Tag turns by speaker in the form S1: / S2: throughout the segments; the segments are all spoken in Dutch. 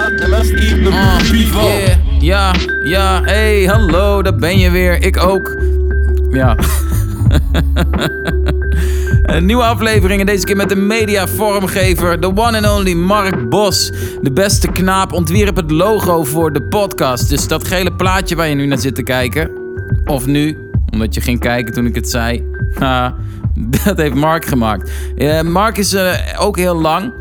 S1: Mm, yeah, ja, ja, hey, hallo, daar ben je weer. Ik ook. Ja. Een nieuwe aflevering en deze keer met de mediavormgever, de one and only Mark Bos. De beste knaap ontwierp het logo voor de podcast. Dus dat gele plaatje waar je nu naar zit te kijken, of nu, omdat je ging kijken toen ik het zei, Ha, dat heeft Mark gemaakt. Eh, Mark is eh, ook heel lang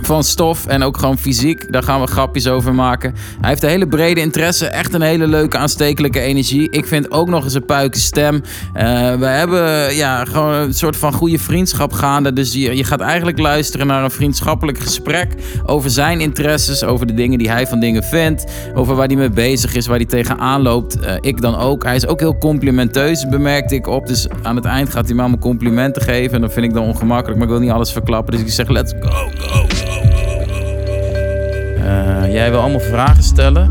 S1: van stof en ook gewoon fysiek. Daar gaan we grapjes over maken. Hij heeft een hele brede interesse, echt een hele leuke aanstekelijke energie. Ik vind ook nog eens een puike stem. Eh, we hebben ja, gewoon een soort van goede vriendschap gaande. Dus je, je gaat eigenlijk luisteren naar een vriendschappelijk gesprek over zijn interesses, over de dingen die hij van dingen vindt, over waar hij mee bezig is, waar hij tegenaan loopt. Eh, ik dan ook. Hij is ook heel complimenteus, bemerkte ik op. Dus aan het eind gaat hij me allemaal complimenten geven. En dat vind ik dan ongemakkelijk, maar ik wil niet alles verklappen. Dus ik zeg, let's go. Eh, jij wil allemaal vragen stellen.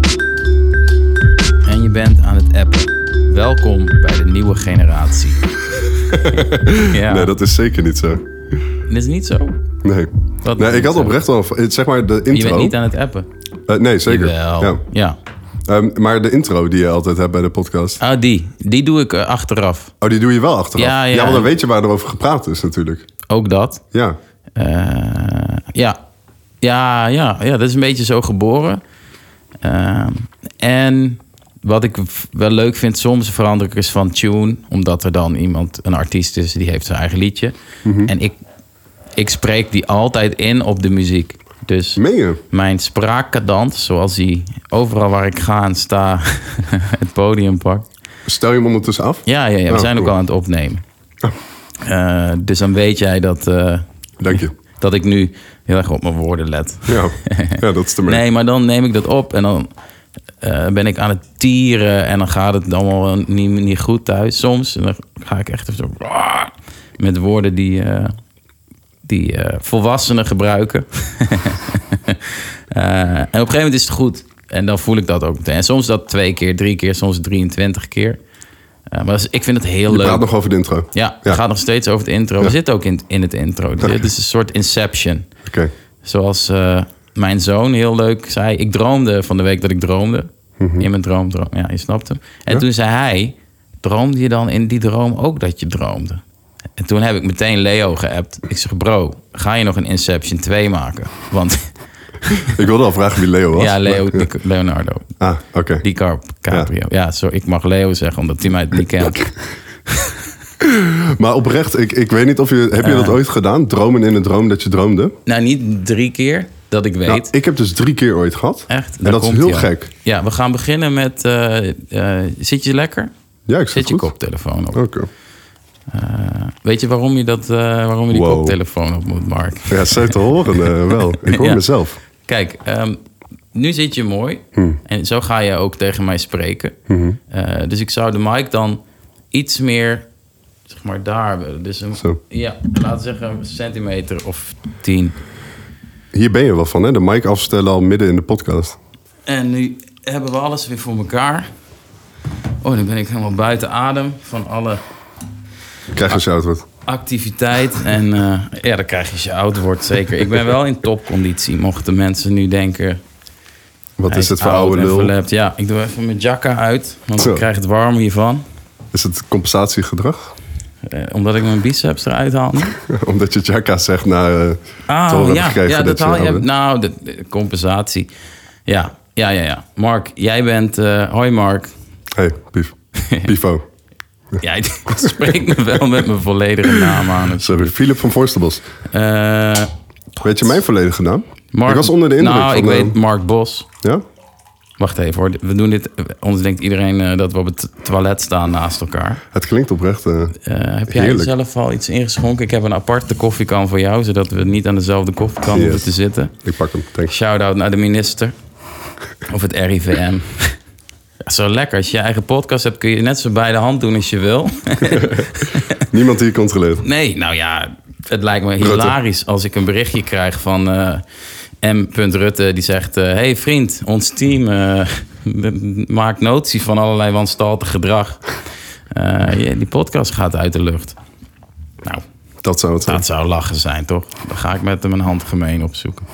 S1: En je bent aan het appen. Welkom bij de nieuwe generatie. ja,
S2: Nee,
S1: dat...
S2: dat is zeker niet zo.
S1: is niet zo.
S2: Nee.
S1: Dat
S2: Nee,
S1: is
S2: ik had
S1: niet zo.
S2: oprecht wel... Zeg maar de
S1: Je bent
S2: intro...
S1: niet aan het appen.
S2: Eh, nee, zeker.
S1: Jawel.
S2: Ja.
S1: ja.
S2: Ehm, maar de intro die je altijd hebt bij de podcast...
S1: Ah, die. Die doe ik eh, achteraf.
S2: Oh, die doe je wel achteraf.
S1: Ja, ja.
S2: want dan weet je waar er over gepraat is natuurlijk.
S1: Ook dat.
S2: Ja.
S1: Eh, ja. Ja, ja, ja, dat is een beetje zo geboren. Ehm, en wat ik v- wel leuk vind, soms verander ik eens van tune, omdat er dan iemand, een artiest is, die heeft zijn eigen liedje.
S2: Mhm.
S1: En ik, ik spreek die altijd in op de muziek. Dus
S2: Meen je?
S1: mijn spraakcadans, zoals die overal waar ik ga en sta, het podium pakt.
S2: Stel je hem ondertussen af? Ah,
S1: Ja, ja, ja we
S2: Oh,
S1: zijn ook
S2: cool.
S1: al aan het opnemen. Eh, dus dan weet jij dat. eh,
S2: Dank je.
S1: dat ik nu heel erg op mijn woorden let.
S2: Ja, ja dat is te merken.
S1: Nee, maar dan neem ik dat op en dan eh, ben ik aan het tieren en dan gaat het allemaal niet, niet goed thuis soms. En dan ga ik echt zo ah, met woorden die, eh, die eh, volwassenen gebruiken. Eh, en op een gegeven moment is het goed. En dan voel ik dat ook meteen. En soms dat twee keer, drie keer, soms 23 keer. Eh, maar dat is- ik vind het heel
S2: je
S1: leuk.
S2: praat nog over de intro. Oké.
S1: Ja,
S2: Ja.
S1: het gaat nog steeds over het intro. We zitten ook in, in het intro. Dit is een soort inception. Zoals eh, mijn zoon heel leuk zei. Ik droomde van de week dat ik droomde.
S2: Mhm.
S1: In mijn droom, droom. Ja, je snapt hem. En toen zei hij, droomde je dan in die droom ook dat je droomde? En toen heb ik meteen Leo geappt. Ik zeg, bro, ga je nog een Inception 2 maken? Want
S2: Ik wilde al vragen wie Leo was.
S1: ja, Leo,
S2: maar-
S1: Di- Leonardo,
S2: Ah, oké.
S1: DiCaprio. Ja, zo, ik mag Leo zeggen, omdat hij mij niet kent.
S2: Maar oprecht, ik, ik weet niet of je... Heb je dat ooit gedaan? Dromen in een droom dat je droomde?
S1: Nou, niet drie keer dat ik weet.
S2: Nou, ik heb dus drie keer ooit gehad.
S1: Echt?
S2: En
S1: Daar
S2: dat is
S1: komt
S2: heel
S1: hij al.
S2: gek.
S1: Ja, we gaan beginnen met... eh, eh, zit je lekker?
S2: Ja, ik zit,
S1: Zet je
S2: goed. Oh,
S1: koptelefoon op.
S2: Oké.
S1: Weet je waarom je, dat, eh, waarom je die
S2: Wow.
S1: koptelefoon op moet, Mark?
S2: Ja, zo te horen eh, wel. Ik hoor
S1: Ja.
S2: mezelf.
S1: Kijk, ehm, nu zit je mooi.
S2: Hmm.
S1: En zo ga je ook tegen mij spreken. Eh, dus ik zou de mic dan iets meer, zeg maar, daar willen. Dus een,
S2: Zo.
S1: ja, laten we zeggen een centimeter of tien.
S2: Hier ben je wel van, hè? De mic afstellen al midden in de podcast.
S1: En nu hebben we alles weer voor elkaar. Oh, dan ben ik helemaal buiten adem van alle
S2: Krijg
S1: Ah.
S2: een shout-out.
S1: activiteit. En eh, ja, dan krijg je als je oud wordt, zeker. Ik ben wel in topconditie, mochten mensen nu denken...
S2: Wat
S1: Hij
S2: is het voor
S1: oud
S2: oude
S1: en
S2: lul?
S1: verlept. Ja, ik doe even mijn jacka uit, want
S2: Zo.
S1: ik krijg het warm hiervan.
S2: Is het compensatiegedrag?
S1: Eh, omdat ik mijn biceps eruit haal. nu.
S2: Omdat je Jacka zegt na eh, te horen
S1: Ah, ja,
S2: gekregen
S1: ja, dat
S2: je
S1: haal je.
S2: oud bent.
S1: Nou, de, de compensatie. Ja, ja, ja, ja. Mark, jij bent. eh, hoi Mark.
S2: Hey, Pief. Pifo.
S1: Jij spreekt me wel met mijn volledige naam aan. Dus,
S2: Sorry, Philip van Voorstenbos.
S1: eh,
S2: Weet je mijn volledige naam?
S1: Mark,
S2: ik was onder de indruk
S1: Nou,
S2: van...
S1: ik
S2: eh,
S1: weet Mark Bos.
S2: Ja?
S1: Wacht even hoor. We doen dit. eh, Ons denkt iedereen eh, dat we op het toilet staan naast elkaar.
S2: Het klinkt oprecht. eh,
S1: Eh, heb jij
S2: Heerlijk.
S1: zelf al iets ingeschonken? Ik heb een aparte koffiekan voor jou, zodat we niet aan dezelfde koffiekan
S2: Yes.
S1: hoeven te zitten.
S2: ik pak hem, denk ik.
S1: Shout-out naar de minister. Of het RIVM. Ja, Zo lekker. Als je je eigen podcast hebt, kun je net zo bij de hand doen als je wil.
S2: Niemand die je controleert.
S1: Nee, nou ja, het lijkt me
S2: Rutte.
S1: hilarisch als ik een berichtje krijg van eh, M. Rutte. Die zegt, eh, hey vriend, ons team eh, maakt notie van allerlei wanstaltig gedrag. Eh, je- die podcast gaat uit de lucht. Nou,
S2: Dat zou het zijn.
S1: Dat zou lachen zijn, toch? Dan ga ik met hem een handgemeen opzoeken.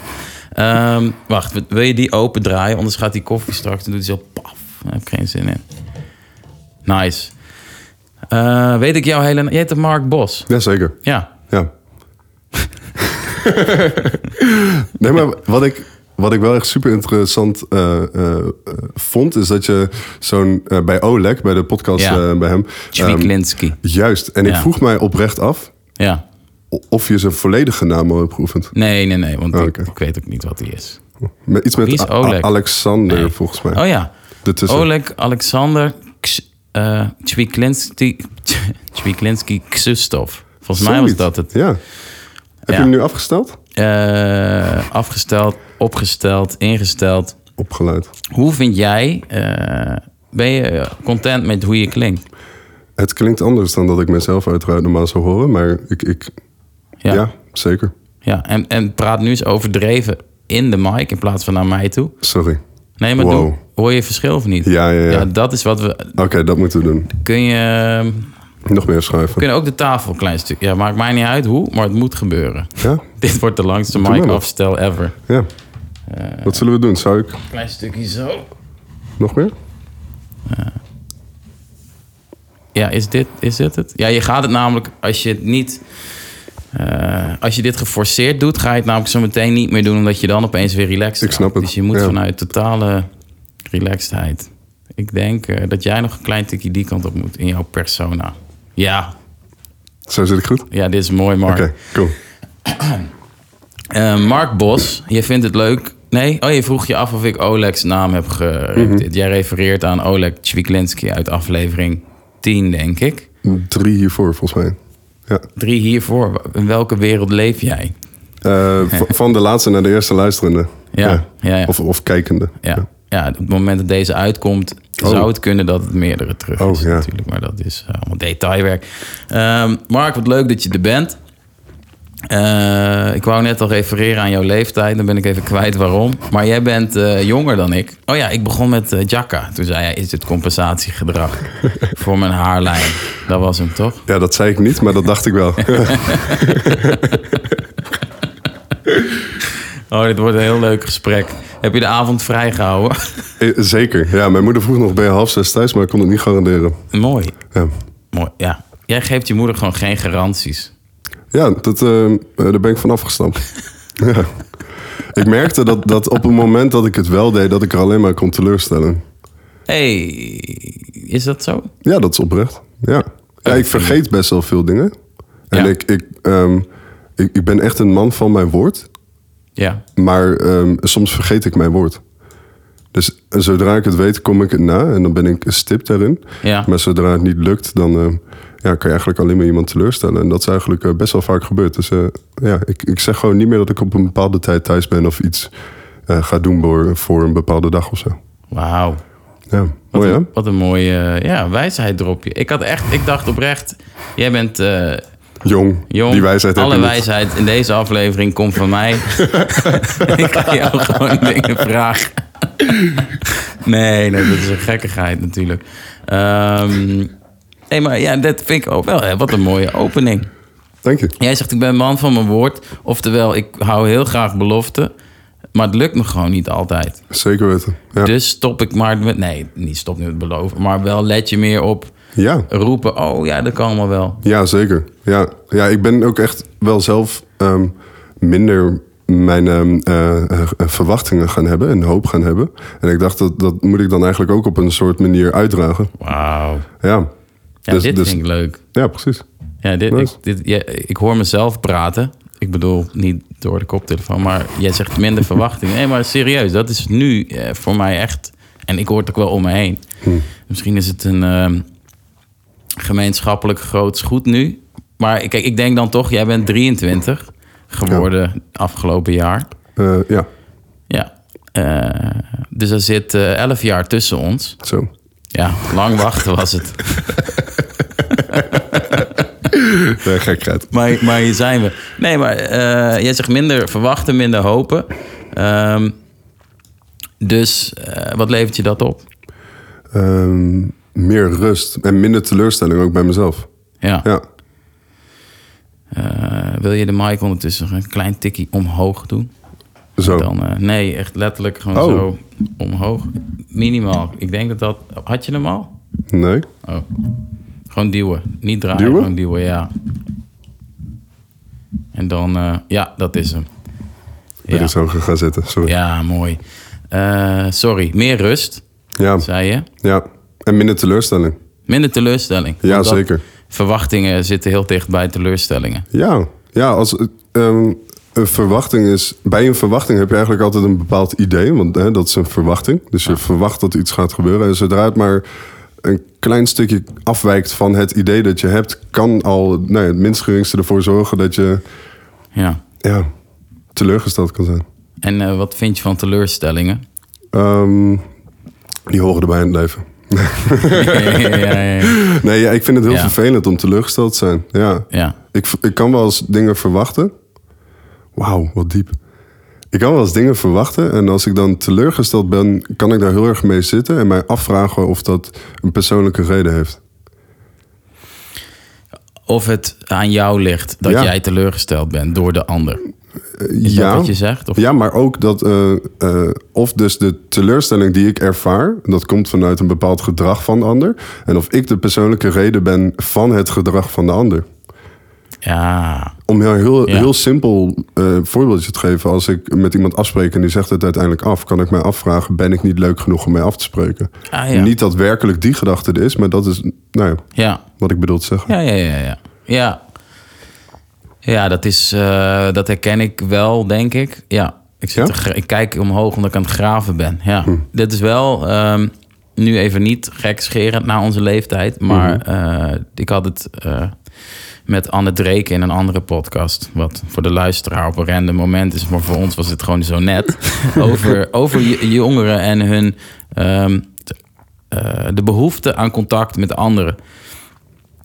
S1: Ehm, wacht, wil je die opendraaien? Anders gaat die koffie straks en doet hij zo paf. Daar heb ik geen zin in. Nice. Eh, weet ik jouw hele... Je heet de Mark Bos.
S2: Jazeker.
S1: Ja.
S2: Ja. nee, maar wat ik, wat ik wel echt super interessant eh, eh, eh, vond, is dat je zo'n eh, bij Oleg, bij de podcast
S1: Ja.
S2: eh, bij hem. ehm,
S1: Chviklinski.
S2: juist. En ik
S1: Ja.
S2: vroeg mij oprecht af
S1: ja.
S2: o- of je zijn volledige naam al hebt geoefend.
S1: Nee, nee, nee. Want
S2: Oh,
S1: ik-
S2: oké.
S1: ik, weet ook niet wat hij is.
S2: Met, iets met
S1: Wie is
S2: A- A-
S1: Oleg?
S2: Alexander,
S1: Nee.
S2: volgens mij.
S1: Oh ja.
S2: Daartussen.
S1: Oleg Alexander Ks- eh, Chviklinski... Chviklinski Ksustof. Volgens mij was
S2: Zoiets.
S1: dat het.
S2: Ja. Heb je
S1: Ja.
S2: hem nu afgesteld?
S1: Eh, afgesteld, opgesteld, ingesteld.
S2: Opgeluid.
S1: Hoe vind jij... eh, ben je content met hoe je klinkt?
S2: Het klinkt anders dan dat ik mezelf uiteraard normaal zou horen, maar ik, ik ja. zeker.
S1: Ja, en, en praat nu eens overdreven in de mic in plaats van naar mij toe.
S2: Sorry.
S1: Nee, maar
S2: Wow.
S1: doe, hoor je verschil of niet?
S2: Ja, ja, ja.
S1: dat is wat we...
S2: Oké, dat moeten we doen.
S1: Kun je...
S2: Nog meer schuiven.
S1: Kun je ook de tafel een klein stuk... Ja, maakt mij niet uit hoe, maar het moet gebeuren.
S2: Ja?
S1: Dit wordt de langste
S2: maar
S1: mic
S2: nog.
S1: afstel ever.
S2: Ja.
S1: Eh.
S2: Wat zullen we doen? Zou ik
S1: Klein stukje zo.
S2: nog meer?
S1: Ja, is dit, is dit het? Ja, je gaat het namelijk als je het niet. eh, als je dit geforceerd doet, ga je het namelijk zo meteen niet meer doen, omdat je dan opeens weer relaxed
S2: Ik snap
S1: raakt.
S2: het,
S1: Dus je moet
S2: ja.
S1: vanuit totale relaxedheid. Ik denk eh, dat jij nog een klein tikje die kant op moet in jouw persona. Ja,
S2: Zo zit ik goed? Oké,
S1: ja dit is mooi, Mark.
S2: cool.
S1: Eh, Mark Bos, je vindt het leuk. Nee, oh, je vroeg je af of ik Oleg's naam heb ge.
S2: Mhm.
S1: Jij refereert aan Oleg Chviklinski uit aflevering 10, denk ik.
S2: Drie hiervoor, volgens mij. Ja.
S1: Drie hiervoor. In welke wereld leef jij?
S2: Eh, v- van de laatste naar de eerste luisterende.
S1: Ja, ja, ja.
S2: Of, of kijkende.
S1: Ja. ja, op het moment dat deze uitkomt, zou het kunnen dat het meerdere terug
S2: Oh,
S1: is.
S2: ja.
S1: Natuurlijk, maar dat is eh, allemaal detailwerk. Ehm, Mark, wat leuk dat je er bent. Eh, ik wou net al refereren aan jouw leeftijd. Dan ben ik even kwijt waarom. Maar jij bent eh, jonger dan ik. Oh ja, ik begon met eh Jacka. Toen zei hij, is dit compensatiegedrag voor mijn haarlijn? Dat was hem, toch?
S2: Ja, dat zei ik niet, maar dat dacht ik wel. Eh,
S1: Oh, dit wordt een heel leuk gesprek. Heb je de avond vrijgehouden?
S2: Eh, Zeker. Ja, mijn moeder vroeg nog bij half zes thuis, maar ik kon het niet garanderen.
S1: Mooi.
S2: Ja,
S1: Mooi, ja. Jij geeft je moeder gewoon geen garanties.
S2: ja dat, eh, eh, daar ben ik van afgestapt. ja. Ik merkte dat, dat op het moment dat ik het wel deed, dat ik er alleen maar kon teleurstellen.
S1: Hé, is dat zo?
S2: Ja, dat is oprecht. Ja. ja ik vergeet best wel veel dingen. En
S1: Ja.
S2: ik, ik, ehm, ik, ik ben echt een man van mijn woord.
S1: Ja.
S2: Maar ehm, soms vergeet ik mijn woord. Dus eh, zodra ik het weet, kom ik het na. En dan ben ik stipt daarin.
S1: Ja.
S2: Maar zodra het niet lukt, dan ehm, ja, kan je eigenlijk alleen maar iemand teleurstellen. En dat is eigenlijk eh, best wel vaak gebeurd. Dus eh, ja, ik, ik zeg gewoon niet meer dat ik op een bepaalde tijd thuis ben... of iets eh, ga doen voor, voor een bepaalde dag of zo.
S1: Wauw.
S2: Ja,
S1: Wat,
S2: mooi hè?
S1: een- wat een mooie eh, ja, wijsheid dropje. Ik had echt, ik dacht oprecht, jij bent eh,
S2: Jong,
S1: jong.
S2: die wijsheid heb
S1: Alle
S2: je niet.
S1: wijsheid in deze aflevering komt van mij. ik kan jou gewoon dingen vragen. nee, nee, dat is een gekkigheid natuurlijk. Ehm, nee, maar ja, dat vind ik ook wel. hè, Wat een mooie opening.
S2: Dank je.
S1: Jij zegt, ik ben een man van mijn woord. Oftewel, ik hou heel graag beloften. Maar het lukt me gewoon niet altijd.
S2: Zeker weten. Ja.
S1: Dus stop ik maar met... Nee, niet stop nu met beloven. Maar wel let je meer op
S2: ja.
S1: roepen. Oh ja, dat kan allemaal wel.
S2: Ja, zeker. Ja, ja ik ben ook echt wel zelf ehm, minder mijn ehm, eh, eh, verwachtingen gaan hebben en hoop gaan hebben. En ik dacht, dat, dat moet ik dan eigenlijk ook op een soort manier uitdragen.
S1: Wauw.
S2: Ja,
S1: Ja,
S2: Dus-
S1: dit
S2: dus-
S1: vind ik leuk.
S2: ja precies.
S1: Ja, dit,
S2: Nice.
S1: ik, dit, ja, ik hoor mezelf praten. Ik bedoel, niet door de koptelefoon. Maar jij zegt minder verwachtingen. Nee, maar serieus. Dat is nu eh, voor mij echt... En ik hoor het ook wel om me heen.
S2: Hm.
S1: Misschien is het een ehm, gemeenschappelijk groots goed nu. Maar kijk, ik denk dan toch... Jij bent 23 geworden afgelopen jaar.
S2: Eh, ja,
S1: Ja. Eh, dus er zit eh, 11 jaar tussen ons.
S2: zo.
S1: Ja, lang wachten was het.
S2: Nee, gekheid.
S1: Maar, maar hier zijn we. Nee, maar eh, jij zegt minder verwachten, minder hopen. Ehm, dus eh, wat levert je dat op?
S2: Ehm, meer rust en minder teleurstelling ook bij mezelf.
S1: Ja.
S2: Ja,
S1: Eh, wil je de mic ondertussen een klein tikkie omhoog doen?
S2: Zo.
S1: Dan, eh, nee, echt letterlijk gewoon
S2: Oh.
S1: zo omhoog. Minimaal. Ik denk dat dat... Had je hem al?
S2: Nee?
S1: Oh. Gewoon duwen. Niet draaien,
S2: Duwen?
S1: gewoon duwen, ja. En dan... eh, ja, dat is hem.
S2: Ben
S1: Ja,
S2: ik zo gaan zitten, sorry. Ja.
S1: ja mooi. Eh, sorry, meer rust,
S2: Ja.
S1: zei je.
S2: En minder teleurstelling.
S1: Minder teleurstelling.
S2: Ja,
S1: Want dat-
S2: zeker.
S1: Verwachtingen zitten heel dicht bij teleurstellingen.
S2: Ja, ja als eh, ehm, een verwachting is. Bij een verwachting heb je eigenlijk altijd een bepaald idee, want hè, dat is een verwachting. Dus je verwacht dat iets gaat gebeuren. En zodra het maar een klein stukje afwijkt van het idee dat je hebt, kan al nou, ja, het minst geringste ervoor zorgen dat je
S1: Ja.
S2: ja, teleurgesteld kan zijn.
S1: En eh, wat vind je van teleurstellingen?
S2: Ehm, die horen erbij in het leven.
S1: ja, ja, ja.
S2: Nee, ja, ik vind het heel
S1: Ja.
S2: vervelend om teleurgesteld te zijn. Ja.
S1: ja.
S2: Ik, ik kan wel eens dingen verwachten. Wauw, wat diep. Ik kan wel eens dingen verwachten. En als ik dan teleurgesteld ben, kan ik daar heel erg mee zitten. En mij afvragen of dat een persoonlijke reden heeft.
S1: Of het aan jou ligt dat
S2: Ja.
S1: jij teleurgesteld bent door de ander.
S2: Eh,
S1: Is
S2: ja,
S1: dat wat je zegt? Of...
S2: ja, maar ook dat. eh, eh, of dus de teleurstelling die ik ervaar. Dat komt vanuit een bepaald gedrag van de ander. En of ik de persoonlijke reden ben van het gedrag van de ander.
S1: Ja.
S2: Om heel, heel,
S1: Ja.
S2: heel simpel eh, voorbeeldje te geven. Als ik met iemand afspreek en die zegt het uiteindelijk af, kan ik mij afvragen: ben ik niet leuk genoeg om mij af te spreken?
S1: Ah, ja.
S2: Niet dat werkelijk die gedachte er is, maar dat is nou ja,
S1: Ja.
S2: wat ik bedoel te zeggen.
S1: Ja, ja, ja, ja. Ja, ja dat, is, eh, dat herken ik wel, denk ik. Ja, ik, zit
S2: Ja?
S1: te gra- ik kijk omhoog omdat ik aan het graven ben. Ja, dit is wel ehm, nu even niet gekscherend naar onze leeftijd. Maar eh, ik had het eh, met Anne Dreek in een andere podcast. Wat voor de luisteraar op een random moment is. Maar voor ons was het gewoon zo net. over over j- jongeren en hun... ehm, t- eh, de behoefte aan contact met anderen.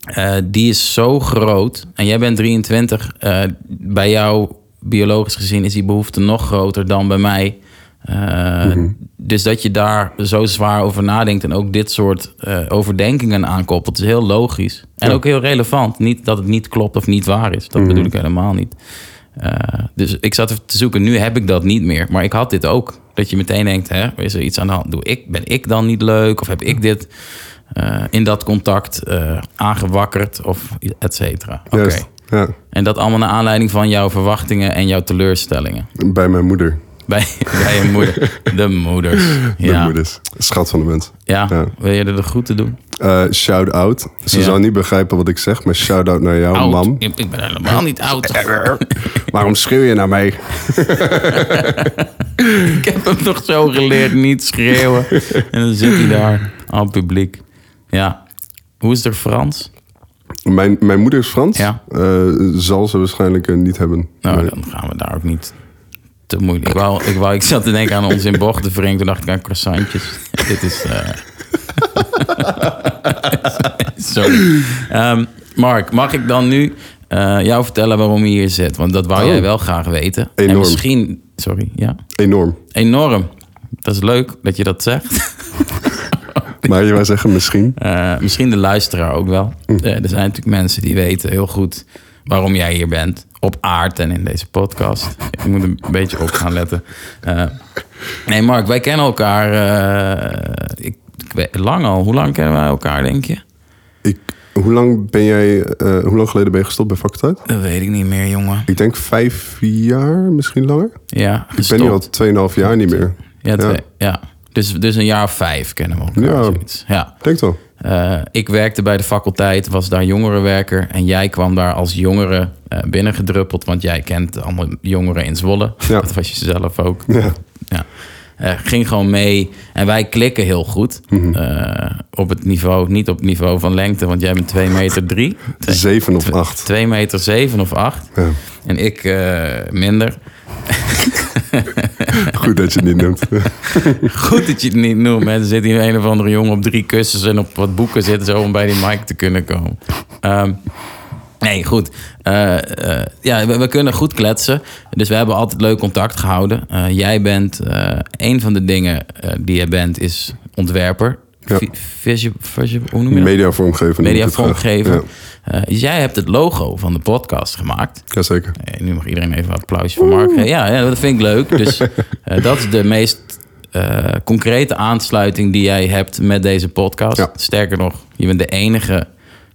S1: Eh, die is zo groot. En jij bent 23. eh, bij jou, biologisch gezien, is die behoefte nog groter dan bij mij. Eh, Dus dat je daar zo zwaar over nadenkt en ook dit soort eh, overdenkingen aankoppelt, is heel logisch. En
S2: Ja.
S1: ook heel relevant. Niet dat het niet klopt of niet waar is. Dat bedoel ik helemaal niet. Eh, dus ik zat even te zoeken, nu heb ik dat niet meer. Maar ik had dit ook. Dat je meteen denkt, hè, is er iets aan de hand? Doe ik, ben ik dan niet leuk? Of heb ik dit eh, in dat contact eh, aangewakkerd? Of et cetera. Oké.
S2: Juist, ja,
S1: En dat allemaal naar aanleiding van jouw verwachtingen en jouw teleurstellingen.
S2: bij mijn moeder.
S1: Bij, bij je moeder. De moeders.
S2: De
S1: Ja.
S2: moeders. Schat van de mens.
S1: Ja.
S2: Ja.
S1: wil je er de groeten doen?
S2: Eh, shout out. Ze
S1: Ja.
S2: zou niet begrijpen wat ik zeg, maar shout out naar jou,
S1: Oud.
S2: mam.
S1: Ik, ik ben helemaal niet oud.
S2: Waarom schreeuw je naar mij?
S1: ik heb hem toch zo geleerd niet schreeuwen. En dan zit hij daar aan het publiek. Ja. Hoe is er Frans?
S2: Mijn, mijn moeder is Frans.
S1: Ja.
S2: Eh, zal ze waarschijnlijk eh, niet hebben.
S1: Nou,
S2: Nee.
S1: dan gaan we daar ook niet te moeilijk. Ik, wou, ik, wou, ik zat te denken aan ons in bochten Toen dacht ik aan croissantjes. Dit is... eh, Sorry. Ehm, Mark, mag ik dan nu eh, jou vertellen waarom je hier zit? Want dat wou
S2: Oh.
S1: jij wel graag weten. En
S2: Enorm.
S1: misschien... Sorry, ja.
S2: Enorm.
S1: Enorm. Dat is leuk dat je dat zegt.
S2: Maar je wou zeggen misschien.
S1: Eh, misschien de luisteraar ook wel.
S2: Hm.
S1: Eh, er zijn natuurlijk mensen die weten heel goed waarom jij hier bent. Op aard en in deze podcast. Ik moet een beetje op gaan letten. Eh, nee, Mark, wij kennen elkaar eh, ik, ik weet, lang al. Hoe lang kennen wij elkaar, denk je?
S2: Ik, hoe lang ben jij, eh, hoe lang geleden ben je gestopt bij faculteit?
S1: Dat weet ik niet meer, jongen.
S2: Ik denk vijf jaar, misschien langer.
S1: Ja,
S2: Ik ben
S1: gestopt.
S2: nu al tweeënhalf jaar niet meer.
S1: Ja, twee-
S2: ja.
S1: ja. Dus, dus een jaar of vijf kennen we elkaar.
S2: Ja.
S1: zoiets. ja.
S2: Ik Denk wel.
S1: Eh, ik werkte bij de faculteit, was daar jongerenwerker. En jij kwam daar als jongere eh binnengedruppeld. Want jij kent allemaal jongeren in Zwolle.
S2: Ja.
S1: Dat was je zelf ook.
S2: Ja.
S1: Ja. Eh, ging gewoon mee. En wij klikken heel goed.
S2: Mhm.
S1: Eh, op het niveau, niet op het niveau van lengte. Want jij bent 2 meter 3.
S2: Zeven of acht.
S1: 2 meter 7 of 8.
S2: Ja.
S1: En ik eh, minder.
S2: Goed dat je het niet noemt.
S1: Goed dat je het niet noemt. hè. Er zit hier een of andere jongen op drie kussens en op wat boeken zitten... zo om bij die mic te kunnen komen. Ehm, nee, goed. Eh, eh, ja, we, we kunnen goed kletsen. Dus we hebben altijd leuk contact gehouden. Eh, jij bent... eh een van de dingen eh, die jij bent is ontwerper.
S2: Ja.
S1: vi- visu- visu- hoe noem je dat?
S2: Media vormgeven. noem ik
S1: Media
S2: het graag.
S1: vormgeven.
S2: Ja,
S1: Eh, jij hebt het logo van de podcast gemaakt.
S2: jazeker.
S1: Eh, nu mag iedereen even een applausje voor Mark geven. Ja, ja, dat vind ik leuk. Dus eh, dat is de meest eh, concrete aansluiting die jij hebt met deze podcast.
S2: Ja.
S1: Sterker nog, je bent de enige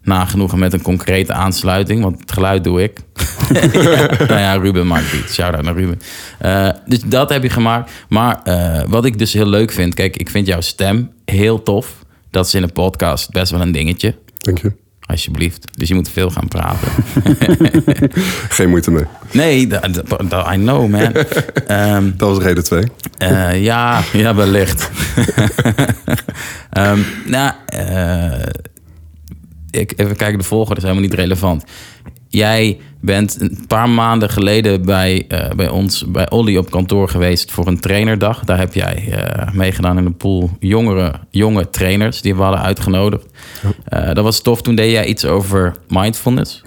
S1: nagenoegen met een concrete aansluiting. Want het geluid doe ik. ja, nou ja, Ruben maakt die. Shout-out naar Ruben. Eh, dus dat heb je gemaakt. Maar eh, wat ik dus heel leuk vind... Kijk, ik vind jouw stem heel tof. Dat is in een podcast best wel een dingetje.
S2: Dank je.
S1: Alsjeblieft. Dus je moet veel gaan praten.
S2: Geen moeite mee.
S1: Nee, dat- dat- dat- I know, man. Ehm,
S2: Dat was reden twee.
S1: eh, ja, ja, wellicht. Ehm, nou, eh, ik, even kijken, de volgorde is helemaal niet relevant. Jij bent een paar maanden geleden bij, eh, bij ons, bij Olly op kantoor geweest voor een trainerdag. Daar heb jij eh, meegedaan in een pool jongere, jonge trainers die we hadden uitgenodigd. Eh, dat was tof. Toen deed jij iets over mindfulness.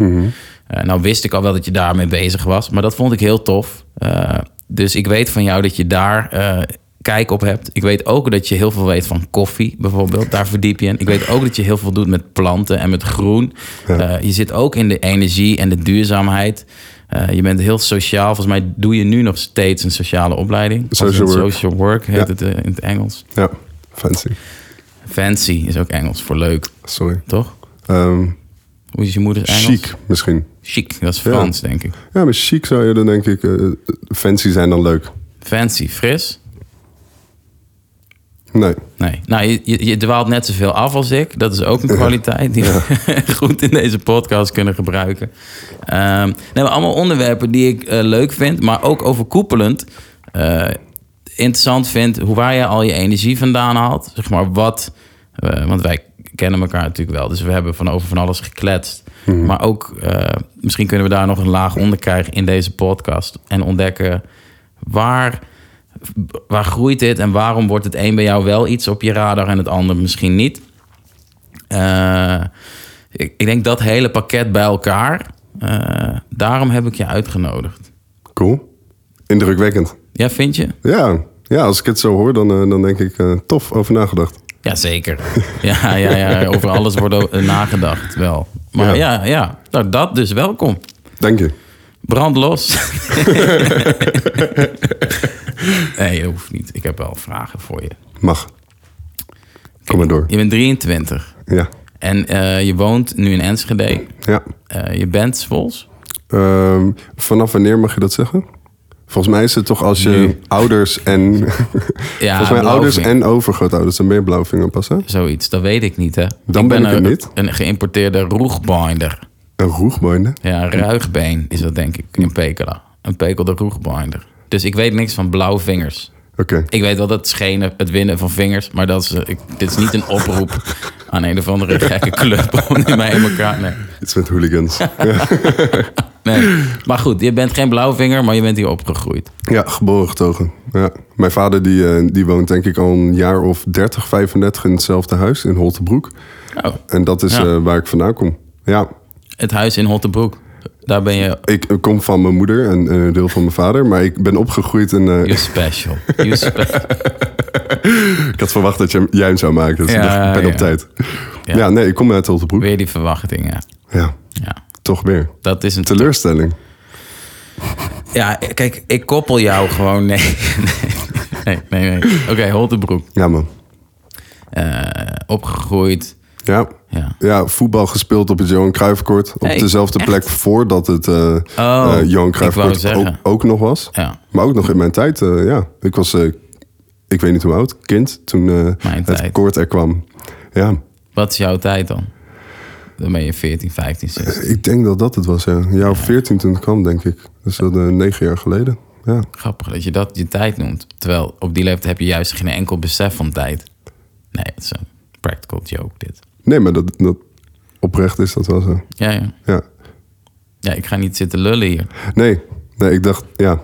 S1: Eh, nou wist ik al wel dat je daarmee bezig was, maar dat vond ik heel tof. Eh, dus ik weet van jou dat je daar eh, kijk op hebt. Ik weet ook dat je heel veel weet van koffie bijvoorbeeld. Daar verdiep je in. Ik weet ook dat je heel veel doet met planten en met groen. Eh, je zit ook in de energie en de duurzaamheid. Eh, je bent heel sociaal. Volgens mij doe je nu nog steeds een sociale opleiding. Of
S2: Social
S1: een
S2: work.
S1: Social work heet
S2: Ja.
S1: het eh, in het Engels.
S2: Ja, fancy.
S1: Fancy is ook Engels voor leuk,
S2: Sorry.
S1: toch?
S2: Ehm
S1: Hoe is je moeder Engels?
S2: chic misschien.
S1: Chic, dat is Frans, denk ik.
S2: Ja, maar chic zou je dan denk ik... eh, fancy zijn dan leuk.
S1: Fancy, fris.
S2: Nee.
S1: Nee. Nou, je, je, je dwaalt net zoveel af als ik. Dat is ook een kwaliteit die we goed in deze podcast kunnen gebruiken. Ehm nee, maar allemaal onderwerpen die ik eh, leuk vind, maar ook overkoepelend eh, interessant vind hoe waar je al je energie vandaan haalt. Zeg maar wat, eh, want wij kennen elkaar natuurlijk wel, dus we hebben van over van alles gekletst. Maar ook, eh, misschien kunnen we daar nog een laag onder krijgen in deze podcast en ontdekken waar waar groeit dit en waarom wordt het een bij jou wel iets op je radar en het ander misschien niet? Eh, ik, ik denk dat hele pakket bij elkaar, eh, daarom heb ik je uitgenodigd.
S2: Cool. Indrukwekkend.
S1: Ja, vind je?
S2: Ja, ja als ik het zo hoor, dan, eh, dan denk ik eh, tof over nagedacht.
S1: Ja, zeker. Ja, ja, ja, over alles wordt ook, eh, nagedacht wel. Maar ja,
S2: Ja.
S1: ja, Nou, dat dus welkom.
S2: Dank je.
S1: Brand los. nee, dat hoeft niet. Ik heb wel vragen voor je.
S2: Mag. Kom maar door.
S1: Je bent 23
S2: Ja.
S1: en eh, je woont nu in Enschede.
S2: Ja.
S1: Eh, je bent Swols?
S2: Ehm, vanaf wanneer mag je dat zeggen? Volgens mij is het toch als je
S1: Nu.
S2: ouders en... volgens mij
S1: blauwvink.
S2: ouders en overgrootouders. Dan ben je blauwvinger pas, hè?
S1: Zoiets, dat weet ik niet, hè?
S2: Dan ben ik
S1: een,
S2: het niet.
S1: een geïmporteerde roegbinder.
S2: Een roegboinde.
S1: Ja, een ruigbeen is dat, denk ik, in Pekela. Een pekelde roegbinder. Dus ik weet niks van blauwvingers.
S2: Oké.
S1: Ik weet wel dat het schenen, het winnen van vingers, maar dat is, eh, ik- dit is niet een oproep aan een of andere gekke club om die mij in elkaar... Nee.
S2: Iets met hooligans.
S1: nee. Maar goed, je bent geen blauwvinger, maar je bent hier opgegroeid.
S2: ja, geboren getogen. Ja. Mijn vader die, eh, die woont denk ik al een jaar of 30, 35 in hetzelfde huis in Holtebroek.
S1: Oh,
S2: En dat is
S1: Ja.
S2: eh, waar ik vandaan kom. Ja,
S1: het huis in Hottebroek. Daar ben je...
S2: ik eh, kom van mijn moeder en eh, een deel van mijn vader. Maar ik ben opgegroeid in... eh,
S1: You're special. You're special.
S2: ik had verwacht dat je, jij hem zou maken. Dus
S1: Ja,
S2: ik dacht, ik ben
S1: ja.
S2: op tijd.
S1: Ja.
S2: Ja. nee, ik kom uit Holtebroek.
S1: Weer die verwachtingen.
S2: Ja,
S1: Ja,
S2: toch weer.
S1: dat is een
S2: Teleurstelling.
S1: Ja, kijk, ik koppel jou gewoon. Nee, nee, nee. nee. Oké, Holtenbroek.
S2: Ja, man.
S1: Eh, opgegroeid.
S2: Ja.
S1: Ja.
S2: Ja, voetbal gespeeld op het Johan Cruijffcourt. Op
S1: Hey,
S2: dezelfde
S1: echt? Oh,
S2: plek voordat het eh eh, Johan
S1: ik wou het
S2: Cruijffcourt ook,
S1: zeggen.
S2: ook nog was.
S1: Ja.
S2: Maar ook nog in mijn tijd, eh, ja. Ik was, eh, ik weet niet hoe oud, kind, toen eh,
S1: Mijn tijd.
S2: het koord er kwam. Ja,
S1: Wat is jouw tijd dan? Dan ben je 14, 15, 16.
S2: ik denk dat dat het was, ja. Een jaar of veertien toen het kwam, denk ik. Dus dat eh, negen jaar geleden. Ja,
S1: Grappig dat je dat je tijd noemt. Terwijl op die leeftijd heb je juist geen enkel besef van tijd. Nee, het is een practical joke dit.
S2: nee, maar dat, dat oprecht is dat wel zo.
S1: Ja, ja.
S2: Ja.
S1: ja, ik ga niet zitten lullen hier.
S2: Nee, nee, ik dacht, ja.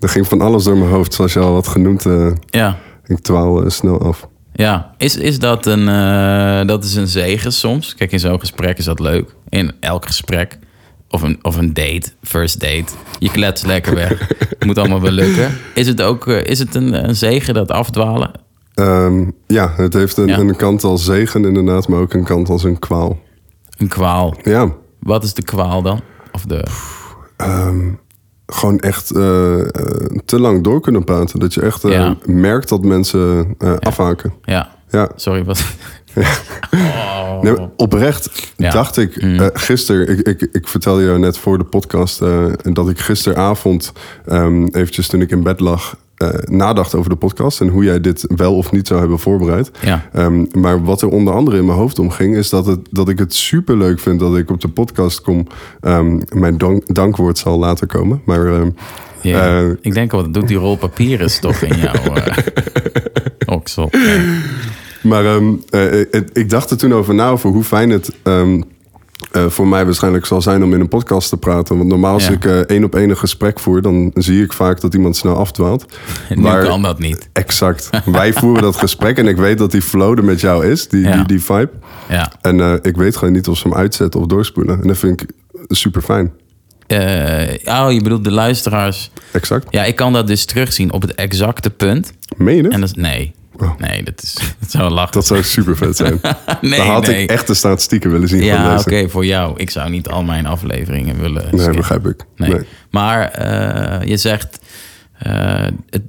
S2: Er ging van alles door mijn hoofd, zoals je al had genoemd. eh,
S1: Ja,
S2: ik dwaal eh, snel af.
S1: Ja, is, is dat, een, eh, dat is een zegen soms. Kijk, in zo'n gesprek is dat leuk. In elk gesprek. Of een, of een date, first date. Je klets lekker weg. Moet allemaal wel lukken. Is het ook eh, is het een, een zegen dat afdwalen?
S2: Ehm, ja, het heeft een,
S1: Ja.
S2: een kant als zegen inderdaad, maar ook een kant als een kwaal.
S1: Een kwaal.
S2: Ja,
S1: Wat is de kwaal dan? Of de...
S2: ehm, gewoon echt eh, eh, te lang door kunnen praten. Dat je echt eh,
S1: Ja.
S2: merkt dat mensen eh, afhaken.
S1: Ja,
S2: Ja.
S1: sorry. Wat...
S2: Nee, maar oprecht
S1: eh, Ja. Mm.
S2: dacht ik eh gisteren, ik, ik, ik vertelde jou net voor de podcast eh, dat ik gisteravond ehm, eventjes toen ik in bed lag eh, nadacht over de podcast en hoe jij dit wel of niet zou hebben voorbereid.
S1: Ja.
S2: Ehm, maar wat er onder andere in mijn hoofd omging, is dat, het, dat ik het super leuk vind dat ik op de podcast kom. Ehm, mijn dank, dankwoord zal later komen, maar ehm,
S1: Ja.
S2: eh,
S1: ik denk al, wat doet die rol papier is toch in jouw eh, oksel. Ja.
S2: Maar ehm, eh, eh, ik dacht er toen over na over hoe fijn het ehm, eh, voor mij waarschijnlijk zal zijn om in een podcast te praten. Want normaal als
S1: Ja.
S2: ik eh, één op één een gesprek voer, dan zie ik vaak dat iemand snel afdwaalt.
S1: Nu kan dat niet.
S2: Exact. Wij voeren dat gesprek en ik weet dat die flow er met jou is, die,
S1: Ja.
S2: die, die vibe.
S1: Ja.
S2: En eh, ik weet gewoon niet of ze hem uitzetten of doorspoelen. En dat vind ik super fijn.
S1: Eh, oh, je bedoelt de luisteraars.
S2: Exact.
S1: Ja, ik kan dat dus terugzien op het exacte punt.
S2: Meen je?
S1: En
S2: dat?
S1: dat is... Nee.
S2: Oh.
S1: Nee, dat is... Dat zou lachen.
S2: Dat zou super vet zijn.
S1: nee,
S2: Dan had
S1: nee.
S2: ik echt de statistieken willen zien. van
S1: Ja,
S2: deze.
S1: oké, voor jou. Ik zou niet al mijn afleveringen willen
S2: Nee,
S1: skippen.
S2: begrijp ik.
S1: Nee.
S2: Nee.
S1: Maar eh, je zegt, eh, het,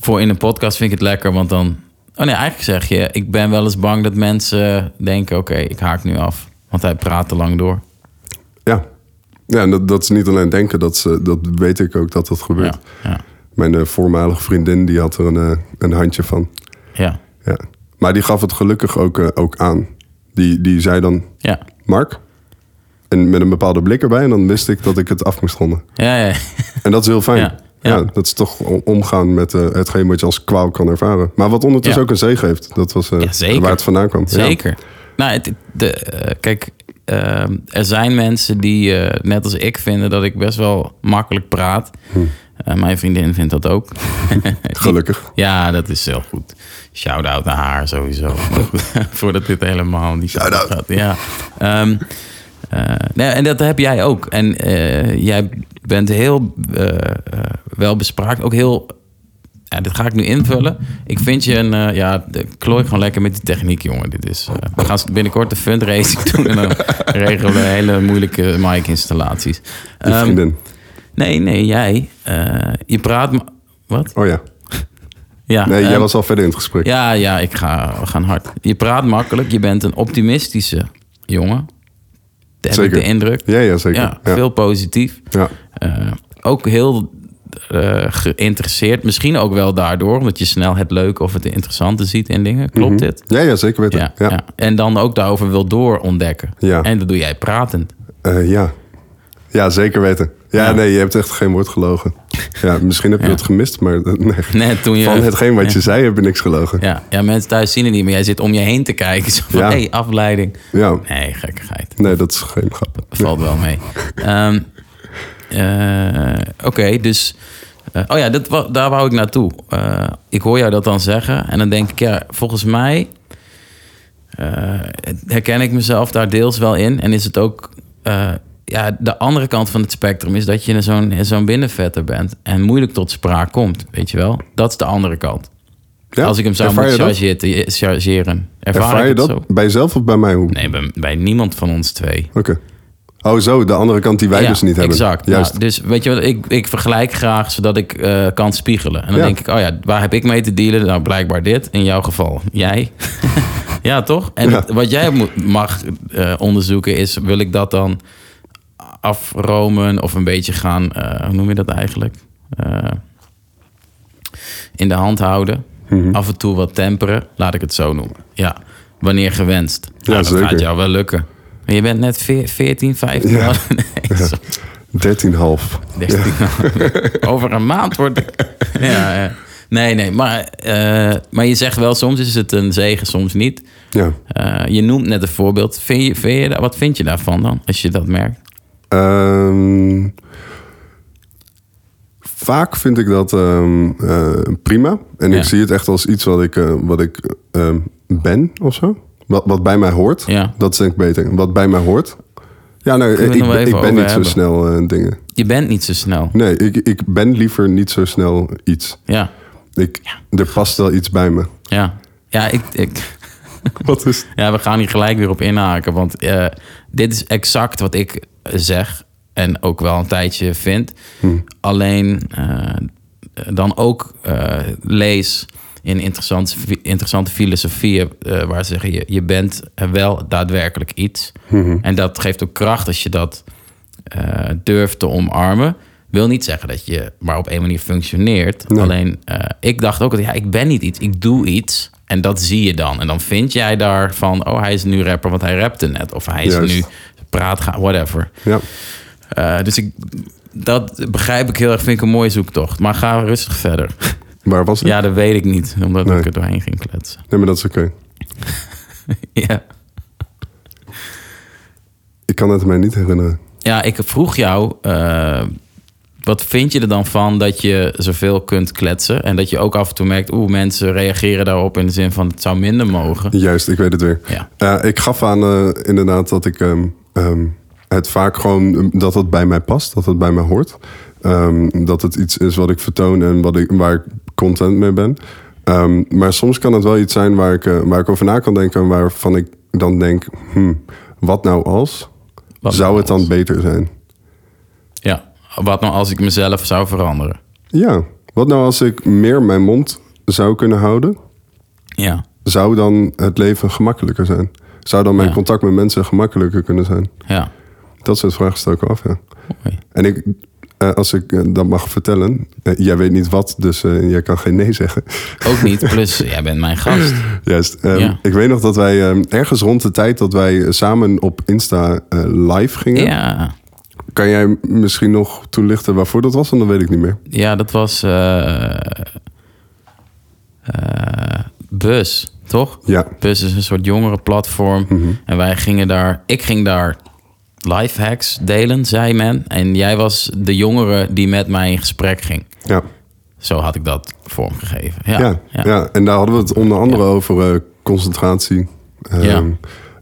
S1: voor in een podcast vind ik het lekker, want dan... Oh nee, eigenlijk zeg je, ik ben wel eens bang dat mensen denken, oké, ik haak nu af. Want hij praat te lang door.
S2: Ja. Ja, en dat, dat is niet alleen denken, dat, ze, dat weet ik ook dat dat gebeurt.
S1: Ja, ja,
S2: Mijn eh, voormalige vriendin die had er een, eh, een handje van.
S1: ja,
S2: Ja. Maar die gaf het gelukkig ook, eh, ook aan. Die, die zei dan,
S1: ja.
S2: Mark? En met een bepaalde blik erbij. En dan wist ik dat ik het af moest ronden.
S1: ja, ja.
S2: En dat is heel fijn.
S1: Ja,
S2: Ja,
S1: ja.
S2: dat is toch o- omgaan met eh, hetgeen wat je als kwaal kan ervaren. Maar wat ondertussen
S1: Ja.
S2: ook een zee geeft. Dat was eh,
S1: Ja, zeker.
S2: waar het vandaan kwam. Ja.
S1: Zeker. Nou, het, de, eh, kijk, ehm, er zijn mensen die, eh, net als ik, vinden dat ik best wel makkelijk praat.
S2: Hm.
S1: Eh, mijn vriendin vindt dat ook.
S2: Gelukkig.
S1: ja, dat is heel goed. Shout-out naar haar sowieso. Voordat dit helemaal niet
S2: Shout-out.
S1: gaat. Ja. Ehm, eh, nee, en dat heb jij ook. En eh, jij bent heel eh eh, wel bespraakt. Ook heel... Ja, dit ga ik nu invullen. Ik vind je een... eh, ja, de- klooi gewoon lekker met die techniek, jongen. Dit is, eh, we gaan binnenkort een fundraising doen. En dan regelen we hele moeilijke mic-installaties.
S2: Je
S1: Ehm,
S2: vriendin.
S1: nee, nee, jij. Eh, je praat... ma- Wat?
S2: Oh ja.
S1: Ja,
S2: Nee, jij
S1: ehm,
S2: was al verder in het gesprek.
S1: ja, ja, ik ga, we gaan hard. Je praat makkelijk. Je bent een optimistische jongen. Dat heb ik
S2: Zeker.
S1: de indruk.
S2: Ja, ja, zeker.
S1: Ja,
S2: Ja.
S1: veel positief.
S2: Ja.
S1: Eh, ook heel eh, geïnteresseerd. Misschien ook wel daardoor, omdat je snel het leuke of het interessante ziet in dingen. Klopt dit?
S2: Ja, ja, zeker weten.
S1: Ja,
S2: Mhm. ja.
S1: ja. En dan ook daarover wil doorontdekken.
S2: Ja.
S1: En dat doe jij pratend.
S2: Eh, ja. ja, zeker weten. Ja,
S1: Ja.
S2: nee, je hebt echt geen woord gelogen. Ja, misschien heb je dat gemist, maar eh, nee.
S1: Nee, toen je-
S2: van hetgeen wat je zei heb je niks gelogen.
S1: Ja. ja, mensen thuis zien het niet, maar jij zit om je heen te kijken. Zo van,
S2: Ja.
S1: hey, afleiding.
S2: Ja.
S1: Nee, gekkigheid.
S2: Nee, dat is geen grap.
S1: valt wel mee. Ehm, eh, Oké, dus. eh, oh ja, dat, wa- daar wou ik naartoe. Eh, ik hoor jou dat dan zeggen. En dan denk ik, ja, volgens mij. eh, herken ik mezelf daar deels wel in. En is het ook. eh, ja, de andere kant van het spectrum is dat je zo'n zo'n binnenvetter bent. En moeilijk tot spraak komt, weet je wel. Dat is de andere kant.
S2: Ja?
S1: Als ik hem zou
S2: Ervaar
S1: moeten
S2: je dat?
S1: chargeren. eh, chargeren ervaar,
S2: Ervaar
S1: ik
S2: je
S1: het
S2: dat
S1: zo?
S2: bij jezelf of bij mij? Hoe?
S1: Nee, bij, bij niemand van ons twee.
S2: Oké. Oh, zo, de andere kant die wij dus niet hebben.
S1: Exact.
S2: Juist.
S1: Nou, dus weet je wat, ik, ik vergelijk graag zodat ik eh, kan spiegelen. En dan
S2: Ja.
S1: denk ik, oh ja, waar heb ik mee te dealen? Nou, blijkbaar dit. In jouw geval, jij. ja, toch? En
S2: Ja.
S1: het- wat jij moet, mag eh, onderzoeken is, wil ik dat dan afromen of een beetje gaan, eh, hoe noem je dat eigenlijk? Eh, in de hand houden.
S2: Mhm.
S1: Af en toe wat temperen, laat ik het zo noemen. Ja, wanneer gewenst. Ja, dat
S2: zeker.
S1: gaat jou Nou, wel lukken. Maar je bent net veer- 14, 15.
S2: Ja.
S1: Nee, zo-
S2: 13,5.
S1: 13. Over een maand wordt ik. ja, ja. Nee, nee, maar, eh, maar je zegt wel, soms is het een zegen, soms niet.
S2: Ja.
S1: Eh, je noemt net een voorbeeld. Vind je, vind je, daar- wat vind je daarvan dan, als je dat merkt?
S2: Ehm, vaak vind ik dat ehm, eh, prima. En
S1: Ja.
S2: ik zie het echt als iets wat ik, eh, wat ik ehm, ben of zo. Wat, wat bij mij hoort.
S1: Ja.
S2: Dat is denk ik beter. Wat bij mij hoort. Ja, nou,
S1: we het
S2: ik,
S1: nog wel
S2: ben-
S1: even
S2: ik ben
S1: over
S2: niet zo
S1: hebben.
S2: snel eh, dingen.
S1: Je bent niet zo snel.
S2: Nee, ik, ik ben liever niet zo snel iets.
S1: Ja,
S2: Ik, Er past wel iets bij me.
S1: ja. Ja, ik, ik,
S2: Wat is...
S1: ja, we gaan hier gelijk weer op inhaken. Want eh, dit is exact wat ik zeg. En ook wel een tijdje vind. Alleen eh, dan ook eh, lees in interessante, fi- interessante filosofieën. eh, waar ze zeggen: je, je bent wel daadwerkelijk iets. En dat geeft ook kracht als je dat eh, durft te omarmen. Wil niet zeggen dat je maar op één manier functioneert. Alleen eh, ik dacht ook dat ja, ik ben niet iets, ik doe iets. En dat zie je dan. En dan vind jij daar van, oh hij is nu rapper, want hij rapte net. Of hij is
S2: Juist.
S1: nu praat, ga- whatever.
S2: Ja.
S1: Eh, dus ik, dat begrijp ik heel erg, vind ik een mooie zoektocht. Maar ga rustig verder.
S2: Waar was ik?
S1: ja, dat weet ik niet, omdat
S2: Nee.
S1: ik er doorheen ging kletsen.
S2: Nee, maar dat is oké.
S1: ja.
S2: Ik kan het mij niet herinneren.
S1: ja, ik vroeg jou, eh, wat vind je er dan van dat je zoveel kunt kletsen? En dat je ook af en toe merkt, oeh, mensen reageren daarop in de zin van, het zou minder mogen.
S2: Juist, ik weet het weer.
S1: Ja.
S2: Eh, ik gaf aan eh, inderdaad dat ik ehm, ehm, het vaak gewoon ehm, dat het bij mij past, dat het bij mij hoort. Ehm, dat het iets is wat ik vertoon en wat ik, waar ik content mee ben. Ehm, maar soms kan het wel iets zijn waar ik, eh, waar ik over na kan denken en waarvan ik dan denk: hmm, wat nou als?
S1: Wat
S2: Zou
S1: nou
S2: het dan
S1: als?
S2: beter zijn?
S1: Ja, wat nou als ik mezelf zou veranderen?
S2: Ja, wat nou als ik meer mijn mond zou kunnen houden?
S1: Ja,
S2: Zou dan het leven gemakkelijker zijn? Zou dan mijn
S1: Ja.
S2: contact met mensen gemakkelijker kunnen zijn?
S1: ja.
S2: Dat soort vragen stel ik af, ja.
S1: Mooi.
S2: En ik, eh, als ik eh, dat mag vertellen, eh, jij weet niet wat, dus eh, jij kan geen nee zeggen.
S1: Ook niet, plus jij bent mijn gast.
S2: Juist. ehm,
S1: Ja.
S2: Ik weet nog dat wij ehm, ergens rond de tijd dat wij samen op Insta eh, live gingen.
S1: Ja,
S2: Kan jij misschien nog toelichten waarvoor dat was? Want dan weet ik niet meer.
S1: ja dat was eh, eh, Bus, toch?
S2: Ja, Mhm.
S1: Bus is een soort jongerenplatform. En wij gingen daar, ik ging daar life hacks delen, zei men. En jij was de jongere die met mij in gesprek ging.
S2: ja.
S1: Zo had ik dat vormgegeven. Ja,
S2: Ja, ja, en daar hadden we het onder andere over eh, concentratie, ehm,
S1: Ja.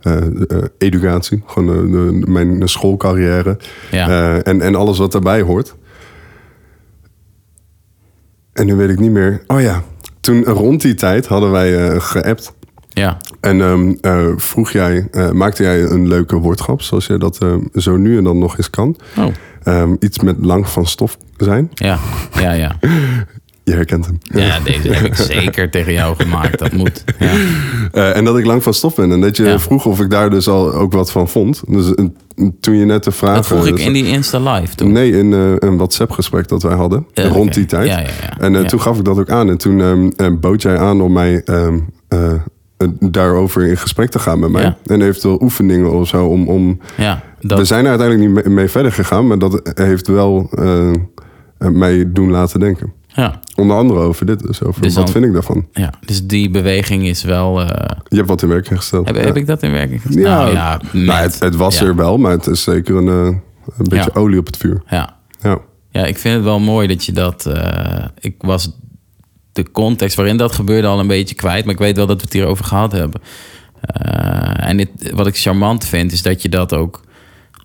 S2: eh, eh, educatie, gewoon eh, de- de- mijn schoolcarrière
S1: Ja.
S2: eh, en, en alles wat daarbij hoort. En nu weet ik niet meer. Oh ja, toen rond die tijd hadden wij eh, geappt.
S1: ja.
S2: En ehm, eh, vroeg jij, eh, maakte jij een leuke woordgrap, zoals jij dat ehm, zo nu en dan nog eens kan.
S1: Oh,
S2: Ehm, iets met lang van stof zijn.
S1: ja, ja, ja.
S2: Je herkent hem.
S1: Ja, deze heb ik zeker tegen jou gemaakt. Dat moet. Ja.
S2: Eh, en dat ik lang van stof ben. En dat je
S1: Ja.
S2: vroeg of ik daar dus al ook wat van vond. Dus eh, toen je net de vraag...
S1: Dat vroeg
S2: eh,
S1: ik in die Insta Live toen.
S2: Nee, in eh, een WhatsApp-gesprek dat wij hadden.
S1: Ja,
S2: rond
S1: oké.
S2: die tijd.
S1: Ja, ja, ja.
S2: En eh,
S1: Ja.
S2: toen gaf ik dat ook aan. En toen ehm, eh, bood jij aan om mij ehm, eh, eh, daarover in gesprek te gaan met mij.
S1: Ja.
S2: En eventueel oefeningen of zo. Om, om...
S1: Ja,
S2: We
S1: dat,
S2: zijn er uiteindelijk niet mee- mee verder gegaan. Maar dat heeft wel eh, eh, mij doen laten denken.
S1: ja,
S2: Onder andere over dit dus. Over
S1: Dus
S2: wat
S1: dan-
S2: vind ik daarvan?
S1: ja. Dus die beweging is wel. eh,
S2: Je hebt wat in werking gesteld.
S1: heb,
S2: Ja.
S1: heb ik dat in werking gesteld?
S2: Ja,
S1: Nou, ja,
S2: nou,
S1: net.
S2: het, het was
S1: Ja,
S2: er wel, maar het is zeker een, eh, een beetje
S1: Ja.
S2: olie op het vuur.
S1: Ja.
S2: Ja,
S1: Ja, ik vind het wel mooi dat je dat. eh, ik was de context waarin dat gebeurde al een beetje kwijt, maar ik weet wel dat we het hierover gehad hebben. Eh, en dit, wat ik charmant vind, is dat je dat ook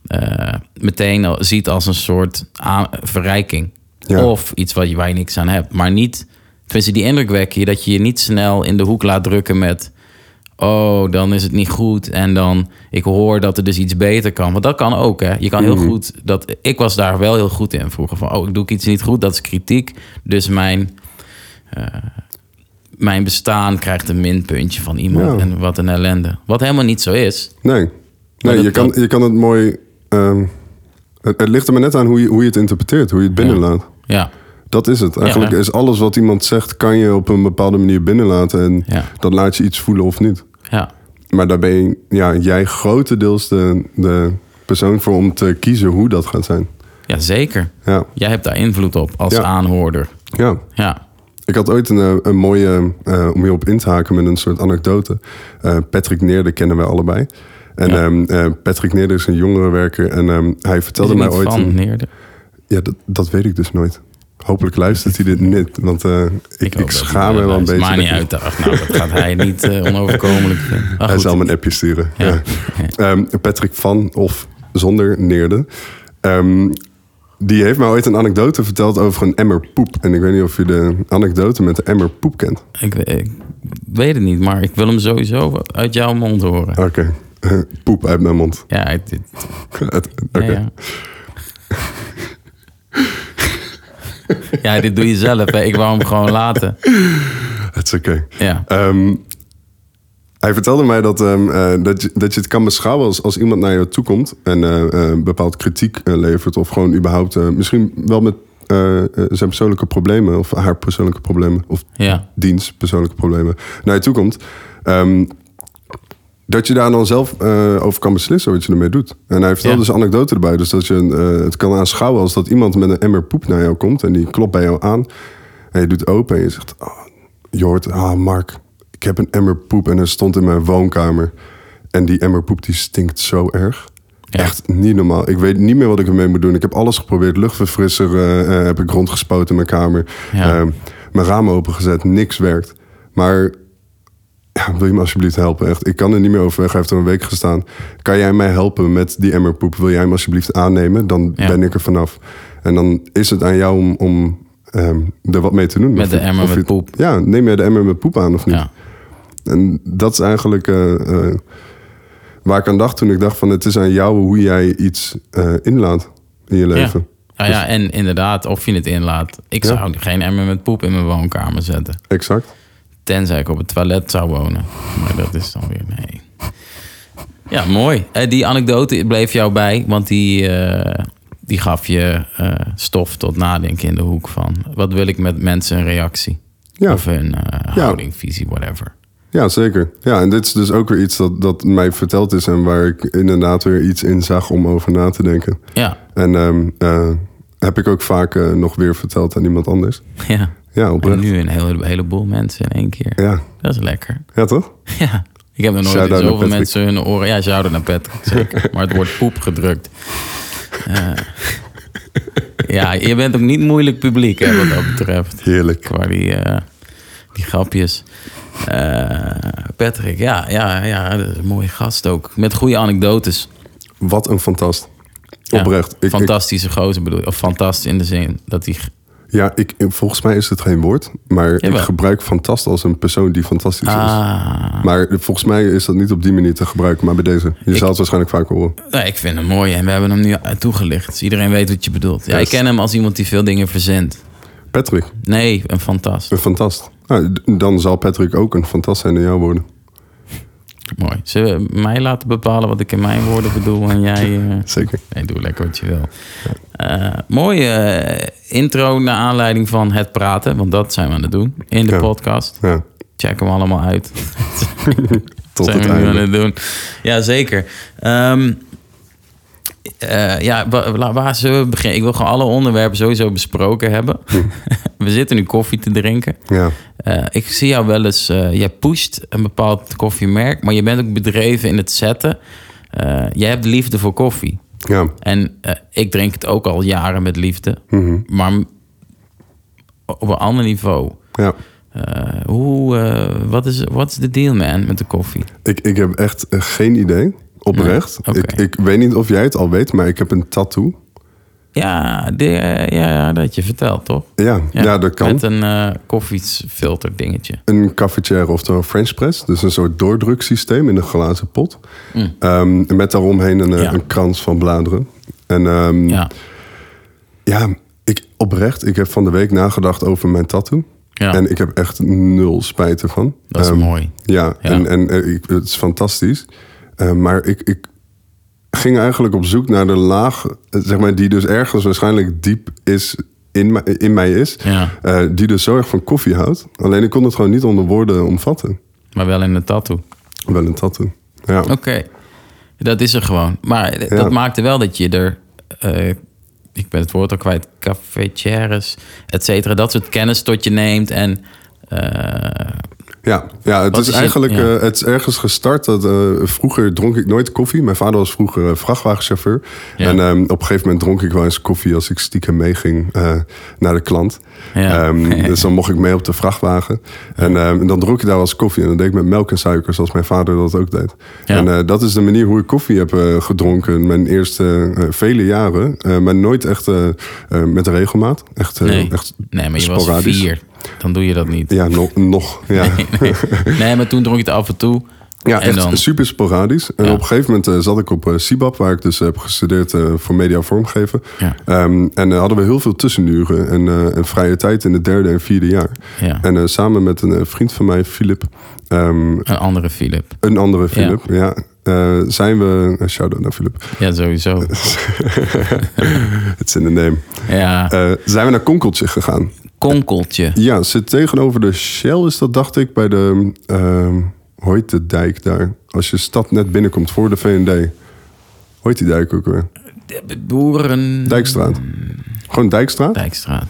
S1: eh, meteen al ziet als een soort aan- verrijking.
S2: Ja.
S1: Of iets wat je, waar je niks aan hebt. Maar niet, tenminste, die indruk wek je dat je je niet snel in de hoek laat drukken met. Oh, dan is het niet goed. En dan, ik hoor dat er dus iets beter kan. Want dat kan ook, hè. Je kan heel goed, dat, ik was daar wel heel goed in vroeger. Van, oh, ik doe ik iets niet goed, dat is kritiek. Dus mijn, eh, mijn bestaan krijgt een minpuntje van iemand.
S2: Ja.
S1: En wat een ellende. Wat helemaal niet zo is.
S2: nee. nee
S1: dat-
S2: je, kan,
S1: dat-
S2: je kan het mooi... ehm, het, het ligt er maar net aan hoe je, hoe je het interpreteert, hoe je het binnenlaat.
S1: Ja,
S2: Dat is het. Eigenlijk
S1: Ja.
S2: is alles wat iemand zegt, kan je op een bepaalde manier binnenlaten. En
S1: Ja.
S2: dat laat je iets voelen of niet.
S1: ja,
S2: Maar daar ben je, ja, jij grotendeels de, de persoon voor om te kiezen hoe dat gaat zijn.
S1: ja zeker.
S2: Ja,
S1: Jij hebt daar invloed op als
S2: Ja.
S1: aanhoorder.
S2: ja.
S1: Ja,
S2: Ik had ooit een, eh, een mooie, eh, om hierop in te haken met een soort anekdote. Eh, Patrick Neerde kennen wij allebei. En
S1: Ja.
S2: ehm, eh, Patrick Neerde is een jongerenwerker en ehm, hij
S1: is
S2: vertelde
S1: er
S2: mij
S1: niet
S2: ooit...
S1: van,
S2: een-
S1: Neerde.
S2: ja, dat, dat weet ik dus nooit. Hopelijk luistert hij dit niet, want eh, ik, ik,
S1: hoop dat hij
S2: schaam me wel een
S1: luistert. Maakt
S2: beetje. dat
S1: niet
S2: ik-
S1: uit. Ach, nou, dat gaat hij niet eh, onoverkomelijk vinden. Maar
S2: Hij
S1: goed.
S2: zal me een appje sturen. Ja.
S1: Ja.
S2: Ehm, Patrick van of zonder Neerde. Ehm, die heeft mij ooit een anekdote verteld over een emmer poep. En ik weet niet of je de anekdote met de emmer poep kent.
S1: Ik, ik weet het niet, maar ik wil hem sowieso uit jouw mond horen.
S2: Oké. Poep uit mijn mond.
S1: Ja, het- het-
S2: Oké.
S1: ja, ja. Ja, dit doe je zelf. Hè. Ik wou hem gewoon laten.
S2: Het is oké.
S1: Ja.
S2: Ehm, hij vertelde mij dat, ehm, eh, dat, je, dat je het kan beschouwen als, als iemand naar je toe komt en eh, eh, bepaald kritiek eh, levert. Of gewoon überhaupt, eh, misschien wel met eh, eh, zijn persoonlijke problemen of haar persoonlijke problemen. Of
S1: Ja.
S2: dienst, persoonlijke problemen, naar je toe komt. ehm, dat je daar dan zelf eh, over kan beslissen wat je ermee doet. En hij vertelde
S1: Ja.
S2: dus anekdoten erbij. Dus dat je eh, het kan aanschouwen als dat iemand met een emmer poep naar jou komt. En die klopt bij jou aan. En je doet open en je zegt... "Ah, je hoort, ah Mark, ik heb een emmer poep en er stond in mijn woonkamer. En die emmer poep die stinkt zo erg.
S1: Ja.
S2: Echt niet normaal. Ik weet niet meer wat ik ermee moet doen. Ik heb alles geprobeerd. Luchtverfrisser eh, eh, heb ik rondgespoten in mijn kamer.
S1: Ja.
S2: Ehm, mijn ramen opengezet. Niks werkt. Maar ja, wil je me alsjeblieft helpen? Echt, ik kan er niet meer overweg. Hij heeft er een week gestaan. Kan jij mij helpen met die emmerpoep? Wil jij hem alsjeblieft aannemen? Dan
S1: Ja.
S2: ben ik er vanaf. En dan is het aan jou om, om ehm, er wat mee te doen.
S1: Met
S2: Of
S1: de
S2: je-
S1: emmer
S2: of je-
S1: met poep.
S2: Ja, neem jij de emmer met poep aan of niet?
S1: Ja.
S2: En dat is eigenlijk eh, eh, waar ik aan dacht toen ik dacht van... het is aan jou hoe jij iets eh, inlaat in je
S1: Ja.
S2: leven. Dus-
S1: Ja, Nou ja, en inderdaad, of je het inlaat. Ik
S2: Ja.
S1: zou geen emmer met poep in mijn woonkamer zetten.
S2: Exact.
S1: Tenzij ik op het toilet zou wonen. Maar dat is dan weer nee. Ja, mooi. Eh, die anekdote bleef jou bij, want die, eh, die gaf je eh, stof tot nadenken in de hoek van... wat wil ik met mensen een reactie?
S2: Ja.
S1: Of hun eh,
S2: Ja.
S1: houding, visie, whatever.
S2: Ja, zeker. Ja, en dit is dus ook weer iets dat, dat mij verteld is... en waar ik inderdaad weer iets in zag om over na te denken.
S1: Ja,
S2: En ehm, eh, heb ik ook vaak eh, nog weer verteld aan iemand anders.
S1: ja.
S2: Ja,
S1: En
S2: oprecht.
S1: nu een hele, heleboel mensen in één keer.
S2: Ja,
S1: Dat is lekker.
S2: ja toch?
S1: Ja. Ik heb nog nooit
S2: Shout-out naar
S1: zoveel
S2: Patrick.
S1: mensen hun oren... Ja, zouden naar Patrick, zeker. Maar het wordt poep gedrukt. Eh, ja, je bent ook niet moeilijk publiek, hè, wat dat betreft.
S2: Heerlijk.
S1: Qua die, eh, die grapjes. Eh, Patrick, ja, ja, ja, dat is een mooie gast ook. Met goede anekdotes.
S2: Wat een fantast.
S1: Ja,
S2: Oprecht. Ik, ik,
S1: fantastische gozer bedoel je. Of fantastisch in de zin dat hij...
S2: ja, ik, volgens mij is het geen woord. Maar ik
S1: Jawel.
S2: gebruik fantast als een persoon die fantastisch is.
S1: Ah,
S2: Maar volgens mij is dat niet op die manier te gebruiken. Maar bij deze. Je
S1: Ik-
S2: zal het waarschijnlijk vaak horen.
S1: nou, ik vind hem mooi en we hebben hem nu toegelicht. Dus iedereen weet wat je bedoelt. Ja, ik
S2: Yes.
S1: ken hem als iemand die veel dingen verzendt.
S2: Patrick,
S1: Nee, een fantast.
S2: een fantast. Nou, d- dan zal Patrick ook een fantast zijn in jouw woorden.
S1: Mooi. Zullen we mij laten bepalen wat ik in mijn woorden bedoel en jij... eh,
S2: Zeker.
S1: Nee, doe lekker wat je wil. Eh, mooie eh, intro naar aanleiding van het praten, want dat zijn we aan het doen in de
S2: Ja.
S1: podcast.
S2: Ja,
S1: Check hem allemaal uit.
S2: tot
S1: zijn
S2: het
S1: we nu aan
S2: einde.
S1: het doen. Ja, zeker. Ehm, eh, ja, wa- la- waar, zullen we beginnen? Ik wil gewoon alle onderwerpen sowieso besproken hebben.
S2: Hm.
S1: we zitten nu koffie te drinken.
S2: Ja.
S1: Eh, ik zie jou wel eens, eh, jij pusht een bepaald koffiemerk, maar je bent ook bedreven in het zetten. Eh, jij hebt liefde voor koffie.
S2: ja.
S1: En eh, ik drink het ook al jaren met liefde,
S2: Mhm.
S1: maar m- op een ander niveau.
S2: ja.
S1: Eh, hoe, eh, wat is wat is de deal, man, met de koffie?
S2: Ik, ik heb echt eh, geen idee. Oprecht.
S1: Nee, oké.
S2: Ik, ik weet niet of jij het al weet, maar ik heb een tattoo.
S1: Ja, de, eh, ja, ja, dat had je vertelt, toch?
S2: Ja, ja. dat kan.
S1: Met een eh, koffiefilter dingetje.
S2: Een cafetière, oftewel een French press. Dus een soort doordruksysteem in een glazen pot.
S1: Mm.
S2: Ehm, met daaromheen een, eh,
S1: Ja.
S2: een krans van bladeren. En ehm, ja,
S1: Ja,
S2: ik, oprecht, ik heb van de week nagedacht over mijn tattoo.
S1: ja
S2: En ik heb echt nul spijt ervan.
S1: dat is
S2: Ehm,
S1: mooi.
S2: Ja,
S1: Ja.
S2: en, en eh, ik, het is fantastisch. Eh, maar ik, ik ging eigenlijk op zoek naar de laag, eh, zeg maar, die dus ergens waarschijnlijk diep is in, mij- in mij is.
S1: Ja.
S2: Eh, die dus zo erg van koffie houdt. Alleen ik kon het gewoon niet onder woorden omvatten.
S1: Maar wel in de tattoo.
S2: Wel een tattoo. Ja,
S1: Oké, dat is er gewoon. Maar d-
S2: Ja.
S1: dat maakte wel dat je er, eh, ik ben het woord al kwijt, cafetières, et cetera, dat soort kennis tot je neemt. En eh,
S2: ja, ja het
S1: Wat
S2: is,
S1: is het?
S2: eigenlijk
S1: Ja.
S2: eh, het is ergens gestart. Dat, eh, vroeger dronk ik nooit koffie. Mijn vader was vroeger eh, vrachtwagenchauffeur.
S1: Ja.
S2: En ehm, op een gegeven moment dronk ik wel eens koffie als ik stiekem meeging eh, naar de klant.
S1: ja,
S2: Ehm, dus dan mocht ik mee op de vrachtwagen. En ehm, en dan dronk ik daar als koffie. En dan deed ik met melk en suiker, zoals mijn vader dat ook deed.
S1: Ja.
S2: En eh, dat is de manier hoe ik koffie heb eh, gedronken. Mijn eerste eh, vele jaren. Eh, maar nooit echt eh, eh, met regelmaat. Echt, eh,
S1: nee.
S2: echt
S1: nee, maar je was
S2: sporadisch.
S1: vier. dan doe je dat niet.
S2: Ja, nog. nog ja.
S1: Nee, maar toen dronk je het af en toe.
S2: Ja,
S1: en
S2: echt
S1: dan,
S2: super sporadisch. En
S1: Ja.
S2: op een gegeven moment eh, zat ik op eh, CIBAP, waar ik dus heb gestudeerd eh, voor media vormgeven.
S1: Ja.
S2: Ehm, en eh, hadden we heel veel tussenuren en, eh, en vrije tijd in het derde en vierde jaar.
S1: ja,
S2: En eh, samen met een eh, vriend van mij, Philip, ehm,
S1: een andere Philip.
S2: een andere Philip, ja, eh, zijn we... eh, Shout-out naar Philip.
S1: Ja, sowieso.
S2: It's in the name.
S1: Ja,
S2: Eh, zijn we naar Konkeltje gegaan.
S1: konkeltje.
S2: Ja, zit tegenover de Shell is dat, dacht ik, bij de... ehm hoe heet de dijk daar? Als je stad net binnenkomt voor de V&D. Hoe heet die dijk ook weer?
S1: De- de Boeren...
S2: Dijkstraat. Gewoon Dijkstraat.
S1: Dijkstraat.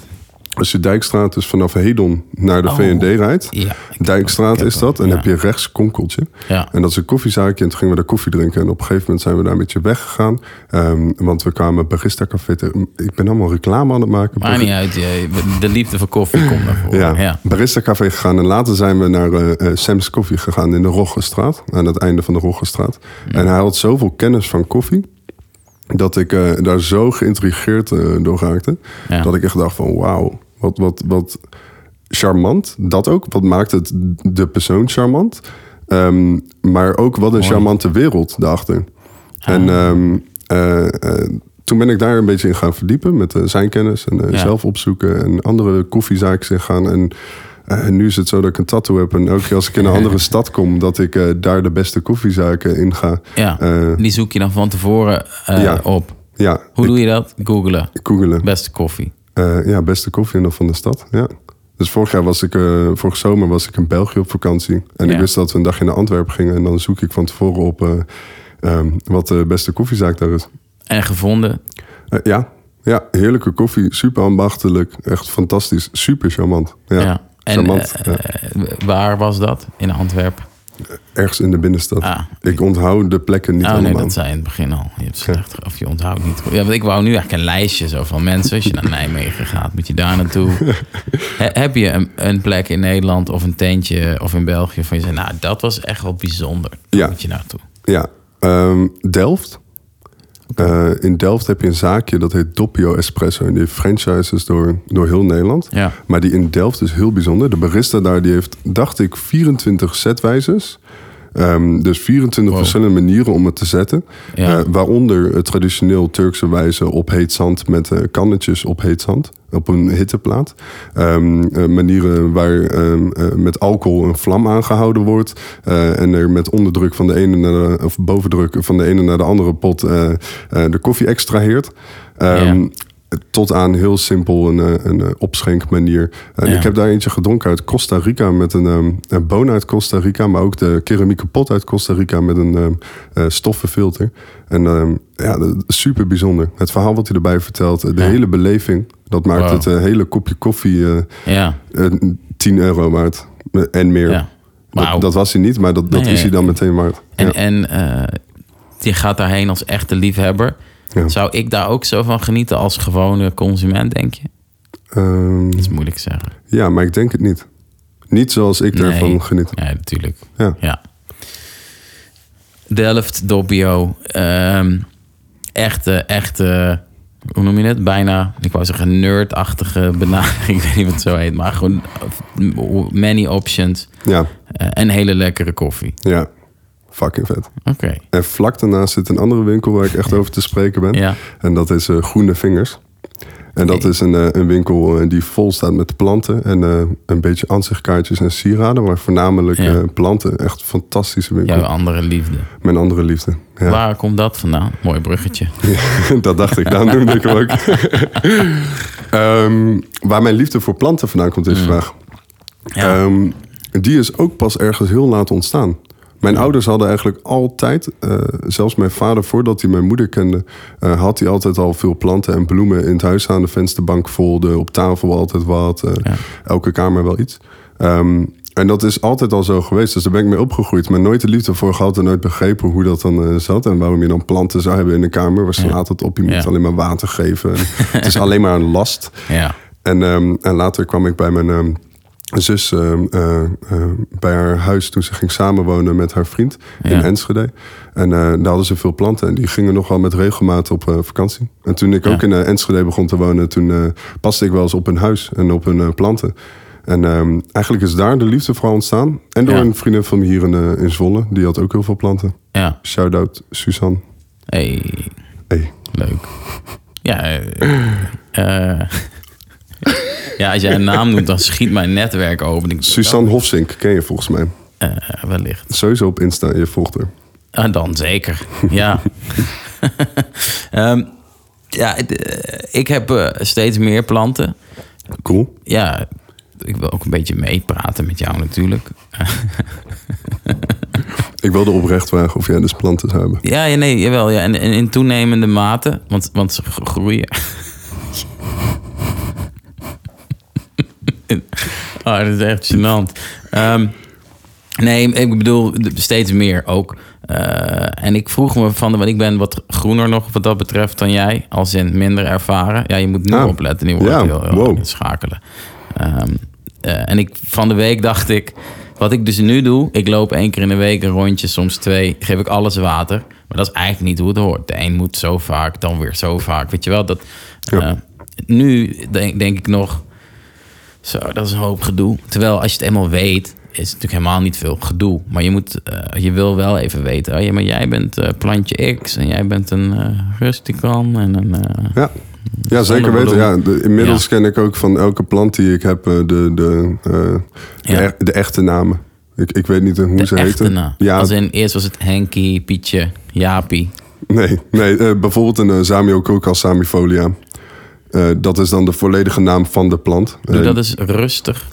S2: Als je Dijkstraat dus vanaf Hedon naar de
S1: Oh.
S2: V&D rijdt.
S1: Ja. ik-
S2: Dijkstraat
S1: ik heb
S2: is dat. En
S1: hem,
S2: heb
S1: ja.
S2: je rechts Konkeltje.
S1: Ja.
S2: En dat is een koffiezaakje. En toen gingen we daar koffie drinken. En op een gegeven moment zijn we daar een beetje weggegaan. Ehm, want we kwamen Barista Café. te- Ik ben allemaal reclame aan het maken.
S1: Maakt niet uit. je- De liefde voor koffie komt naar voren.
S2: Ja,
S1: Ja. Ja.
S2: Barista Café gegaan. En later zijn we naar eh, eh, Sam's Koffie gegaan in de Roggestraat. Aan het einde van de Roggestraat. En hij had zoveel kennis van koffie. Dat ik eh, daar zo geïntrigeerd eh, door raakte.
S1: Ja.
S2: Dat ik echt dacht van wauw, wat, wat, wat charmant. Dat ook. Wat maakt het de persoon charmant? Ehm, maar ook wat een charmante wereld daarachter. En ehm, eh, eh, toen ben ik daar een beetje in gaan verdiepen met eh, zijn kennis en eh,
S1: Ja.
S2: zelf opzoeken en andere koffiezaken in gaan. En, eh, en nu is het zo dat ik een tattoo heb. En elke keer als ik in een andere stad kom, dat ik eh, daar de beste koffiezaken in ga. Eh,
S1: Die zoek je dan van tevoren eh,
S2: ja.
S1: op.
S2: ja,
S1: Hoe doe je dat? Googelen.
S2: googelen.
S1: Beste koffie.
S2: Eh, ja, beste koffie en dan van de stad. Ja. Dus vorig jaar was ik, eh vorig zomer was ik in België op vakantie. En
S1: Ja.
S2: ik wist dat we een dagje naar Antwerpen gingen. En dan zoek ik van tevoren op eh, ehm, wat de beste koffiezaak daar is.
S1: En gevonden.
S2: Eh, ja. ja, heerlijke koffie. Super ambachtelijk. Echt fantastisch. Super charmant. Ja,
S1: Ja. En
S2: charmant.
S1: eh,
S2: ja.
S1: eh, waar was dat? In Antwerpen.
S2: Ergens in de binnenstad.
S1: Ah.
S2: Ik onthoud de plekken niet
S1: Oh nee,
S2: allemaal.
S1: dat zei je in het begin al. Je hebt slecht, of je onthoudt niet. goed. Ja, want ik wou nu eigenlijk een lijstje zo van mensen. Als je naar Nijmegen gaat, moet je daar naartoe. He- heb je een, een plek in Nederland of een tentje of in België van je zegt, nou dat was echt wel bijzonder. Daar
S2: Ja.
S1: moet je naartoe.
S2: Ja, ehm, Delft. Eh, in Delft heb je een zaakje dat heet Doppio Espresso. En die heeft franchises door, door heel Nederland.
S1: Ja.
S2: Maar die in Delft is heel bijzonder. De barista daar die heeft, dacht ik, 24 setwijzers. Ehm, dus 24
S1: Wow.
S2: verschillende manieren om het te zetten.
S1: Ja.
S2: Eh, waaronder eh, traditioneel Turkse wijze op heet zand met eh, kannetjes op heet zand. Op een hitteplaat. Ehm, eh, manieren waar ehm, eh, met alcohol een vlam aangehouden wordt. eh, en er met onderdruk van de ene naar de, of bovendruk van de ene naar de andere pot eh, eh, de koffie extraheert. Ehm,
S1: Ja.
S2: Tot aan heel simpel een, eh, een eh, opschenkmanier. En
S1: Ja.
S2: Ik heb daar eentje gedronken uit Costa Rica met een, ehm, een boon uit Costa Rica, maar ook de keramieke pot uit Costa Rica met een ehm, eh, stoffen filter. En ehm, ja, dat is super bijzonder. Het verhaal wat hij erbij vertelt, de
S1: Ja.
S2: hele beleving, dat maakt
S1: Wow.
S2: het eh, hele kopje koffie eh,
S1: Ja,
S2: eh, 10 euro waard Eh, en meer.
S1: ja. Wauw.
S2: Dat, dat was hij niet, maar dat, dat
S1: Nee,
S2: is hij dan meteen waard.
S1: En,
S2: Ja.
S1: en eh, je gaat daarheen als echte liefhebber.
S2: Ja.
S1: Zou ik daar ook zo van genieten als gewone consument, denk je?
S2: Ehm,
S1: Dat is moeilijk zeggen.
S2: ja, maar ik denk het niet. Niet zoals ik
S1: Nee.
S2: daarvan geniet.
S1: Ja, natuurlijk.
S2: Ja.
S1: Delft, Dobbio. ehm, echte, echte, hoe noem je het? Bijna, ik wou zeggen nerdachtige benadering. Ik weet niet wat het zo heet. Maar gewoon eh, many options.
S2: Ja,
S1: eh, en hele lekkere koffie.
S2: ja. Fucking vet.
S1: Oké.
S2: En vlak daarnaast zit een andere winkel waar ik echt over te spreken ben.
S1: Ja.
S2: En dat is eh, Groene Vingers. En dat is een, eh, een winkel eh, die vol staat met planten en eh, een beetje ansichtkaartjes en sieraden, maar voornamelijk
S1: Ja.
S2: eh, planten. Echt een fantastische winkel.
S1: Jouw andere liefde.
S2: Mijn andere liefde. Ja. Eh,
S1: Waar komt dat vandaan? Mooi bruggetje.
S2: dat dacht ik, daarom noemde ik hem ook. Ehm, waar mijn liefde voor planten vandaan komt,
S1: Mm.
S2: is de vraag.
S1: Ja.
S2: Ehm, die is ook pas ergens heel laat ontstaan. Mijn ouders hadden eigenlijk altijd, eh, zelfs mijn vader voordat hij mijn moeder kende, eh, had hij altijd al veel planten en bloemen in het huis aan de vensterbank vol. de- op tafel altijd wat, eh,
S1: Ja.
S2: elke kamer wel iets. Ehm, en dat is altijd al zo geweest, dus daar ben ik mee opgegroeid. Maar nooit de liefde voor gehad en nooit begrepen hoe dat dan eh, zat. En waarom je dan planten zou hebben in de kamer. Waar slaat het op? Je moet
S1: Ja.
S2: alleen maar water geven. En het is alleen maar een last.
S1: ja.
S2: En, ehm, en later kwam ik bij mijn ehm, zus ehm, eh, eh, bij haar huis toen ze ging samenwonen met haar vriend in
S1: Ja.
S2: Enschede. En eh, daar hadden ze veel planten en die gingen nogal met regelmaat op eh, vakantie. En toen ik
S1: Ja.
S2: ook in eh, Enschede begon te wonen, toen eh, paste ik wel eens op hun huis en op hun eh, planten. En ehm, eigenlijk is daar de liefde voor ontstaan. En door
S1: Ja.
S2: een vriendin van me hier in, eh, in Zwolle. Die had ook heel veel planten.
S1: Ja.
S2: Shout-out Suzanne.
S1: Hey,
S2: Hey.
S1: leuk. Ja, eh, eh, ja, als jij een naam noemt, dan schiet mijn netwerk open. Ik-
S2: Suzanne Hofsink ken je volgens mij.
S1: Eh, wellicht.
S2: Sowieso op Insta. Je volgt haar.
S1: Ah, dan zeker, ja. Ehm, ja, het, eh, ik heb eh, steeds meer planten.
S2: Cool.
S1: Ja, ik wil ook een beetje meepraten met jou natuurlijk. Eh,
S2: Ik wilde oprecht vragen of jij dus planten zou hebben.
S1: Ja, ja, nee, jawel. Ja. En, en in toenemende mate, want, want ze gro- groeien. oh, dat is echt gênant. Ehm, nee, ik bedoel d- steeds meer ook. Eh, en ik vroeg me van, want ik ben wat groener nog wat dat betreft dan jij. Als in minder ervaren. Ja, je moet nu
S2: Ah,
S1: opletten. Nu wordt
S2: ja,
S1: het heel, heel
S2: wow.
S1: schakelen. Ehm, eh, en ik, van de week dacht ik, wat ik dus nu doe, ik loop één keer in de week een rondje, soms twee, geef ik alles water. Maar dat is eigenlijk niet hoe het hoort. De een moet zo vaak, dan weer zo vaak. Weet je wel, dat,
S2: Ja.
S1: eh, nu denk, denk ik nog, zo, dat is een hoop gedoe. Terwijl als je het eenmaal weet, is het natuurlijk helemaal niet veel gedoe. Maar je, moet, eh, je wil wel even weten, oh ja, maar jij bent eh, plantje X en jij bent een eh rustican en een... eh,
S2: Ja, ja zeker weten. Ja, de- inmiddels ken ik ook van elke plant die ik heb eh, de, de, eh, de,
S1: Ja.
S2: e- de echte namen. Ik, ik weet niet eh, hoe
S1: De
S2: ze
S1: echte
S2: heten.
S1: naam.
S2: Ja,
S1: Als in, eerst was het Henkie, Pietje, Jaapie.
S2: nee, nee eh, bijvoorbeeld een Samio Samiococa samifolia. Eh, dat is dan de volledige naam van de plant.
S1: Doe
S2: Eh,
S1: Dus dat eens rustig.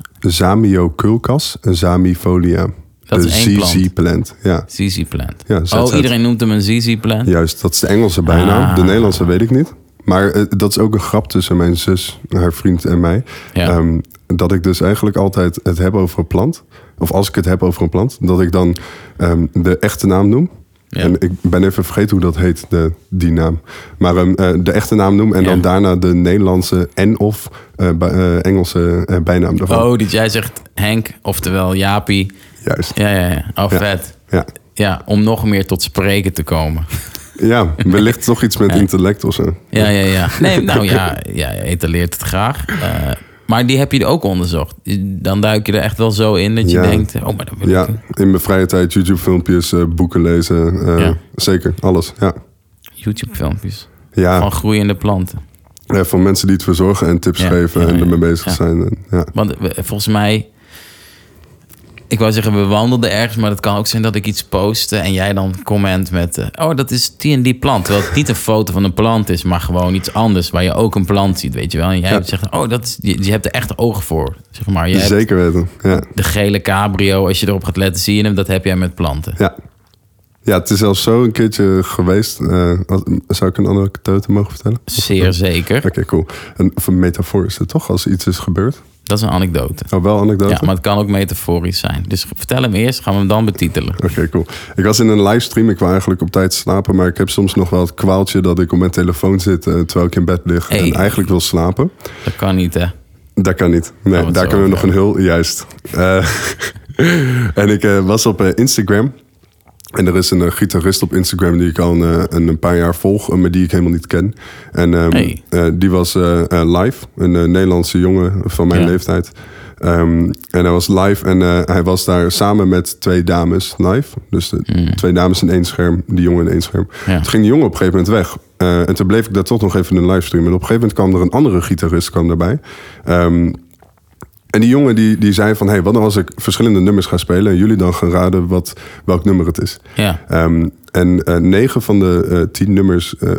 S2: Zamioculcas samifolia.
S1: Dat
S2: de
S1: is één plant.
S2: plant. Ja,
S1: ZZ Plant.
S2: Ja, ZZ.
S1: oh, iedereen noemt hem een ZZ Plant.
S2: juist. Dat is de Engelse bijnaam. De
S1: Ah.
S2: Nederlandse weet ik niet. Maar eh, dat is ook een grap tussen mijn zus, haar vriend en mij.
S1: Ja.
S2: Ehm, dat ik dus eigenlijk altijd het heb over een plant. Of als ik het heb over een plant, dat ik dan ehm, de echte naam noem.
S1: Ja.
S2: En ik ben even vergeten hoe dat heet, de, die naam. Maar ehm, eh, de echte naam noem en
S1: Ja.
S2: dan daarna de Nederlandse en of eh, bij- eh, Engelse eh, bijnaam daarvan.
S1: Oh, dat jij zegt Henk, oftewel Jaapie.
S2: Juist.
S1: Ja, ja, ja. Oh,
S2: Ja.
S1: vet.
S2: Ja.
S1: Ja, om nog meer tot spreken te komen.
S2: ja, wellicht toch iets met intellect of zo.
S1: Ja, ja, ja. Nee, nou ja, ja je etaleert het graag. Eh, maar die heb je ook onderzocht. Dan duik je er echt wel zo in dat je
S2: Ja.
S1: denkt... Oh, maar dat wil
S2: Ja,
S1: ik...
S2: in mijn vrije tijd YouTube-filmpjes, eh, boeken lezen. eh,
S1: Ja.
S2: Zeker, alles. Ja.
S1: YouTube-filmpjes
S2: Ja,
S1: van groeiende planten.
S2: eh, van mensen die het verzorgen en tips
S1: Ja,
S2: geven
S1: ja,
S2: en ermee bezig
S1: ja.
S2: zijn. En, ja.
S1: Want we- volgens mij. Ik wou zeggen, we wandelden ergens, maar het kan ook zijn dat ik iets poste en jij dan comment met. eh, oh, dat is die en die plant. Terwijl het niet een foto van een plant is, maar gewoon iets anders waar je ook een plant ziet, weet je wel. En jij
S2: Ja.
S1: zegt, oh, dat is, je, je hebt er echt ogen voor. Zeg maar, je hebt
S2: Dus Zeker weten. Ja.
S1: de gele cabrio, als je erop gaat letten, zie je hem, dat heb jij met planten.
S2: Ja. ja, het is zelfs zo een keertje geweest. eh, als- zou ik een anekdote mogen vertellen?
S1: Zeer zeker.
S2: Oké, cool. Een, of een metafoor is het toch, als iets is gebeurd?
S1: Dat is een anekdote.
S2: Oh, wel anekdote?
S1: Ja, maar het kan ook metaforisch zijn. Dus vertel hem eerst, gaan we hem dan betitelen.
S2: Oké, cool. Ik was in een livestream. Ik wou eigenlijk op tijd slapen. Maar ik heb soms nog wel het kwaaltje dat ik op mijn telefoon zit. eh, terwijl ik in bed lig.
S1: Hey.
S2: En eigenlijk wil slapen.
S1: Dat kan niet, hè?
S2: Dat kan niet. Nee,
S1: Gaan we het zo
S2: daar kunnen we nog
S1: over
S2: een heel... Juist. Eh, en ik eh, was op eh, Instagram. En er is een eh, gitarist op Instagram die ik al een, eh, een, een paar jaar volg, eh, maar die ik helemaal niet ken. En ehm,
S1: Hey.
S2: eh, die was eh, eh, live, een eh, Nederlandse jongen van mijn
S1: Ja.
S2: leeftijd. Ehm, en hij was live en eh, hij was daar samen met twee dames live. Dus de
S1: Hmm.
S2: twee dames in één scherm, die jongen in één scherm.
S1: Ja.
S2: Toen ging die jongen op een gegeven moment weg. Eh, en toen bleef ik daar toch nog even een livestream. En op een gegeven moment kwam er een andere gitarist kwam daarbij. Ehm, en die jongen die, die zei van... Hey, wat nou als ik verschillende nummers ga spelen... en jullie dan gaan raden wat, welk nummer het is.
S1: Ja.
S2: Ehm, en eh, negen van de eh, tien nummers eh,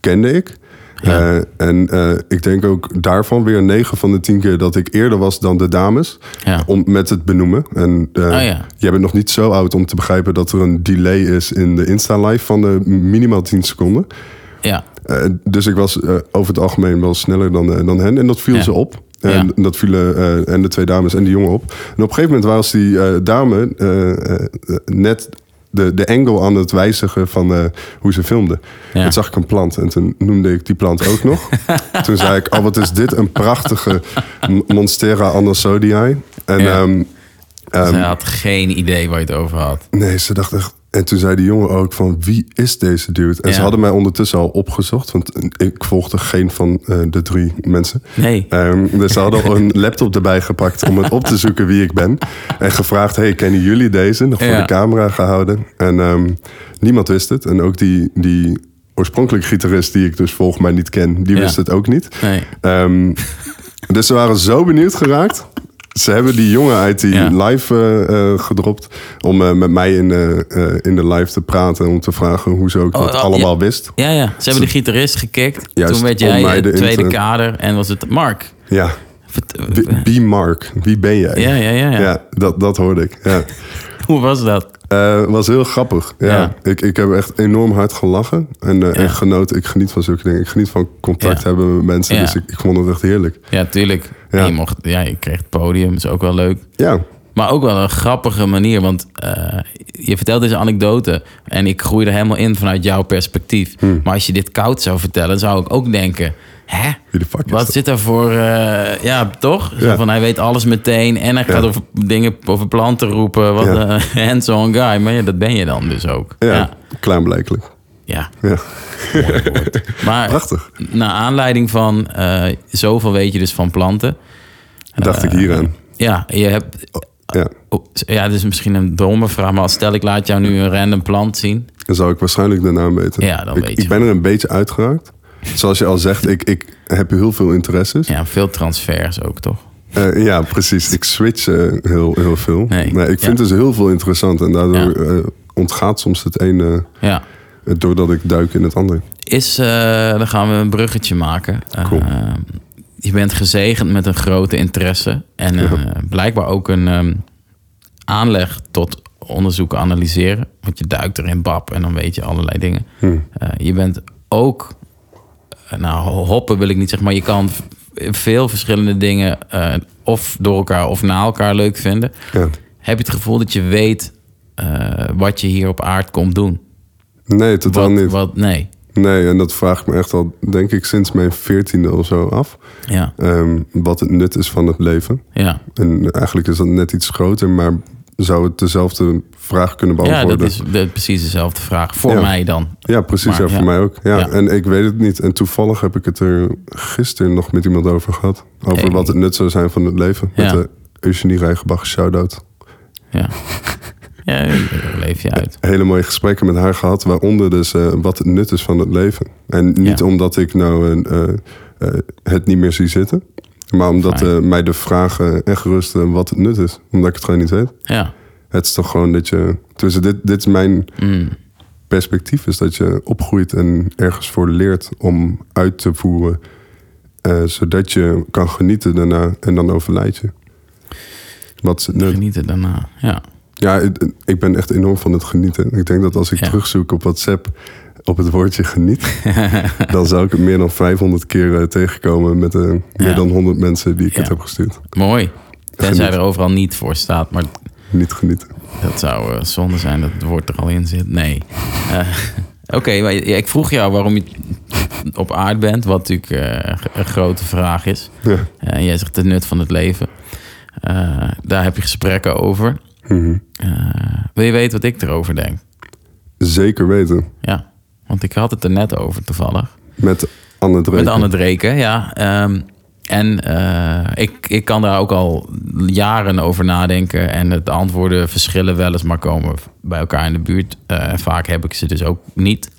S2: kende ik.
S1: Ja.
S2: Eh, en eh, ik denk ook daarvan weer negen van de tien keer... dat ik eerder was dan de dames
S1: Ja.
S2: om, met het benoemen. En eh,
S1: Oh ja.
S2: jij bent nog niet zo oud om te begrijpen... dat er een delay is in de Insta-live van eh, minimaal 10 seconden.
S1: Ja.
S2: Eh, dus ik was eh, over het algemeen wel sneller dan, eh, dan hen. En dat viel
S1: Ja.
S2: ze op. En
S1: Ja.
S2: dat vielen eh, en de twee dames en die jongen op. En op een gegeven moment was die eh, dame eh, eh, net de, de angle aan het wijzigen van eh, hoe ze filmde.
S1: Ja.
S2: Toen zag ik een plant en toen noemde ik die plant ook nog. toen zei ik, oh wat is dit een prachtige M- Monstera annasodii. En
S1: Ja.
S2: ehm,
S1: Ze had geen idee waar je het over had.
S2: nee, ze dacht echt, En toen zei die jongen ook van wie is deze dude? En
S1: Ja.
S2: ze hadden mij ondertussen al opgezocht, want eh, ik volgde geen van eh, de drie mensen.
S1: Nee.
S2: Ehm, dus ze hadden al een laptop erbij gepakt om het op te zoeken wie ik ben. En gevraagd, hey, kennen jullie deze? Nog voor
S1: Ja.
S2: de camera gehouden. En ehm, niemand wist het. En ook die, die oorspronkelijke gitarist die ik dus volgens mij niet ken, die
S1: Ja.
S2: wist het ook niet.
S1: Nee.
S2: Ehm, dus ze waren zo benieuwd geraakt. Ze hebben die jongen uit die
S1: Ja.
S2: live eh, eh, gedropt om eh, met mij in, de eh, in de live te praten. Om te vragen hoe ze ook
S1: Oh,
S2: dat
S1: oh,
S2: allemaal wist.
S1: Ja, ja. Ze hebben de gitarist gekickt.
S2: Juist,
S1: Toen werd
S2: om
S1: jij
S2: mij
S1: het
S2: de
S1: tweede
S2: intro-
S1: kader en was het Mark.
S2: Ja,
S1: Vert-
S2: Wie- wie Mark, wie ben jij?
S1: Ja, ja, ja, ja.
S2: dat, dat hoorde ik. Ja.
S1: Hoe was dat?
S2: Eh, was heel grappig. Ja.
S1: Ja.
S2: Ik, ik heb echt enorm hard gelachen. En, eh,
S1: Ja.
S2: en genoten. Ik geniet van zulke dingen. Ik geniet van contact
S1: Ja.
S2: hebben met mensen.
S1: Ja.
S2: Dus ik, ik vond het echt heerlijk.
S1: Ja, tuurlijk.
S2: Ja.
S1: En Je, mocht, ja, je kreeg het podium, is ook wel leuk.
S2: Ja,
S1: Maar ook wel een grappige manier, want eh, je vertelt deze anekdote en ik groei er helemaal in vanuit jouw perspectief.
S2: Hmm.
S1: Maar als je dit koud zou vertellen, zou ik ook denken: hè?
S2: Wie de fuck is
S1: Wat
S2: dat?
S1: zit er voor. eh, ja, toch? Zo
S2: Ja.
S1: Van hij weet alles meteen en hij gaat over dingen, over planten roepen. Wat
S2: Ja.
S1: een hands-on guy. Maar ja, dat ben je dan dus ook.
S2: ja,
S1: ja.
S2: klaarblijkelijk.
S1: ja.
S2: Ja.
S1: Maar
S2: Prachtig.
S1: naar aanleiding van eh, zoveel weet je dus van planten.
S2: Dacht
S1: eh,
S2: ik hieraan.
S1: Ja, je hebt.
S2: Ja.
S1: oh, Ja, dit is misschien een domme vraag, maar stel ik laat jou nu een random plant zien.
S2: Dan zou ik waarschijnlijk de naam weten.
S1: Ja, dan
S2: ik,
S1: weet je.
S2: Ik ben er een beetje uitgeraakt. Zoals je al zegt, ik, ik heb heel veel interesses. Ja,
S1: Ja, veel transfers ook, toch?
S2: ja precies. Ik switch eh, heel, heel veel.
S1: Nee,
S2: ik vind
S1: ja.
S2: dus heel veel interessant. En daardoor
S1: Ja.
S2: eh, ontgaat soms het ene
S1: Ja.
S2: eh, doordat ik duik in het andere.
S1: Is, eh, dan gaan we een bruggetje maken.
S2: Cool.
S1: Eh, je bent gezegend met een grote interesse. En eh, blijkbaar ook een ehm, aanleg tot onderzoeken, analyseren. Want je duikt erin, bab, en dan weet je allerlei dingen.
S2: Hm.
S1: Eh, je bent ook, eh, nou hoppen wil ik niet zeggen, maar je kan v- veel verschillende dingen eh, of door elkaar of na elkaar leuk vinden.
S2: Ja.
S1: Heb je het gevoel dat je weet eh, wat je hier op aard komt doen?
S2: Nee, totaal
S1: wat,
S2: niet.
S1: Wat, nee.
S2: Nee, en dat vraag ik me echt al, denk ik, sinds mijn veertiende of zo af.
S1: Ja,
S2: Ehm, wat het nut is van het leven.
S1: ja.
S2: En eigenlijk is dat net iets groter, maar zou het dezelfde vraag kunnen
S1: Ja,
S2: beantwoorden?
S1: dat is de- precies dezelfde vraag. Voor
S2: Ja.
S1: mij dan.
S2: Ja, precies.
S1: Maar,
S2: ja, voor
S1: ja.
S2: mij ook. Ja,
S1: Ja.
S2: En ik weet het niet. En toevallig heb ik het er gisteren nog met iemand over gehad. Over
S1: Hey.
S2: wat het nut zou zijn van het leven.
S1: Ja.
S2: Met de Eugenie Rijgenbach shout-out.
S1: Ja. ja, daar leef je uit.
S2: Hele mooie gesprekken met haar gehad. Waaronder dus eh, wat het nut is van het leven. En niet
S1: Ja.
S2: omdat ik nou eh, eh, eh, het niet meer zie zitten. Maar omdat
S1: Fijn.
S2: eh, mij de vraag eh, echt rust eh, wat het nut is. Omdat ik het gewoon niet weet.
S1: Ja.
S2: Het is toch gewoon dat je... Tussen dit, dit is mijn
S1: Mm.
S2: perspectief is dat je opgroeit en ergens voor leert om uit te voeren. eh, zodat je kan genieten daarna en dan overlijd je. Wat is het nut?
S1: Genieten daarna. Ja.
S2: Ja, ik- ik ben echt enorm van het genieten. Ik denk dat als ik
S1: Ja.
S2: terugzoek op WhatsApp op het woordje geniet, dan zou ik het meer dan 500 keer eh, tegenkomen met eh,
S1: Ja.
S2: meer dan 100 mensen die ik
S1: Ja.
S2: het heb gestuurd.
S1: Mooi. Tenzij
S2: Geniet.
S1: er overal niet voor staat. Maar
S2: Niet genieten.
S1: dat zou eh, zonde zijn dat het woord er al in zit. Nee. Eh, Oké, maar ja, ik vroeg jou waarom je op aard bent. Wat natuurlijk eh, een g- een grote vraag is.
S2: Ja.
S1: En jij zegt het nut van het leven. Eh, daar heb je gesprekken over.
S2: Mhm.
S1: Eh, wil je weten wat ik erover denk?
S2: Zeker weten.
S1: Ja, want ik had het er net over toevallig.
S2: Met Anne Dreken.
S1: Met Anne Dreken, ja. Ehm, en eh, ik, ik kan daar ook al jaren over nadenken. En het antwoorden verschillen wel eens, maar komen bij elkaar in de buurt. Eh, vaak heb ik ze dus ook niet.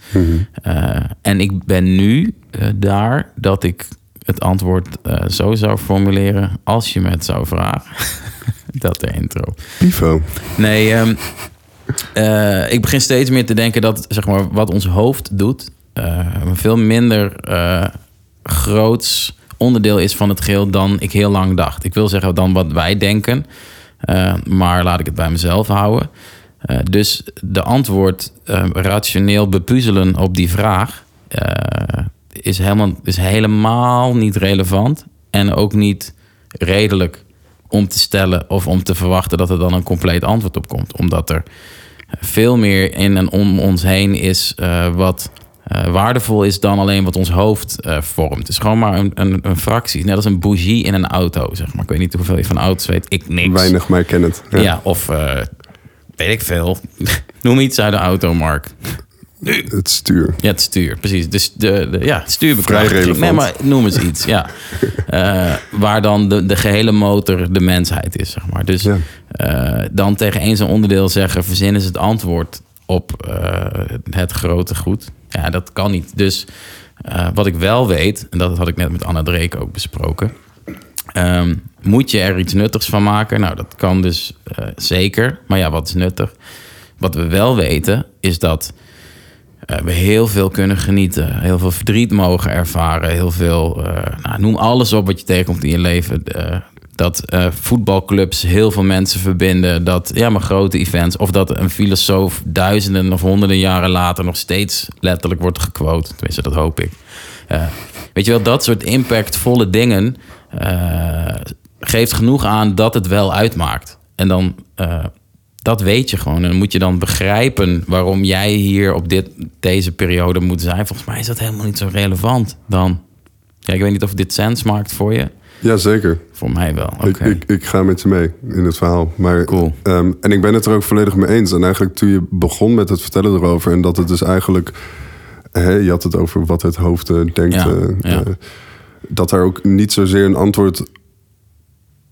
S1: Eh, en ik ben nu eh, daar dat ik het antwoord eh, zo zou formuleren als je me het zou vragen. dat de intro.
S2: Pivo.
S1: Nee, ehm, eh, ik begin steeds meer te denken dat zeg maar, wat ons hoofd doet, eh, een veel minder eh, groots onderdeel is van het geheel dan ik heel lang dacht. Ik wil zeggen dan wat wij denken, eh, maar laat ik het bij mezelf houden. Eh, dus de antwoord eh, rationeel bepuzzelen op die vraag eh, is, helemaal, is helemaal niet relevant en ook niet redelijk om te stellen of om te verwachten dat er dan een compleet antwoord op komt. Omdat er veel meer in en om ons heen is eh, wat eh, waardevol is dan alleen wat ons hoofd eh, vormt. Het is gewoon maar een, een, een fractie. Net als een bougie in een auto, zeg maar. Ik weet niet hoeveel je van auto's weet. Ik niks.
S2: Weinig, maar ken het.
S1: Ja, of eh, weet ik veel. Noem iets uit de auto, Mark.
S2: Het stuur.
S1: Ja, het stuur, precies. Dus de, de- ja, het stuur
S2: Vrij relevant.
S1: Nee, maar noem eens iets, ja. Eh, waar dan de, de gehele motor de mensheid is, zeg maar. Dus
S2: Ja.
S1: eh, dan tegen één zo'n onderdeel zeggen... verzin is het antwoord op eh, het grote goed. Ja, dat kan niet. Dus eh, wat ik wel weet, en dat had ik net met Anna Dreek ook besproken... Ehm, moet je er iets nuttigs van maken? Nou, dat kan dus eh, zeker. Maar ja, wat is nuttig? Wat we wel weten is dat eh, we heel veel kunnen genieten. Heel veel verdriet mogen ervaren. Heel veel, eh, nou, noem alles op wat je tegenkomt in je leven. Eh, dat eh, voetbalclubs heel veel mensen verbinden. Dat, ja, maar grote events. Of dat een filosoof duizenden of honderden jaren later nog steeds letterlijk wordt gequote. Tenminste, dat hoop ik. Eh, weet je wel, dat soort impactvolle dingen eh, geeft genoeg aan dat het wel uitmaakt. En dan, eh, dat weet je gewoon. En dan moet je dan begrijpen waarom jij hier op dit, deze periode moet zijn. Volgens mij is dat helemaal niet zo relevant dan. Ja, ik weet niet of dit sens maakt voor je.
S2: Jazeker.
S1: Voor mij wel. Oké.
S2: Ik, ik, ik ga met je mee in het verhaal. Maar,
S1: Cool.
S2: ehm, en ik ben het er ook volledig mee eens. En eigenlijk toen je begon met het vertellen erover... en dat het dus eigenlijk... Hè, je had het over wat het hoofd eh, denkt.
S1: Ja,
S2: eh,
S1: ja.
S2: eh, dat daar ook niet zozeer een antwoord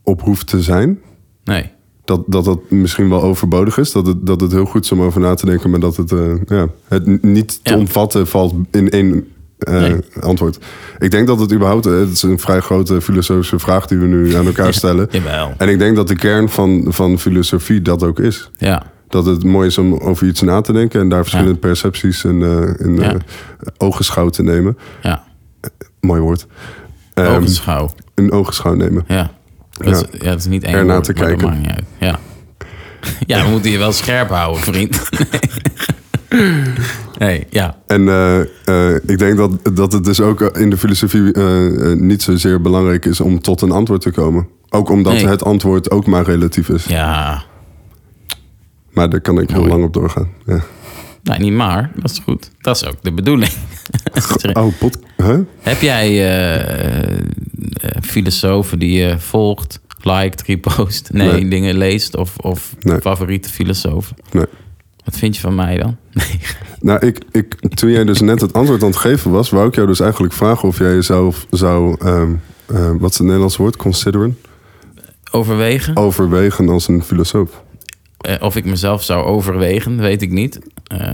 S2: op hoeft te zijn.
S1: Nee.
S2: Dat, dat dat misschien wel overbodig is. Dat het, dat het heel goed is om over na te denken... maar dat het, eh, ja, het n- niet te
S1: Ja.
S2: omvatten valt in één... eh,
S1: Nee.
S2: Antwoord. Ik denk dat het überhaupt, eh, het is een vrij grote filosofische vraag die we nu aan elkaar stellen.
S1: Jawel.
S2: En ik denk dat de kern van, van filosofie dat ook is.
S1: Ja.
S2: Dat het mooi is om over iets na te denken en daar verschillende percepties en, eh in
S1: Ja.
S2: eh, ogenschouw te nemen.
S1: Ja.
S2: Mooi woord. Ehm,
S1: Ogenschouw.
S2: Een ogenschouw nemen.
S1: Ja. Dat Is, ja, dat is niet één
S2: Ernaar
S1: woord,
S2: te
S1: maar dat
S2: kijken.
S1: maakt niet uit. Ja. ja, we moeten je wel scherp houden, vriend. Nee, ja.
S2: En eh, eh, ik denk dat, dat het dus ook in de filosofie eh, eh, niet zozeer belangrijk is om tot een antwoord te komen. Ook omdat
S1: Nee.
S2: het antwoord ook maar relatief is.
S1: Ja.
S2: Maar daar kan ik heel
S1: Mooi.
S2: lang op doorgaan. Ja.
S1: Nee, niet maar. Dat is goed. Dat is ook de bedoeling.
S2: Oh, pot. Huh?
S1: Heb jij eh, eh, filosofen die je volgt, liked, repost? Nee,
S2: Nee.
S1: dingen leest of, of
S2: Nee.
S1: favoriete filosofen?
S2: Nee.
S1: Wat vind je van mij dan? Nee.
S2: Nou, ik, ik, toen jij dus net het antwoord aan het geven was, wou ik jou dus eigenlijk vragen of jij jezelf zou, ehm, eh, wat is het Nederlands woord, consideren,
S1: Overwegen?
S2: Oh. overwegen als een filosoof.
S1: Eh, of ik mezelf zou overwegen, weet ik niet. Eh,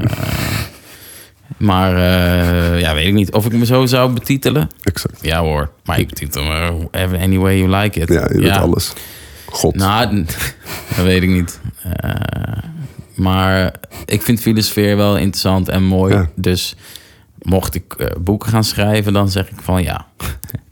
S1: maar eh, ja, weet ik niet. Of ik me zo zou betitelen?
S2: Exact.
S1: Ja hoor. Maar ik betitel me eh, any way you like it.
S2: Ja, je weet alles. God.
S1: Nou, dat weet ik niet. Eh, maar ik vind filosfeer wel interessant en mooi.
S2: Ja.
S1: Dus mocht ik eh, boeken gaan schrijven, dan zeg ik van ja.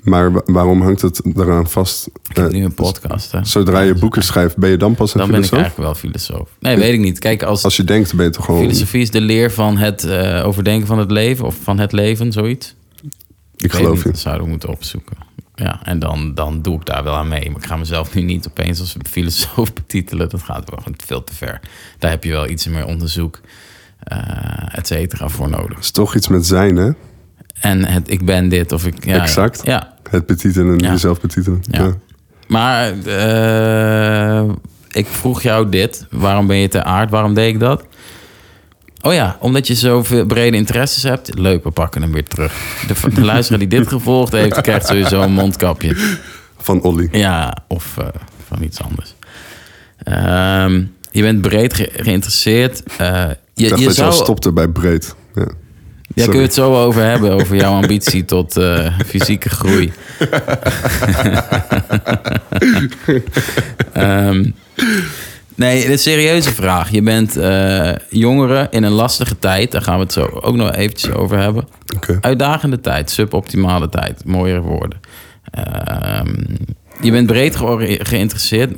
S2: maar wa- waarom hangt het daaraan vast?
S1: Ik heb
S2: Eh,
S1: nu een podcast. Hè.
S2: Zodra je boeken schrijft, ben je dan pas een
S1: Dan ben ik
S2: filosoof?
S1: eigenlijk wel filosoof. Nee, weet ik niet. Kijk, als,
S2: Als je denkt, ben je toch gewoon...
S1: filosofie is de leer van het eh, overdenken van het leven of van het leven, zoiets.
S2: ik
S1: weet
S2: geloof
S1: niet,
S2: je.
S1: Dat zouden we moeten opzoeken. Ja, en dan, dan doe ik daar wel aan mee. Maar ik ga mezelf nu niet opeens als een filosoof betitelen. Dat gaat wel gewoon veel te ver. Daar heb je wel iets meer onderzoek, eh et cetera, voor nodig.
S2: Het is toch iets met zijn, hè?
S1: En het ik ben dit of ik... Ja, ja.
S2: Exact.
S1: Ja,
S2: Het betitelen en
S1: Ja.
S2: jezelf betitelen.
S1: ja. Maar eh, ik vroeg jou dit. Waarom ben je te aard? Waarom deed ik dat? Oh ja, omdat je zoveel brede interesses hebt. Leuk, we pakken hem weer terug. De, de luisteraar die dit gevolgd heeft, krijgt sowieso een mondkapje.
S2: Van Olly.
S1: Ja, of eh, van iets anders. Ehm, je bent breed ge- geïnteresseerd. Eh, je,
S2: Ik dacht
S1: je
S2: dat je al
S1: zou,
S2: stopte bij breed. Ja.
S1: ja, kun
S2: Sorry.
S1: je het zo over hebben, over jouw ambitie tot eh, fysieke groei. Ehm, nee, een serieuze vraag. Je bent eh, jongere in een lastige tijd. Daar gaan we het zo ook nog eventjes over hebben.
S2: Oké.
S1: Uitdagende tijd, suboptimale tijd. Mooiere woorden. Ehm, je bent breed geori- geïnteresseerd.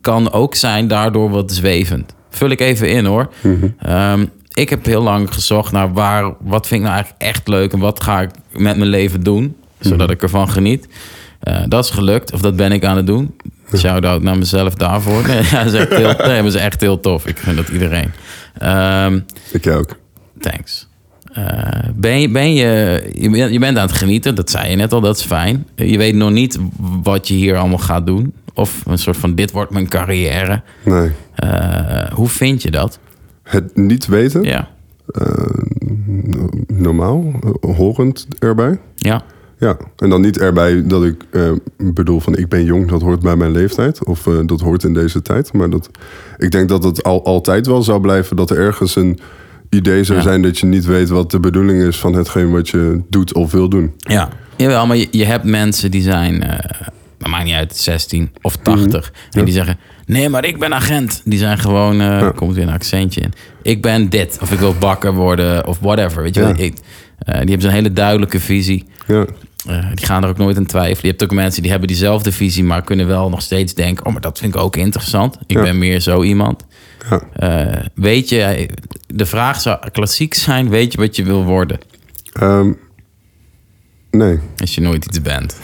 S1: Kan ook zijn daardoor wat zwevend. Vul ik even in hoor. Ehm, ik heb heel lang gezocht naar waar, wat vind ik nou eigenlijk echt leuk en wat ga ik met mijn leven doen, zodat ik ervan geniet. Eh, dat is gelukt, of dat ben ik aan het doen. Shout-out naar mezelf daarvoor. Nee, ja, dat is echt heel, nee, maar dat is echt heel tof. Ik gun dat iedereen. Ehm,
S2: Ik jij ook.
S1: Thanks. Eh, ben je, ben je, je, bent- je bent aan het genieten, dat zei je net al, dat is fijn. Eh, Je weet nog niet wat je hier allemaal gaat doen. Of een soort van, dit wordt mijn carrière.
S2: Nee.
S1: Eh, hoe vind je dat?
S2: het niet weten,
S1: Ja.
S2: eh, normaal, eh, horend erbij.
S1: Ja.
S2: Ja, en dan niet erbij dat ik eh, bedoel van ik ben jong, dat hoort bij mijn leeftijd. Of eh, dat hoort in deze tijd. Maar dat, ik denk dat het al, altijd wel zou blijven dat er ergens een idee zou
S1: Ja.
S2: zijn dat je niet weet wat de bedoeling is van hetgeen wat je doet of wil doen.
S1: Ja, jawel, maar je, je hebt mensen die zijn, eh dat maakt niet uit, 16 of 80. En die zeggen, nee, maar ik ben agent. Die zijn gewoon, eh er komt weer een accentje in. Ik ben dit, of ik wil bakker worden, of whatever. Weet je wel?
S2: Ja.
S1: Ik, eh, die hebben zo'n hele duidelijke visie.
S2: Ja,
S1: Eh, die gaan er ook nooit aan twijfelen. Je hebt ook mensen die hebben diezelfde visie, maar kunnen wel nog steeds denken: oh, maar dat vind ik ook interessant. Ik
S2: Ja.
S1: ben meer zo iemand.
S2: Ja.
S1: Eh, weet je, de vraag zou klassiek zijn: weet je wat je wil worden?
S2: Ehm, nee.
S1: Als je nooit iets bent.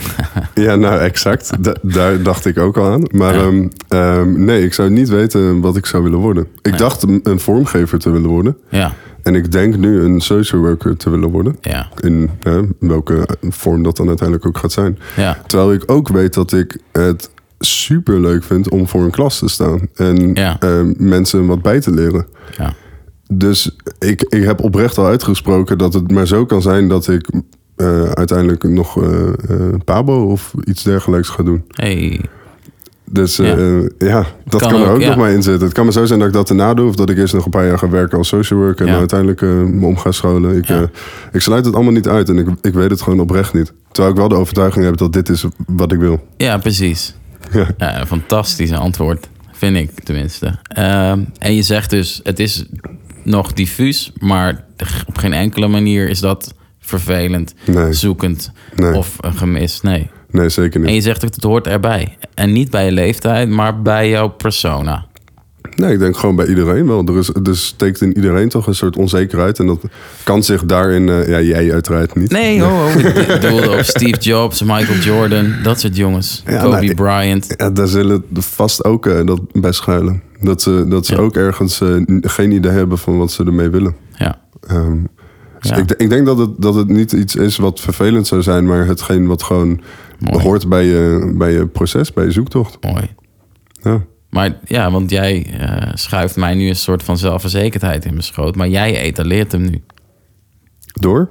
S2: Ja, nou exact. Da- daar dacht ik ook al aan. Maar
S1: Ja.
S2: ehm, ehm, nee, ik zou niet weten wat ik zou willen worden. Ik dacht een, een vormgever te willen worden.
S1: ja,
S2: En ik denk nu een social worker te willen worden.
S1: ja,
S2: In hè, welke vorm dat dan uiteindelijk ook gaat zijn.
S1: ja.
S2: Terwijl ik ook weet dat ik het super leuk vind om voor een klas te staan. En
S1: Ja.
S2: eh, mensen wat bij te leren.
S1: ja.
S2: Dus ik, ik heb oprecht al uitgesproken dat het maar zo kan zijn dat ik eh, uiteindelijk nog eh, eh, Pabo of iets dergelijks ga doen.
S1: Hey.
S2: Dus eh,
S1: Ja.
S2: eh, ja, dat
S1: Kan
S2: kan, er
S1: ook,
S2: ook
S1: ja.
S2: nog maar in zitten. Het kan maar zo zijn dat ik dat daarna doe. Of dat ik eerst nog een paar jaar ga werken als social worker. En
S1: Ja.
S2: dan uiteindelijk eh, me om ga scholen. Ik,
S1: Ja.
S2: eh, ik sluit het allemaal niet uit. En ik, ik weet het gewoon oprecht niet. Terwijl ik wel de overtuiging heb dat dit is wat ik wil.
S1: Ja, precies.
S2: Ja.
S1: Ja, Nou, een fantastische antwoord, vind ik tenminste. Ehm, en je zegt dus, het is nog diffuus, maar op geen enkele manier is dat vervelend,
S2: Nee.
S1: zoekend
S2: Nee.
S1: of eh, gemist. Nee.
S2: Nee, zeker
S1: En
S2: niet.
S1: je zegt ook, het hoort erbij. En niet bij je leeftijd, maar bij jouw persona.
S2: Nee, ik denk gewoon bij iedereen wel. Er, is, er steekt in iedereen toch een soort onzekerheid. En dat kan zich daarin... eh, ja, jij uiteraard niet.
S1: Nee, ho, ho. Ik bedoelde op Steve Jobs, Michael Jordan, dat soort jongens.
S2: Ja, nou,
S1: Kobe
S2: maar-
S1: Bryant.
S2: Ja, daar zullen vast ook eh, dat bij schuilen. Dat ze, dat ze
S1: Ja.
S2: ook ergens eh, n- geen idee hebben van wat ze ermee willen.
S1: Ja.
S2: Ehm, dus
S1: Ja.
S2: ik, de- ik denk dat het, dat het niet iets is wat vervelend zou zijn, maar hetgeen wat gewoon
S1: Mooi.
S2: hoort bij je, bij je proces, bij je zoektocht.
S1: Mooi.
S2: Ja.
S1: Maar ja, want jij eh, schuift mij nu een soort van zelfverzekerdheid in mijn schoot. Maar jij etaleert hem nu.
S2: Door?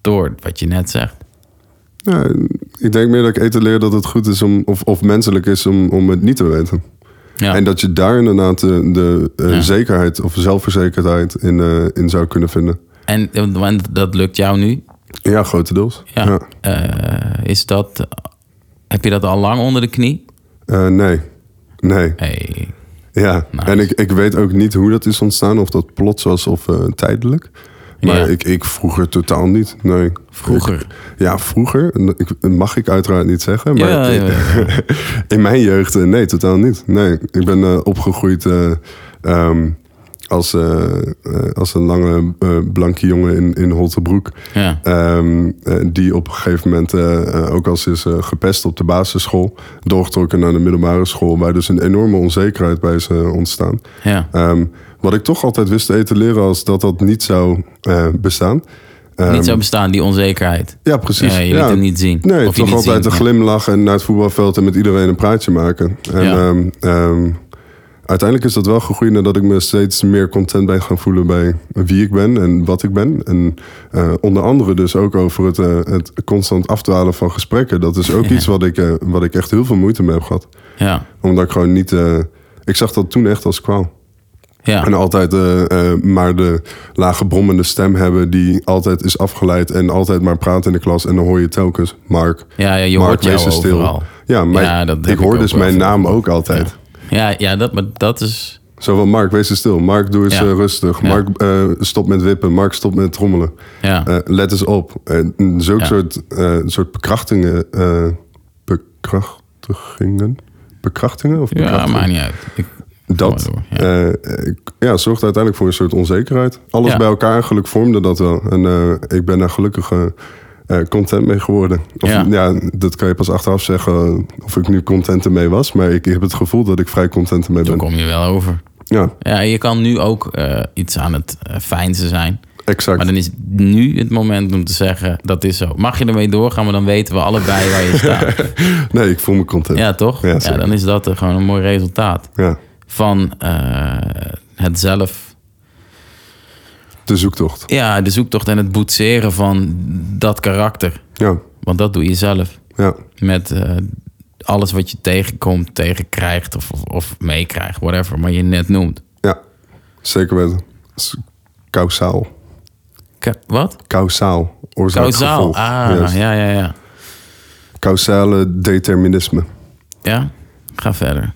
S1: Door wat je net zegt.
S2: Ja, ik denk meer dat ik etaleer dat het goed is om, of, of menselijk is om, om het niet te weten.
S1: Ja,
S2: En dat je daar inderdaad de, de eh,
S1: Ja.
S2: zekerheid of zelfverzekerdheid in, eh, in zou kunnen vinden.
S1: en, en dat lukt jou nu.
S2: Ja, grotendeels.
S1: Ja. Eh, is dat, heb je dat al lang onder de knie?
S2: Eh, nee. Nee.
S1: Hey.
S2: Ja,
S1: Nice.
S2: en ik, ik weet ook niet hoe dat is ontstaan. Of dat plots was of eh, tijdelijk. Maar
S1: Ja.
S2: ik, ik vroeger totaal niet. Nee.
S1: Vroeger?
S2: Ik- ja, vroeger. En Ik, dat mag ik uiteraard niet zeggen. Maar
S1: Ja, ja,
S2: in mijn jeugd, eh, nee, totaal niet. Nee, ik ben eh, opgegroeid eh, ehm, als, eh, eh, als een lange eh, blanke jongen in, in Holtebroek.
S1: Ja.
S2: Ehm, eh, die op een gegeven moment eh, eh, ook als is eh, gepest op de basisschool, doorgetrokken naar de middelbare school, waar dus een enorme onzekerheid bij is eh, ontstaan.
S1: Ja.
S2: Ehm, wat ik toch altijd wist te etaleren als dat dat niet zou eh, bestaan. Ehm,
S1: niet zou bestaan, die onzekerheid.
S2: Ja, precies.
S1: Ja, je liet hem niet zien.
S2: Nee,
S1: Of je
S2: toch
S1: liet
S2: altijd
S1: zien,
S2: een
S1: ja.
S2: glimlach en naar het voetbalveld en met iedereen een praatje maken. En
S1: Ja.
S2: ehm, ehm, uiteindelijk is dat wel gegroeid nadat ik me steeds meer content ben gaan voelen bij wie ik ben en wat ik ben. En eh, onder andere dus ook over het, eh, het constant afdwalen van gesprekken. Dat is ook
S1: Ja.
S2: iets wat ik, eh, wat ik echt heel veel moeite mee heb gehad.
S1: Ja.
S2: Omdat ik gewoon niet... eh, ik zag dat toen echt als kwaal. En
S1: Ja.
S2: altijd eh, eh, maar de lage brommende stem hebben die altijd is afgeleid en altijd maar praat in de klas. En dan hoor je telkens Mark.
S1: Ja, ja, je
S2: Mark,
S1: hoort jou
S2: wees eens
S1: overal.
S2: Ja, maar
S1: Ja, dat
S2: ik,
S1: heb ik
S2: hoor
S1: ook
S2: dus
S1: wel
S2: mijn
S1: veel.
S2: naam ook altijd.
S1: Ja, ja dat, maar dat is...
S2: Zo van Mark, wees eens stil. Mark, doe eens
S1: Ja.
S2: eh, rustig.
S1: Ja.
S2: Mark, eh, stop met wippen. Mark, stop met trommelen.
S1: Ja.
S2: Eh, let eens op. En zulke
S1: Ja.
S2: soort, eh, soort bekrachtingen. eh, bekrachtigingen? Bekrachtingen? Of
S1: ja,
S2: bekrachtingen?
S1: maakt niet uit. Ik,
S2: Dat
S1: Ga maar door,
S2: eh, eh, ja, zorgt uiteindelijk voor een soort onzekerheid. Alles
S1: Ja.
S2: bij elkaar eigenlijk vormde dat wel. En eh, ik ben daar gelukkig eh, eh, content mee geworden. Of,
S1: Ja.
S2: ja. dat kan je pas achteraf zeggen eh, of ik nu content ermee was. Maar ik, heb het gevoel dat ik vrij content ermee
S1: dan
S2: ben.
S1: kom je wel over.
S2: Ja,
S1: Ja, je kan nu ook eh, iets aan het eh, fijnste zijn.
S2: exact.
S1: Maar dan is nu het moment om te zeggen, dat is zo. Mag je ermee doorgaan, maar dan weten we allebei waar je staat.
S2: Nee, ik voel me content. Ja.
S1: Ja, toch?
S2: Ja,
S1: Ja,
S2: zeker.
S1: dan is dat eh, gewoon een mooi resultaat van eh, het zelf
S2: De zoektocht.
S1: Ja, de zoektocht en het boetseren van dat karakter.
S2: Ja,
S1: Want dat doe je zelf.
S2: ja,
S1: Met eh, alles wat je tegenkomt, tegenkrijgt of, of, of meekrijgt, whatever, maar je net noemt.
S2: ja. Zeker weten. Dat is Kausaal.
S1: Ka- wat?
S2: Kausaal. Oorzaak
S1: Kausaal.
S2: gevolg.
S1: Ah,
S2: Juist.
S1: ja, ja, ja.
S2: Causale determinisme.
S1: Ja? Ga verder.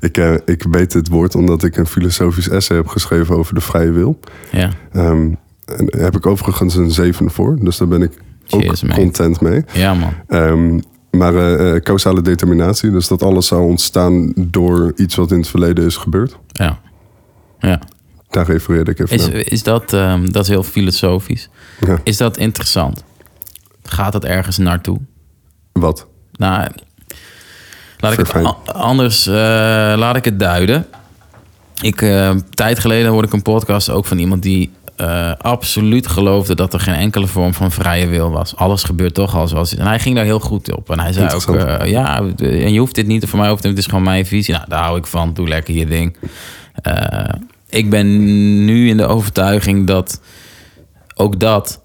S2: Ik, eh, ik weet het woord omdat ik een filosofisch essay heb geschreven over de vrije wil.
S1: Ja.
S2: Ehm, en daar heb ik overigens een zeven voor, dus daar ben ik
S1: Cheers,
S2: ook
S1: mate.
S2: content mee.
S1: Ja, man.
S2: Ehm, maar eh, eh, causale determinatie, dus dat alles zou ontstaan door iets wat in het verleden is gebeurd.
S1: Ja. Ja.
S2: Daar refereerde ik even
S1: Is,
S2: naar.
S1: is dat, ehm, dat is heel filosofisch.
S2: Ja.
S1: Is dat interessant? Gaat dat ergens naartoe?
S2: Wat?
S1: Nou, laat ik het
S2: Verfijn.
S1: a- anders eh, laat ik het duiden. Ik, eh, een tijd geleden hoorde ik een podcast ook van iemand die eh, absoluut geloofde dat er geen enkele vorm van vrije wil was. Alles gebeurt toch al zoals het En hij ging daar heel goed op. En hij zei ook,
S2: Interessant.
S1: eh, ja, en je hoeft dit niet, voor mij hoeft het, niet, het is gewoon mijn visie. Nou, daar hou ik van, doe lekker je ding. Eh, ik ben nu in de overtuiging dat ook dat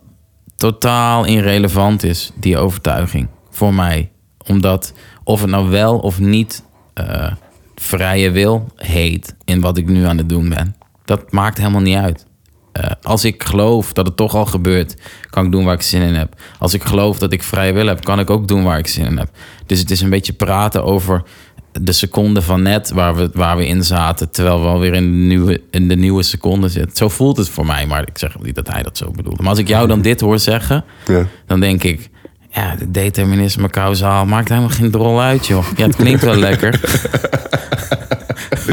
S1: totaal irrelevant is, die overtuiging, voor mij. Omdat of het nou wel of niet eh, vrije wil heet in wat ik nu aan het doen ben, dat maakt helemaal niet uit. Eh, als ik geloof dat het toch al gebeurt, kan ik doen waar ik zin in heb. Als ik geloof dat ik vrije wil heb, kan ik ook doen waar ik zin in heb. Dus het is een beetje praten over de seconde van net waar we, waar we in zaten, terwijl we alweer in de, nieuwe, in de nieuwe seconde zitten. Zo voelt het voor mij, maar ik zeg niet dat hij dat zo bedoelde. Maar als ik jou dan dit hoor zeggen,
S2: Ja.
S1: dan denk ik, ja, de determinisme kausaal maakt helemaal geen drol uit, joh. Ja, het klinkt wel lekker.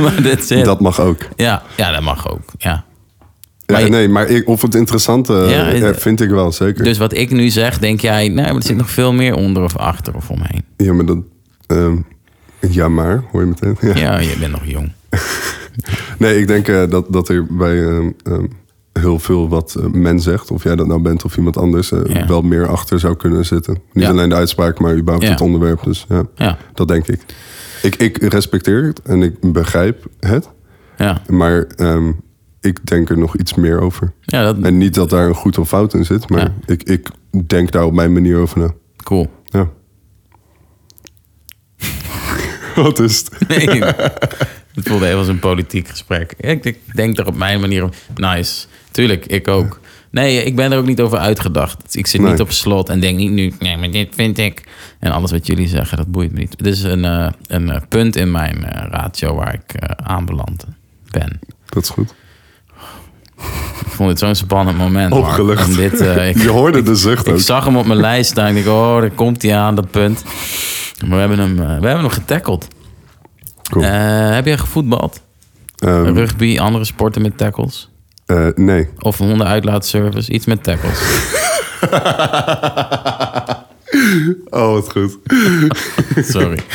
S1: maar dit zit.
S2: Dat mag ook.
S1: Ja, ja, dat mag ook. Ja.
S2: Ja,
S1: Maar je-
S2: nee, maar ik, of het interessante
S1: Ja,
S2: eh,
S1: eh,
S2: vind ik wel, zeker.
S1: Dus wat ik nu zeg, denk jij, nee, maar er zit nog veel meer onder of achter of omheen.
S2: Ja, maar dat... ehm, ja, maar, hoor je meteen? Ja.
S1: Ja, je bent nog jong.
S2: Nee, ik denk eh, dat, dat er bij ehm, ehm, heel veel wat eh, men zegt, of jij dat nou bent of iemand anders, eh,
S1: Ja.
S2: wel meer achter zou kunnen zitten. Niet
S1: Ja.
S2: alleen de uitspraak, maar überhaupt
S1: Ja.
S2: het onderwerp. Dus ja,
S1: Ja,
S2: dat denk ik. ik. Ik respecteer het en ik begrijp het,
S1: ja,
S2: maar ehm, ik denk er nog iets meer over.
S1: ja, dat
S2: En niet dat daar een goed of fout in zit, maar
S1: Ja.
S2: ik, ik denk daar op mijn manier over na.
S1: cool.
S2: Ja. wat is het?
S1: Nee, het voelde even als een politiek gesprek. Ik denk, denk er op mijn manier op. Nice. Tuurlijk, ik ook. Nee, ik ben er ook niet over uitgedacht. Ik zit
S2: Nee.
S1: niet op slot en denk niet nu, nee, maar dit vind ik. En alles wat jullie zeggen, dat boeit me niet. Het is een, eh, een eh, punt in mijn eh, ratio waar ik eh, aanbeland ben.
S2: Dat is goed.
S1: Ik vond het zo'n spannend moment. Mark,
S2: Opgelucht.
S1: om dit, eh, ik-
S2: Je hoorde de zucht ook.
S1: Ik zag hem op mijn lijst staan. Ik denk, oh, daar komt hij aan, dat punt. Maar we hebben hem, eh, we hebben hem getackeld.
S2: Cool.
S1: Eh, heb jij gevoetbald?
S2: Ehm,
S1: Rugby, andere sporten met tackles?
S2: eh, nee.
S1: Of een hondenuitlaatservice? Iets met tackles.
S2: Oh, wat goed.
S1: Sorry.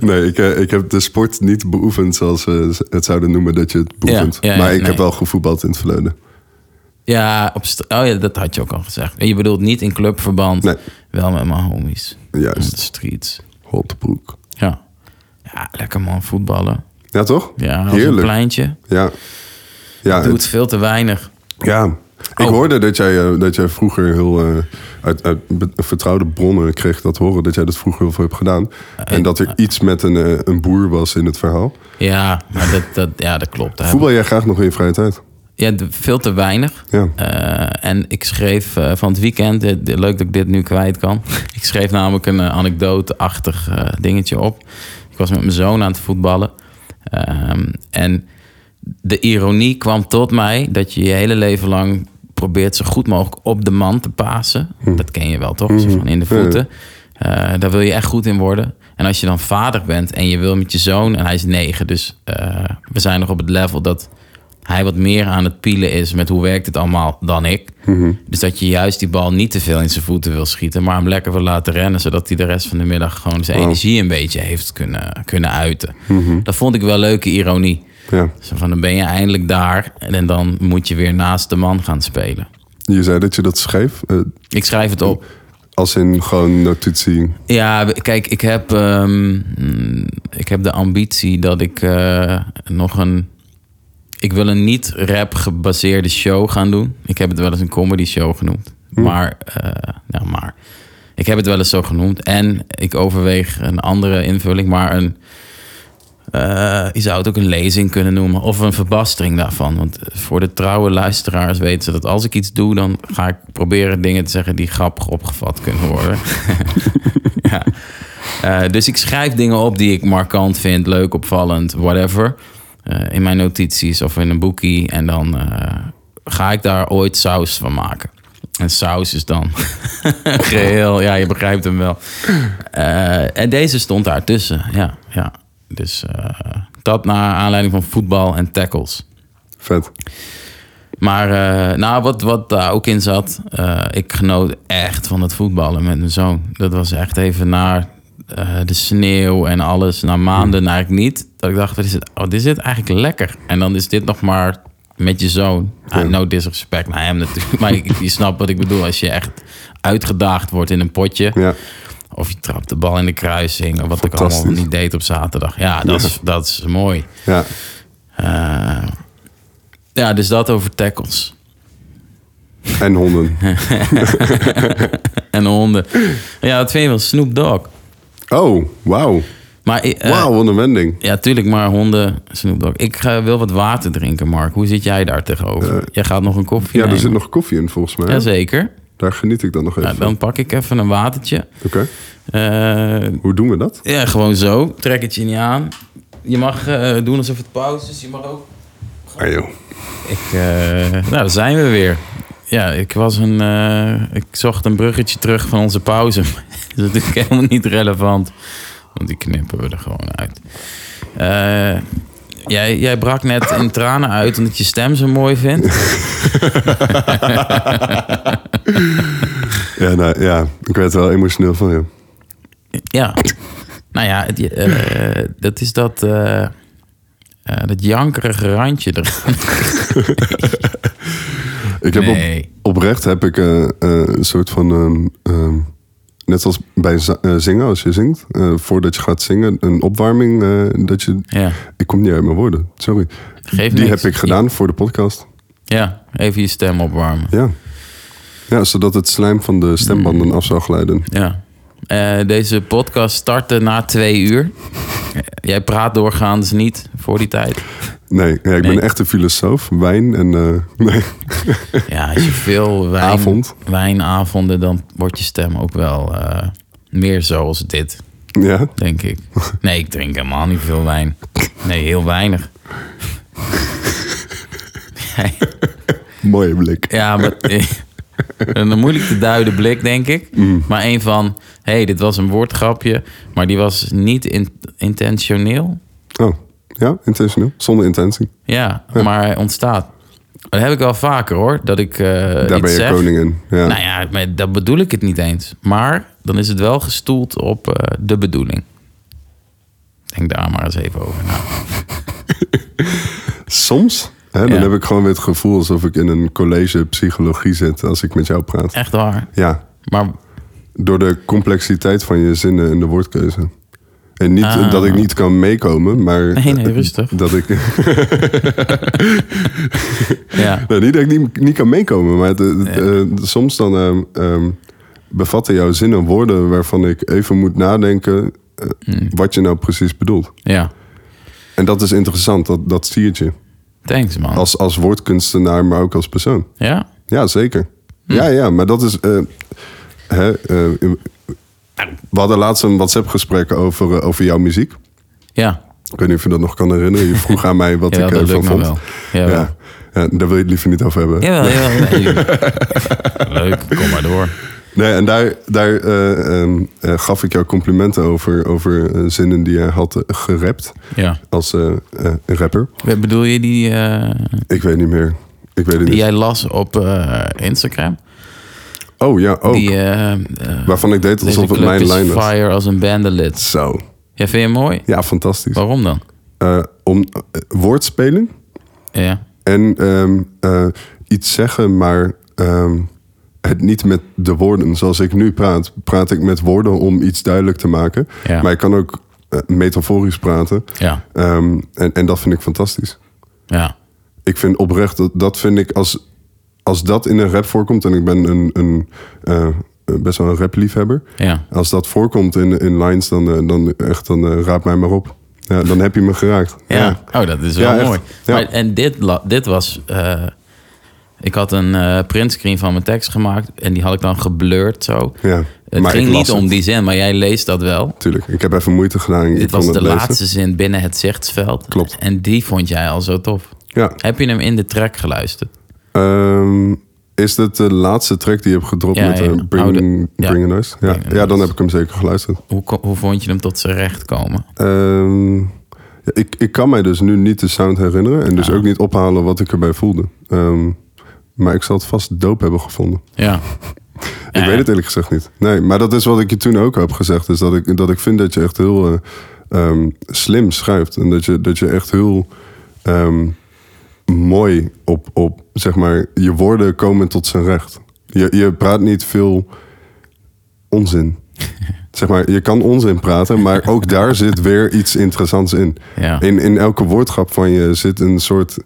S2: Nee, ik, eh, ik heb de sport niet beoefend zoals ze het zouden noemen dat je het beoefent.
S1: ja, ja,
S2: maar ik
S1: nee.
S2: heb wel gevoetbald in het verleden.
S1: Ja, op st- oh ja, dat had je ook al gezegd. En Je bedoelt niet in clubverband.
S2: Nee.
S1: Wel met mijn homies.
S2: Juist.
S1: Op de streets.
S2: Hotbroek.
S1: Ja. Ja, lekker man, voetballen.
S2: Ja, toch?
S1: Ja, op een
S2: Heerlijk.
S1: pleintje.
S2: Ja. Ja,
S1: Doet
S2: het-
S1: veel te weinig.
S2: ja. Ik
S1: Oh.
S2: hoorde dat jij, eh, dat jij vroeger heel... eh, uit, uit be- vertrouwde bronnen kreeg dat horen, dat jij dat vroeger heel veel hebt gedaan. En dat er iets met een, eh, een boer was in het verhaal.
S1: Ja, maar dat, dat, ja, dat klopt. Daar
S2: Voetbal jij graag nog in je vrije tijd?
S1: Ja, d- veel te weinig.
S2: Ja.
S1: Eh, en ik schreef eh, van het weekend, eh, d- leuk dat ik dit nu kwijt kan. ik schreef namelijk een eh, anekdoteachtig eh, dingetje op. Ik was met mijn zoon aan het voetballen. Ehm, en de ironie kwam tot mij dat je je hele leven lang probeert zo goed mogelijk op de man te pasen. Dat ken je wel toch? Zo van in de voeten. Eh, daar wil je echt goed in worden. En als je dan vader bent en je wil met je zoon, en hij is negen, dus eh, we zijn nog op het level dat hij wat meer aan het pielen is met hoe werkt het allemaal dan ik. Dus dat je juist die bal niet te veel in zijn voeten wil schieten, maar hem lekker wil laten rennen, zodat hij de rest van de middag gewoon zijn energie een beetje heeft kunnen, kunnen uiten. Dat vond ik wel leuke ironie.
S2: Ja.
S1: Zo van, dan ben je eindelijk daar en dan moet je weer naast de man gaan spelen.
S2: Je zei dat je dat schreef. eh,
S1: Ik schrijf het op.
S2: als in gewoon notitie.
S1: Ja, we- kijk, ik heb, ehm, mm, ik heb de ambitie dat ik eh, nog een ik wil een niet-rap gebaseerde show gaan doen. Ik heb het wel eens een comedy show genoemd. Maar, eh, nou maar, ik heb het wel eens zo genoemd. En ik overweeg een andere invulling, maar een... eh, je zou het ook een lezing kunnen noemen of een verbastering daarvan. Want voor de trouwe luisteraars weten ze dat als ik iets doe, dan ga ik proberen dingen te zeggen die grappig opgevat kunnen worden. ja. Eh, dus ik schrijf dingen op die ik markant vind, leuk, opvallend, whatever. eh, in mijn notities of in een boekie. En dan eh, ga ik daar ooit saus van maken. En saus is dan geheel, ja, je begrijpt hem wel. Eh, en deze stond daar tussen, ja. ja. Dus eh, dat naar aanleiding van voetbal en tackles.
S2: Vet.
S1: Maar eh, nou, wat, wat daar ook in zat, eh, ik genoot echt van het voetballen met mijn zoon. Dat was echt even naar eh, de sneeuw en alles, na
S2: Hmm.
S1: maanden eigenlijk niet. Dat ik dacht, wat is het, oh, dit is dit eigenlijk lekker. En dan is dit nog maar met je zoon. Ah, no disrespect naar hem natuurlijk. Maar je, je snapt wat ik bedoel als je echt uitgedaagd wordt in een potje.
S2: Ja.
S1: Of je trapt de bal in de kruising. Of wat ik allemaal
S2: Fantastisch.
S1: niet deed op zaterdag. Ja, dat, Is, dat is mooi.
S2: Ja.
S1: Eh, ja, dus dat over tackles.
S2: En honden.
S1: En honden. Ja, dat vind je wel Snoop Dogg.
S2: Oh, wauw.
S1: Maar, eh,
S2: Wauw, wat een wending.
S1: Ja, tuurlijk, maar honden, Snoop Dogg. Ik eh, wil wat water drinken, Mark. Hoe zit jij daar tegenover? jij gaat nog een koffie
S2: Eh, Ja, er
S1: nemen.
S2: zit nog koffie in volgens mij.
S1: Jazeker.
S2: Daar geniet ik dan nog even
S1: Nou, dan pak ik even een watertje.
S2: van. Oké,
S1: Eh,
S2: hoe doen we dat?
S1: ja, gewoon zo. Trek het je niet aan. Je mag eh, doen alsof het pauze is. Je mag ook...
S2: Ah joh.
S1: Ik, eh, nou, daar zijn we weer. Ja, ik was een... eh, ik zocht een bruggetje terug van onze pauze. dat is natuurlijk helemaal niet relevant. Want die knippen we er gewoon uit. Eh, jij, jij brak net in tranen uit omdat je stem zo mooi vindt.
S2: Ja, nou, ja, ik werd er wel emotioneel van, ja.
S1: Ja. Nou ja, het, eh, dat is dat... eh, eh, dat jankerige randje er.
S2: Ik heb
S1: Nee.
S2: op, oprecht heb ik eh, eh, een soort van... ehm, ehm, net als bij za- eh, zingen, als je zingt. eh, voordat je gaat zingen, een opwarming eh, dat je...
S1: Ja,
S2: Ik kom niet uit mijn woorden, sorry.
S1: geef
S2: Die
S1: niks.
S2: heb ik gedaan voor de podcast.
S1: Ja, even je stem opwarmen.
S2: Ja. ja, zodat het slijm van de stembanden af zou glijden.
S1: Ja. Eh, deze podcast startte na twee uur. Eh, Jij praat doorgaans niet voor die tijd.
S2: Nee, ja, ik
S1: Nee.
S2: ben echt een filosoof. Wijn en... eh, nee.
S1: Ja, als je veel wijn,
S2: Avond.
S1: wijnavonden, dan wordt je stem ook wel eh, meer zoals dit,
S2: ja,
S1: denk ik. Nee, ik drink helemaal niet veel wijn. Nee, heel weinig.
S2: mooie blik.
S1: Ja, maar eh, een moeilijk te duiden blik, denk ik. Maar een van, hé, hey, dit was een woordgrapje, maar die was niet in- intentioneel.
S2: Oh, ja, intentioneel. Zonder intentie.
S1: Eh, Ja, maar hij ontstaat. Dat heb ik wel vaker hoor, dat ik eh
S2: Daar
S1: iets
S2: ben je
S1: zeg.
S2: koning in. Ja.
S1: Nou ja, maar dat bedoel ik het niet eens. Maar dan is het wel gestoeld op eh, de bedoeling. Denk daar maar eens even over na.
S2: Soms, hè, dan
S1: Ja.
S2: heb ik gewoon weer het gevoel alsof ik in een college psychologie zit als ik met jou praat.
S1: Echt waar.
S2: Ja,
S1: Maar
S2: door de complexiteit van je zinnen en de woordkeuze. En niet
S1: Ah.
S2: dat ik niet kan meekomen, maar... eh,
S1: Nee, nee, rustig.
S2: Dat ik...
S1: ja,
S2: nou, niet dat ik niet, niet kan meekomen, maar het- het- eh, soms dan ehm, ehm, bevatten jouw zinnen woorden waarvan ik even moet nadenken eh,
S1: Hmm.
S2: wat je nou precies bedoelt.
S1: ja.
S2: En dat is interessant, dat, dat siert je.
S1: Thanks man.
S2: Als, als woordkunstenaar, maar ook als persoon.
S1: Ja?
S2: Ja, zeker.
S1: Hmm.
S2: Ja, ja, maar dat is. eh, hè, eh, we hadden laatst een WhatsApp-gesprek over, eh, over jouw muziek.
S1: Ja.
S2: Ik weet niet of je dat nog kan herinneren. Je vroeg aan mij wat
S1: Jawel,
S2: ik
S1: dat
S2: ervan
S1: lukt me
S2: vond.
S1: wel.
S2: Ja.
S1: Jawel.
S2: Ja. daar wil je het liever niet over hebben.
S1: Jawel, jawel. Nee. Leuk, kom maar door.
S2: Nee, en daar, daar eh, ehm, eh, gaf ik jou complimenten over, over eh, zinnen die jij had eh, gerapt
S1: Ja.
S2: als eh, eh, rapper.
S1: Wat bedoel je die, eh,
S2: Ik weet niet meer. Ik weet het
S1: die
S2: niet.
S1: jij las op eh, Instagram?
S2: Oh ja, ook.
S1: Die, eh, eh,
S2: Waarvan ik deed
S1: deze
S2: alsof het
S1: club
S2: mijn
S1: is
S2: lijn was.
S1: fire als een bandit.
S2: Zo.
S1: Ja, vind je hem mooi?
S2: Ja, fantastisch.
S1: Waarom dan?
S2: Eh, om eh, woordspelen
S1: Ja.
S2: en ehm, eh, iets zeggen, maar ehm, het niet met de woorden. Zoals ik nu praat, praat ik met woorden om iets duidelijk te maken.
S1: Ja.
S2: Maar ik kan ook eh, metaforisch praten.
S1: Ja.
S2: Ehm, en, en dat vind ik fantastisch.
S1: Ja.
S2: ik vind oprecht, dat, dat vind ik als, als dat in een rap voorkomt... en ik ben een, een, eh, best wel een rapliefhebber.
S1: Ja.
S2: Als dat voorkomt in, in lines, dan, eh, dan, echt, dan eh, raap mij maar op. Ja, dan heb je me geraakt.
S1: Ja. Oh, dat is wel
S2: Ja, echt.
S1: mooi.
S2: Ja.
S1: Maar, en dit, la- dit was. eh, ik had een eh, printscreen van mijn tekst gemaakt en die had ik dan geblurred zo.
S2: Ja,
S1: Het
S2: maar
S1: ging
S2: ik las
S1: niet om
S2: het.
S1: die zin, maar jij leest dat wel.
S2: Tuurlijk, ik heb even moeite gedaan. Ik
S1: Dit
S2: kon
S1: was de
S2: het lezen.
S1: laatste zin binnen het zichtsveld.
S2: Klopt.
S1: En die vond jij al zo tof.
S2: Ja.
S1: Heb je hem in de track geluisterd?
S2: Ehm, is dit de laatste track die je hebt gedropt
S1: Ja,
S2: met eh,
S1: ja.
S2: Bring,
S1: Oude- ja.
S2: Bring It Nice? Ja.
S1: Bring It
S2: ja, dan
S1: Nice.
S2: heb ik hem zeker geluisterd.
S1: Hoe, ko- hoe vond je hem tot zijn recht komen?
S2: Ehm, ja, ik, ik kan mij dus nu niet de sound herinneren. En dus ook niet ophalen wat ik erbij voelde. Ehm, maar ik zal het vast dope hebben gevonden.
S1: Ja.
S2: Ik weet het eerlijk gezegd niet. Nee, maar dat is wat ik je toen ook heb gezegd. Is dat ik, dat ik vind dat je echt heel eh, ehm, slim schrijft. En dat je, dat je echt heel ehm, mooi op, op, zeg maar, je woorden komen tot zijn recht. Je, je praat niet veel onzin. Zeg maar, je kan onzin praten, maar ook daar zit weer iets interessants in.
S1: Ja.
S2: In, in elke woordgrap van je zit een soort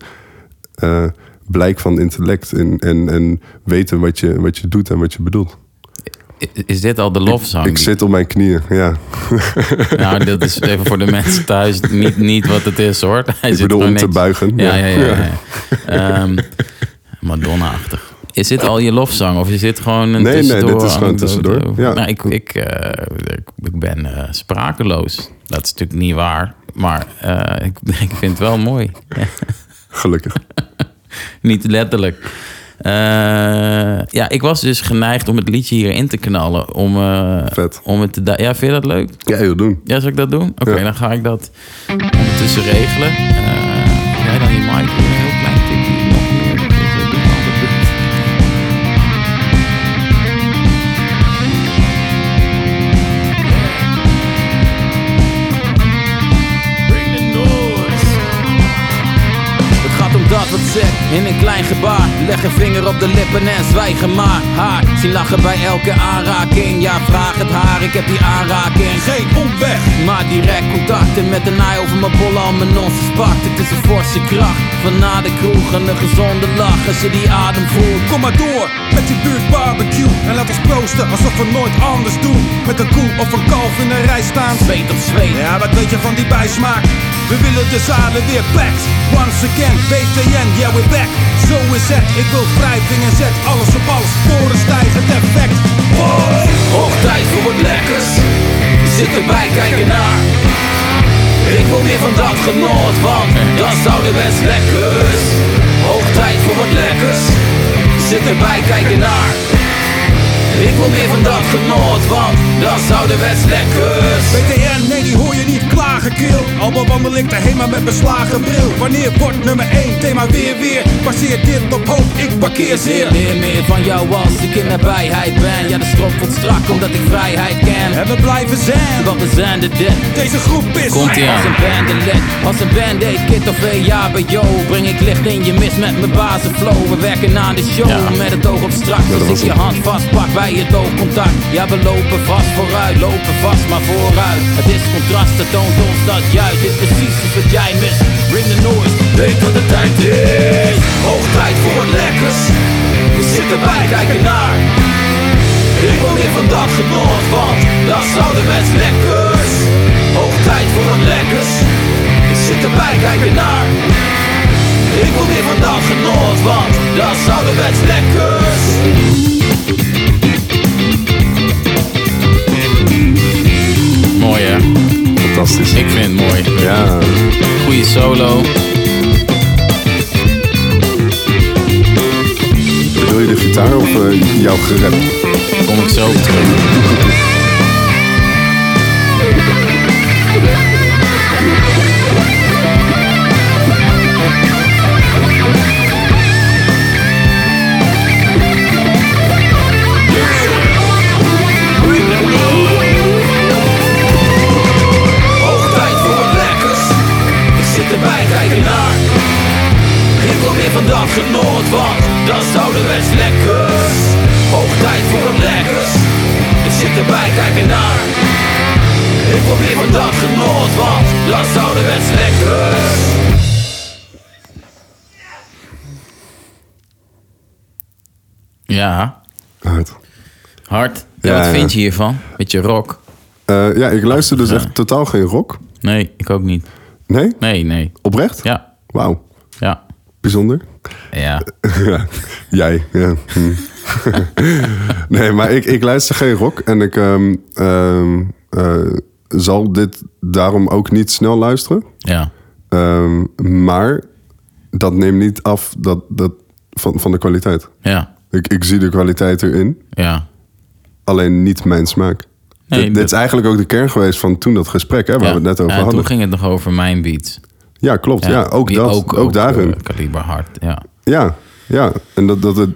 S2: eh, blijk van intellect in, en, en weten wat je, wat je doet en wat je bedoelt.
S1: I- Is dit al de lofzang?
S2: Ik
S1: die-
S2: zit op mijn knieën, ja.
S1: Nou, dat is even voor de mensen thuis niet, niet wat het is hoor. Hij zit
S2: bedoel,
S1: gewoon
S2: om te
S1: niks.
S2: buigen.
S1: Ja, ja,
S2: Ja.
S1: ja. ja, ja. Ehm, Madonna-achtig. Is dit al je lofzang of is dit gewoon een
S2: Nee, nee, dit
S1: tussendoor?
S2: is gewoon
S1: anekdote?
S2: tussendoor. Ja.
S1: Nou, ik, ik, eh, ik, ik ben eh, sprakeloos. Dat is natuurlijk niet waar. Maar eh, ik, ik vind het wel mooi.
S2: Gelukkig.
S1: Niet letterlijk. Eh, ja, ik was dus geneigd om het liedje hierin te knallen. Om, eh,
S2: Vet.
S1: om het te du- ja, vind je dat leuk?
S2: Ja, heel doen.
S1: Ja, zal ik dat doen? Oké,
S2: Ja.
S1: dan ga ik dat tussen regelen. Eh jij dan je mic voor een heel klein tikje nog meer. Dat is, eh, doe maar wat je doet. Het gaat om dat wat zegt in een klein gebaar. Leg een vinger op de lippen en zwijgen maar. Haar zien lachen bij elke aanraking. Ja, vraag het haar, ik heb die aanraking. Geen omweg, maar direct contacten met een naai over mijn bollen. Al mijn nonsens pakt. Het is een forse kracht van na de kroeg en een gezonde lach als je die adem voelt.
S3: Kom maar door met je buurt barbecue En laat ons proosten alsof we nooit anders doen Met een koe of een kalf in een rij staan
S1: Zweet op zweet.
S3: Ja, wat weet je van die bijsmaak? We willen de zalen weer packed Once again, BTN, yeah we're back Zo is het, ik wil wrijving en zet alles op alles Sporen stijgend effect Boy!
S1: Hoog tijd voor wat lekkers. Zit erbij, kijken naar. Ik wil meer van dat genot, want dat zouden best lekkers. Hoog tijd voor wat lekkers. Zit erbij, kijken naar. Ik wil meer van dat genot, want dat zouden best lekkers.
S3: BTN, nee die hoor je niet klagen keel Al bewandel ik daarheen maar met beslagen bril Wanneer wordt nummer 1 thema weer weer Passeer dit op hoop, ik parkeer zeer
S1: Leer meer van jou als ik in nabijheid ben. Ja, de strop wordt strak omdat ik vrijheid ken.
S3: En we blijven zijn
S1: Want we zijn de dit.
S3: Deze groep is
S1: Komt-ie Als een bandelet, als een band-aid, kit of EHBO Breng ik licht in je mis met mijn bazenflow We werken aan de show met het oog op straks
S2: dat
S1: Als
S2: was
S1: ik je
S2: hem.
S1: hand vastpak bij het oogcontact Ja, we lopen vast vooruit, lopen vast maar vooruit Het is contrast, het toont ons dat juist Dit is precies iets wat jij mist, ring de noise Weet wat de tijd is, hoog tijd voor wat lekkers We zitten bij, kijken naar ik wil weer van dat genot, want dat zouden best lekkers. Hoog tijd voor wat lekkers. Ik zit erbij, kijk er naar. Ik wil weer van dat genot, want dat zouden best lekkers. Mooi hè,
S2: Fantastisch.
S1: ik vind het mooi.
S2: Ja,
S1: Goeie solo.
S2: bedoel je de gitaar of eh, jouw gerap?
S1: Kom ik zo op terug. Hoog tijd voor wat lekkers. Ik zit erbij, kijk ernaar. Ik wil weer van dat genot, want dat zouden best lekkers. Hoog tijd voor wat lekkers. Ik zit erbij, kijk ernaar. Ik wil weer van dat genot, want dat zouden best lekkers. Ja,
S2: Hard.
S1: hard. Ja,
S2: Ja,
S1: wat
S2: ja.
S1: vind je hiervan? Beetje rock.
S2: Eh, ja, ik luister dus echt totaal geen rock.
S1: Nee, ik ook niet.
S2: Nee?
S1: Nee, nee.
S2: Oprecht?
S1: Ja,
S2: Wauw.
S1: ja,
S2: Bijzonder.
S1: ja.
S2: Ja, jij. Ja. Hm. nee, maar ik, ik luister geen rock. En ik ehm, ehm, eh, zal dit daarom ook niet snel luisteren.
S1: ja.
S2: Ehm, maar dat neemt niet af dat, dat, van, van de kwaliteit.
S1: Ja,
S2: Ik, ik zie de kwaliteit erin,
S1: ja.
S2: alleen niet mijn smaak.
S1: Nee,
S2: dit, dit
S1: dat-
S2: is eigenlijk ook de kern geweest van toen dat gesprek, hè, waar
S1: ja.
S2: we het net over
S1: Ja,
S2: hadden.
S1: Toen ging het nog over mijn beat.
S2: Ja, klopt. Ja, ook
S1: die
S2: dat. Ook, daarin.
S1: eh, Kaliber hard, ja.
S2: Ja, ja. En dat, dat het,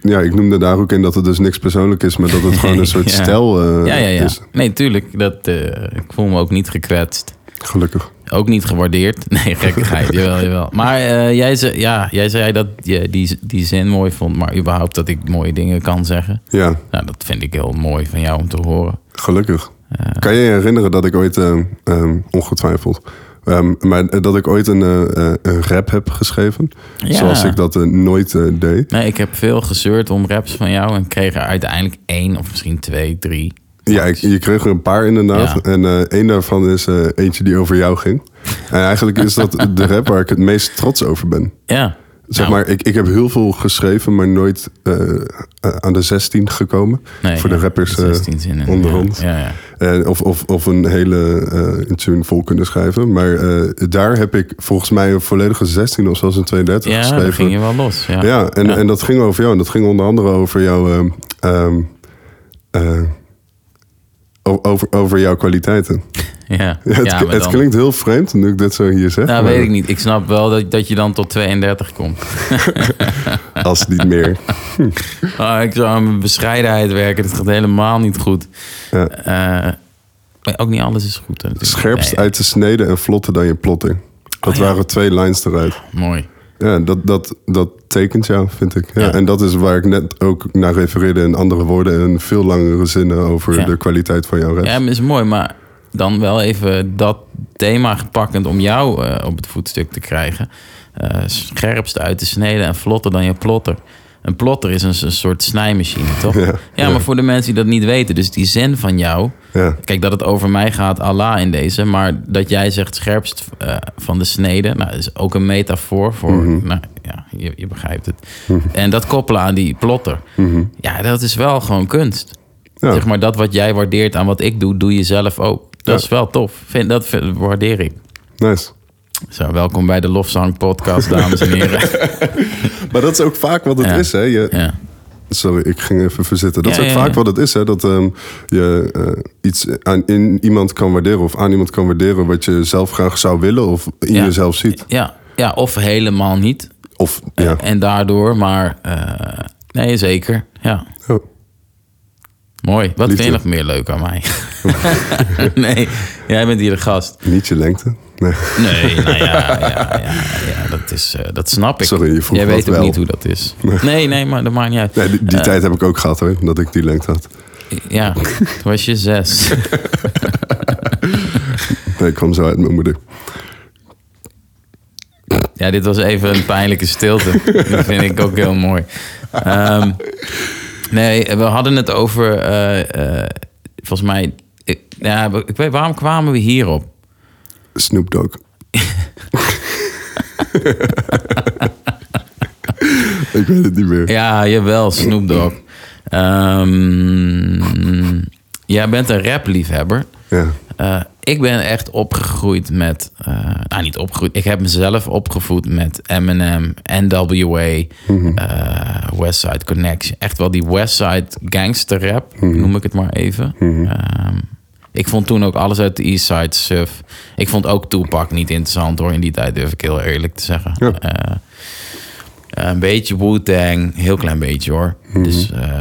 S2: ja, ik noemde daar ook in dat het dus niks persoonlijk is, maar dat het gewoon een soort
S1: Ja.
S2: stijl eh,
S1: ja, ja, ja.
S2: is.
S1: Nee, tuurlijk. Dat, eh, ik voel me ook niet gekwetst.
S2: Gelukkig.
S1: Ook niet gewaardeerd. Nee, gekkigheid. jawel, jawel. Maar eh, jij, zei, ja, jij zei dat je die, die zin mooi vond, maar überhaupt dat ik mooie dingen kan zeggen.
S2: Ja,
S1: Nou, dat vind ik heel mooi van jou om te horen.
S2: gelukkig. Kan je je herinneren dat ik ooit, eh, ehm, ongetwijfeld, ehm, maar dat ik ooit een, eh, eh, een rap heb geschreven?
S1: Ja.
S2: Zoals ik dat eh, nooit eh, deed.
S1: Nee, ik heb veel gezeurd om raps van jou en kreeg er uiteindelijk één of misschien twee, drie.
S2: Ja, ik- je kreeg er een paar inderdaad.
S1: Ja.
S2: En eh, één daarvan is eh, eentje die over jou ging. En eigenlijk is dat de rap waar ik het meest trots over ben.
S1: Ja.
S2: Zeg
S1: Nou,
S2: maar, ik, ik heb heel veel geschreven, maar nooit eh, eh, aan de 16 gekomen.
S1: nee,
S2: voor de
S1: ja,
S2: rappers eh,
S1: 16 zinnen.
S2: onder
S1: Ja,
S2: ons.
S1: Ja, ja.
S2: En of, of, of een hele eh, een tune vol kunnen schrijven. Maar eh, daar heb ik volgens mij een volledige 16 of zelfs een 32
S1: Ja,
S2: geschreven.
S1: dan ging je wel los. Ja,
S2: Ja, en, en dat ging over jou. En dat ging onder andere over jouw. ehm, ehm, eh, o- over, over jouw kwaliteiten.
S1: ja.
S2: het
S1: Ja,
S2: het
S1: maar dan-
S2: klinkt heel vreemd nu ik dit zo hier zeg.
S1: Nou,
S2: maar
S1: weet ik niet. Ik snap wel dat, dat je dan tot 32 komt.
S2: Als niet meer.
S1: Ah, ik zou aan mijn bescheidenheid werken. Dat gaat helemaal niet goed.
S2: Ja.
S1: Eh, maar ook niet alles is goed. hè, natuurlijk.
S2: Scherpst
S1: Nee,
S2: uit de snede en vlotter dan je plotting. Dat
S1: Oh, ja.
S2: waren twee lines eruit.
S1: Mooi.
S2: Ja, dat, dat, dat tekent jou, vind ik. Ja,
S1: Ja.
S2: En dat is waar ik net ook naar refereerde in andere woorden en veel langere zinnen over
S1: Ja.
S2: de kwaliteit van jouw rap.
S1: Ja, maar is mooi. Maar dan wel even dat thema gepakkend om jou eh, op het voetstuk te krijgen. Eh scherpst uit de snede en vlotter dan je plotter. Een plotter is een, een soort snijmachine, toch?
S2: Ja,
S1: ja, maar voor de mensen die dat niet weten. Dus die zin van jou...
S2: Ja.
S1: Kijk, dat het over mij gaat, Allah in deze. Maar dat jij zegt scherpst eh, van de snede. Nou, is ook een metafoor voor. Nou, ja, je, je begrijpt het. En dat koppelen aan die plotter. Ja, dat is wel gewoon kunst.
S2: Ja.
S1: Zeg maar dat wat jij waardeert aan wat ik doe, doe je zelf ook. Dat
S2: Ja.
S1: is wel tof. Vind, dat vind- waardeer ik.
S2: Nice.
S1: Zo, welkom bij de Lofzang Podcast, dames en heren.
S2: Maar dat is ook vaak wat het
S1: Ja.
S2: is, hè? Je,
S1: Ja.
S2: Sorry, ik ging even verzitten. Dat
S1: Ja,
S2: is ook
S1: ja,
S2: vaak
S1: ja.
S2: wat het is, hè? Dat ehm, je eh, iets aan in iemand kan waarderen of aan iemand kan waarderen wat je zelf graag zou willen of in
S1: Ja.
S2: jezelf ziet.
S1: Ja. ja, of helemaal niet.
S2: Of ja.
S1: En daardoor, maar eh, nee, zeker. Ja.
S2: Oh.
S1: Mooi. Wat
S2: Liefde.
S1: vind je nog meer leuk aan mij? nee, jij bent hier de gast.
S2: Niet je lengte. Nee.
S1: Nee, nou ja, ja, ja, ja dat, is, eh, dat snap ik.
S2: Sorry, je vroeg
S1: jij
S2: dat
S1: weet ook
S2: wel.
S1: niet hoe dat is. Nee, nee, maar dat maakt niet uit.
S2: Nee, die, die
S1: Eh,
S2: tijd heb ik ook gehad hoor, dat ik die lengte had.
S1: Ja, toen was je zes.
S2: Nee, ik kwam zo uit mijn moeder.
S1: Ja, dit was even een pijnlijke stilte. Dat vind ik ook heel mooi. Ehm, nee, we hadden het over... eh, eh, volgens mij... Ik, ja, ik weet, waarom kwamen we hierop?
S2: Snoop Dogg. ik weet het niet meer.
S1: Ja, jawel, Snoop Dogg. Ehm, jij bent een rapliefhebber.
S2: Ja.
S1: Eh, ik ben echt opgegroeid met... eh, nou, niet opgegroeid. Ik heb mezelf opgevoed met Eminem, NWA, eh, West Side Connection. Echt wel die West Side gangster rap, noem ik het maar even. Ehm, ik vond toen ook alles uit de East Side suf. Ik vond ook Tupac niet interessant hoor. In die tijd durf ik heel eerlijk te zeggen.
S2: Ja.
S1: Eh, een beetje Wu-Tang, heel klein beetje hoor. Dus eh,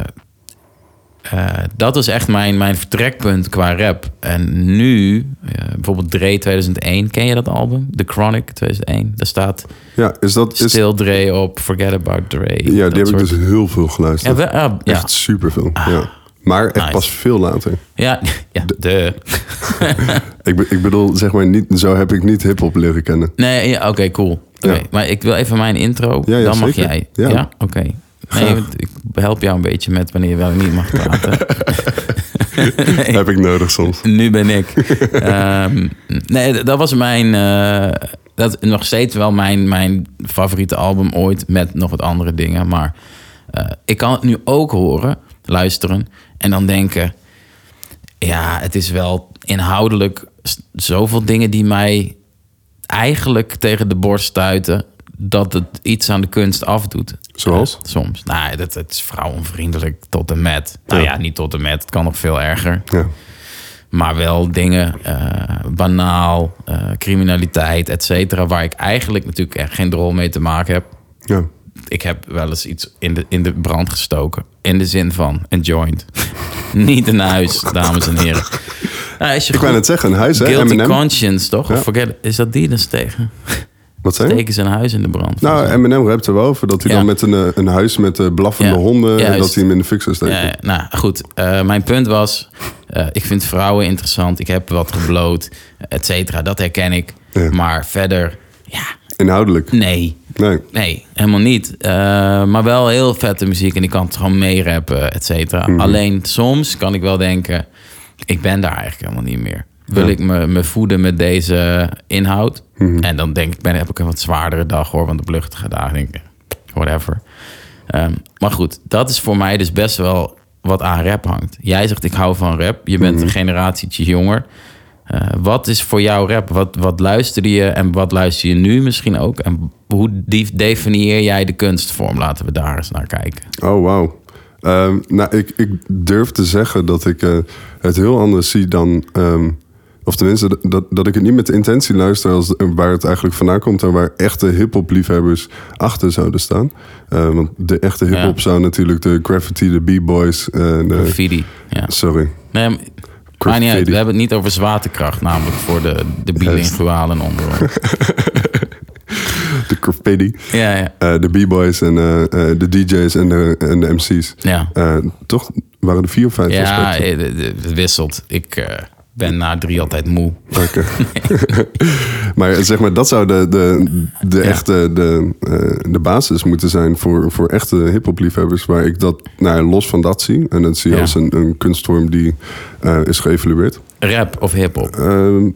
S1: eh, dat is echt mijn, mijn vertrekpunt qua rap. En nu, eh, bijvoorbeeld Dre 2001, ken je dat album? The Chronic 2001. Daar staat
S2: ja, is dat... Is,
S1: Still Dre op, Forget About Dre.
S2: ja,
S1: dat
S2: die heb ik
S1: soort-
S2: dus heel veel
S1: Ja,
S2: geluisterd.
S1: wel, ah, ja. Ah,
S2: Echt superveel, ja. Maar echt
S1: Nice.
S2: pas veel later.
S1: ja, ja, de.
S2: Ik, be- ik bedoel, zeg maar, niet, zo heb ik niet hip-hop leren kennen.
S1: Nee, ja, oké, cool. Oké,
S2: Ja.
S1: Maar ik wil even mijn intro,
S2: Ja, ja,
S1: dan mag
S2: zeker.
S1: jij.
S2: Ja.
S1: oké. Nee, want ik help jou een beetje met wanneer je wel en niet mag praten. Nee.
S2: Heb ik nodig soms.
S1: Nu ben ik. Ehm, nee, d- dat was mijn. eh, dat is nog steeds wel mijn, mijn favoriete album ooit. Met nog wat andere dingen. Maar eh, ik kan het nu ook horen, luisteren. En dan denken. Ja, het is wel inhoudelijk s- zoveel dingen die mij eigenlijk tegen de borst stuiten. Dat het iets aan de kunst afdoet.
S2: Zoals?
S1: Eh, soms. Nou, dat, dat is vrouwenvriendelijk tot en met. Nou
S2: Ja.
S1: ja, niet tot en met. Het kan nog veel erger
S2: Ja.
S1: maar wel dingen eh, banaal, eh, criminaliteit, et cetera, waar ik eigenlijk natuurlijk echt geen drol mee te maken heb.
S2: ja.
S1: Ik heb wel eens iets in de, in de brand gestoken. In de zin van een joint. Niet een huis, dames en heren. Nou, als je
S2: Ik wou net zeggen, een huis, hè? M&M?
S1: Guilty
S2: Eminem.
S1: conscience, toch? Of
S2: Ja.
S1: forget, is dat die dus tegen?
S2: Wat zei je?
S1: Steken ze een huis in de brand?
S2: Nou, Eminem rapt er wel over dat hij
S1: Ja.
S2: dan met een, eh, een huis met eh, blaffende
S1: Ja,
S2: honden... en
S1: juist.
S2: dat hij hem in de fik zou steken.
S1: Ja, ja, nou goed, Eh, mijn punt was, eh, ik vind vrouwen interessant. Ik heb wat gebloot, et cetera. Dat herken ik.
S2: Ja.
S1: Maar verder, ja,
S2: Inhoudelijk.
S1: nee.
S2: Nee.
S1: Nee, helemaal niet. Eh, maar wel heel vette muziek en ik kan het gewoon meerappen, et cetera. Alleen soms kan ik wel denken, ik ben daar eigenlijk helemaal niet meer. Wil ik me, me voeden met deze inhoud? En dan denk ik, ben, heb ik een wat zwaardere dag hoor, want op luchtige dagen denk ik, whatever. Ehm, maar goed, dat is voor mij dus best wel wat aan rap hangt. Jij zegt, ik hou van rap. Je bent
S2: Mhm.
S1: een generatietje jonger. Eh, wat is voor jou rap? Wat, wat luisterde je en wat luister je nu misschien ook? En hoe dief- definieer jij de kunstvorm? Laten we daar eens naar kijken.
S2: Oh, wauw. Ehm, nou, ik, ik durf te zeggen dat ik eh, het heel anders zie dan... ehm, of tenminste, dat- dat, dat ik het niet met de intentie luister als, eh, waar het eigenlijk vandaan komt... en waar echte hip-hop liefhebbers achter zouden staan. Eh, want de echte hip-hop
S1: Ja.
S2: zou natuurlijk de graffiti, de b-boys... en de-
S1: Graffiti. Ja.
S2: sorry.
S1: Nee, maar- maar niet uit.
S2: Graffiti.
S1: We hebben het niet over zwaartekracht, namelijk voor de, de bilingualen onder ons.
S2: De graffiti.
S1: Ja, ja.
S2: Eh, de b-boys en eh, eh, de DJ's en de, en de MC's.
S1: Ja.
S2: Eh, toch waren er vier of vijf
S1: Ja,
S2: aspecten.
S1: eh, de- de- het wisselt. Ik eh, ben na drie altijd moe.
S2: Oké. maar zeg maar, dat zou de, de, de echte de, eh, de basis moeten zijn voor, voor echte hip-hop liefhebbers. Waar ik dat nou, ja, los van dat zie. En dat zie je
S1: Ja.
S2: als een, een kunstvorm die eh, is geëvalueerd.
S1: Rap of hip-hop?
S2: Ehm,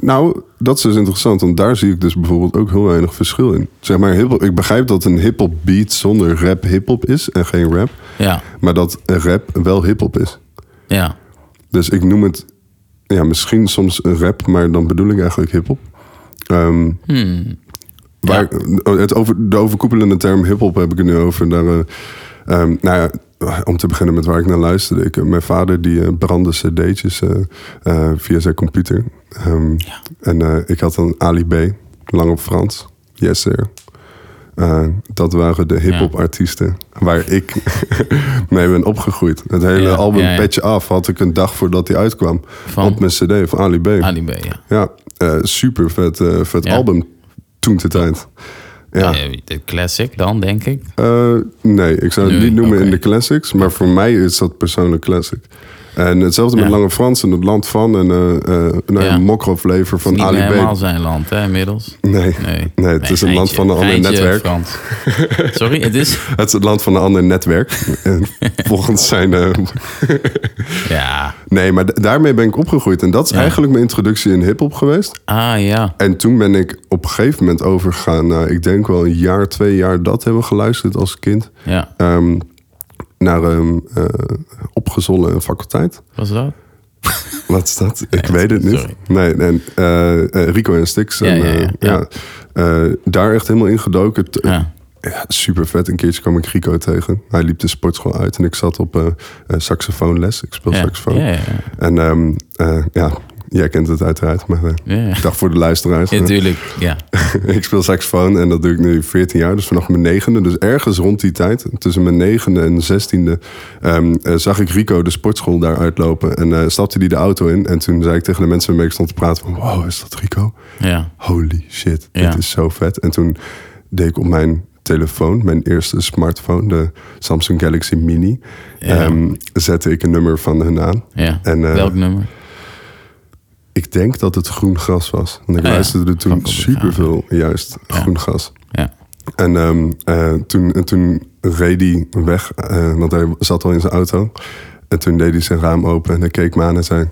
S2: nou, dat is dus interessant, want daar zie ik dus bijvoorbeeld ook heel weinig verschil in. Zeg maar, hiphop, ik begrijp dat een hip-hop beat zonder rap hip-hop is en geen rap.
S1: Ja,
S2: Maar dat rap wel hip-hop is.
S1: ja.
S2: Dus ik noem het ja, misschien soms een rap, maar dan bedoel ik eigenlijk hip-hop. Ehm,
S1: Hmm.
S2: waar, oh, het over, de overkoepelende term hip-hop heb ik het nu over. Daar, eh, ehm, nou ja, om te beginnen met waar ik naar luisterde. Ik, eh, mijn vader die eh, brandde cd'tjes eh, eh, via zijn computer. Ehm, En eh, ik had een Ali B, lang op Frans. Yes, sir. Eh, dat waren de hip-hop
S1: Ja.
S2: artiesten waar ik mee ben opgegroeid. Het hele
S1: Ja,
S2: album
S1: ja, ja.
S2: Petje Af had ik een dag voordat die uitkwam.
S1: Van?
S2: Op mijn CD van Ali B.
S1: Ali B, ja.
S2: Ja, eh, super vet, eh, vet
S1: Ja.
S2: album toen te tijd. Ja.
S1: Eh, De classic dan, denk ik.
S2: Eh, nee, ik zou het
S1: Nee,
S2: niet noemen
S1: oké.
S2: in de classics, maar voor mij is dat persoonlijk classic. En hetzelfde met
S1: Ja.
S2: Lange Frans en het land van en eh eh nou,
S1: Ja.
S2: een mokroflever van
S1: Niet meer
S2: Ali
S1: helemaal
S2: B.
S1: zijn land, hè, inmiddels.
S2: Nee.
S1: Nee,
S2: Nee, het is een land van een ander
S1: geintje,
S2: netwerk.
S1: Frans. Sorry, het is...
S2: Het is het land van een ander netwerk. En Volgens zijn eh,
S1: Ja,
S2: Nee, maar d- daarmee ben ik opgegroeid. En dat is eigenlijk mijn introductie in hip-hop geweest.
S1: ah ja.
S2: En toen ben ik op een gegeven moment overgegaan. Nou, ik denk wel een jaar, twee jaar dat hebben we geluisterd als kind.
S1: Ja,
S2: Ehm, naar ehm eh, opgezollen faculteit.
S1: was dat?
S2: Wat is dat? Ik weet het niet.
S1: sorry.
S2: Nee, en, eh, eh, Rico en Stix. en,
S1: ja, ja,
S2: eh,
S1: ja.
S2: ja. Eh, daar echt helemaal ingedoken. T-
S1: Ja.
S2: ja, super vet. Een keertje kwam ik Rico tegen. Hij liep de sportschool uit en ik zat op eh, eh, saxofoonles. Ik speel
S1: Ja,
S2: saxofoon.
S1: ja, ja, ja.
S2: En ehm, eh, ja, jij kent het uiteraard, maar eh,
S1: Ja, ja.
S2: ik dacht voor de luisteraars. eh,
S1: Natuurlijk, ja.
S2: ik speel saxofoon en dat doe ik nu 14 jaar, dus vanaf mijn negende. Dus ergens rond die tijd, tussen mijn negende en zestiende, ehm, eh, zag ik Rico de sportschool daar uitlopen. En eh, stapte die de auto in en toen zei ik tegen de mensen waarmee ik stond te praten van, wow, is dat Rico?
S1: Ja,
S2: holy shit,
S1: Ja.
S2: dit is zo vet. En toen deed ik op mijn telefoon, mijn eerste smartphone, de Samsung Galaxy Mini,
S1: Ja.
S2: ehm, zette ik een nummer van hun aan.
S1: ja.
S2: En eh,
S1: Welk nummer?
S2: ik denk dat het groen gras was. Want ik
S1: Ah, ja.
S2: luisterde er toen
S1: Van Kopenhagen.
S2: superveel juist groen gras.
S1: Ja.
S2: En ehm, eh, toen, en toen reed hij weg, eh, want hij zat al in zijn auto. En toen deed hij zijn raam open en hij keek me aan en zei...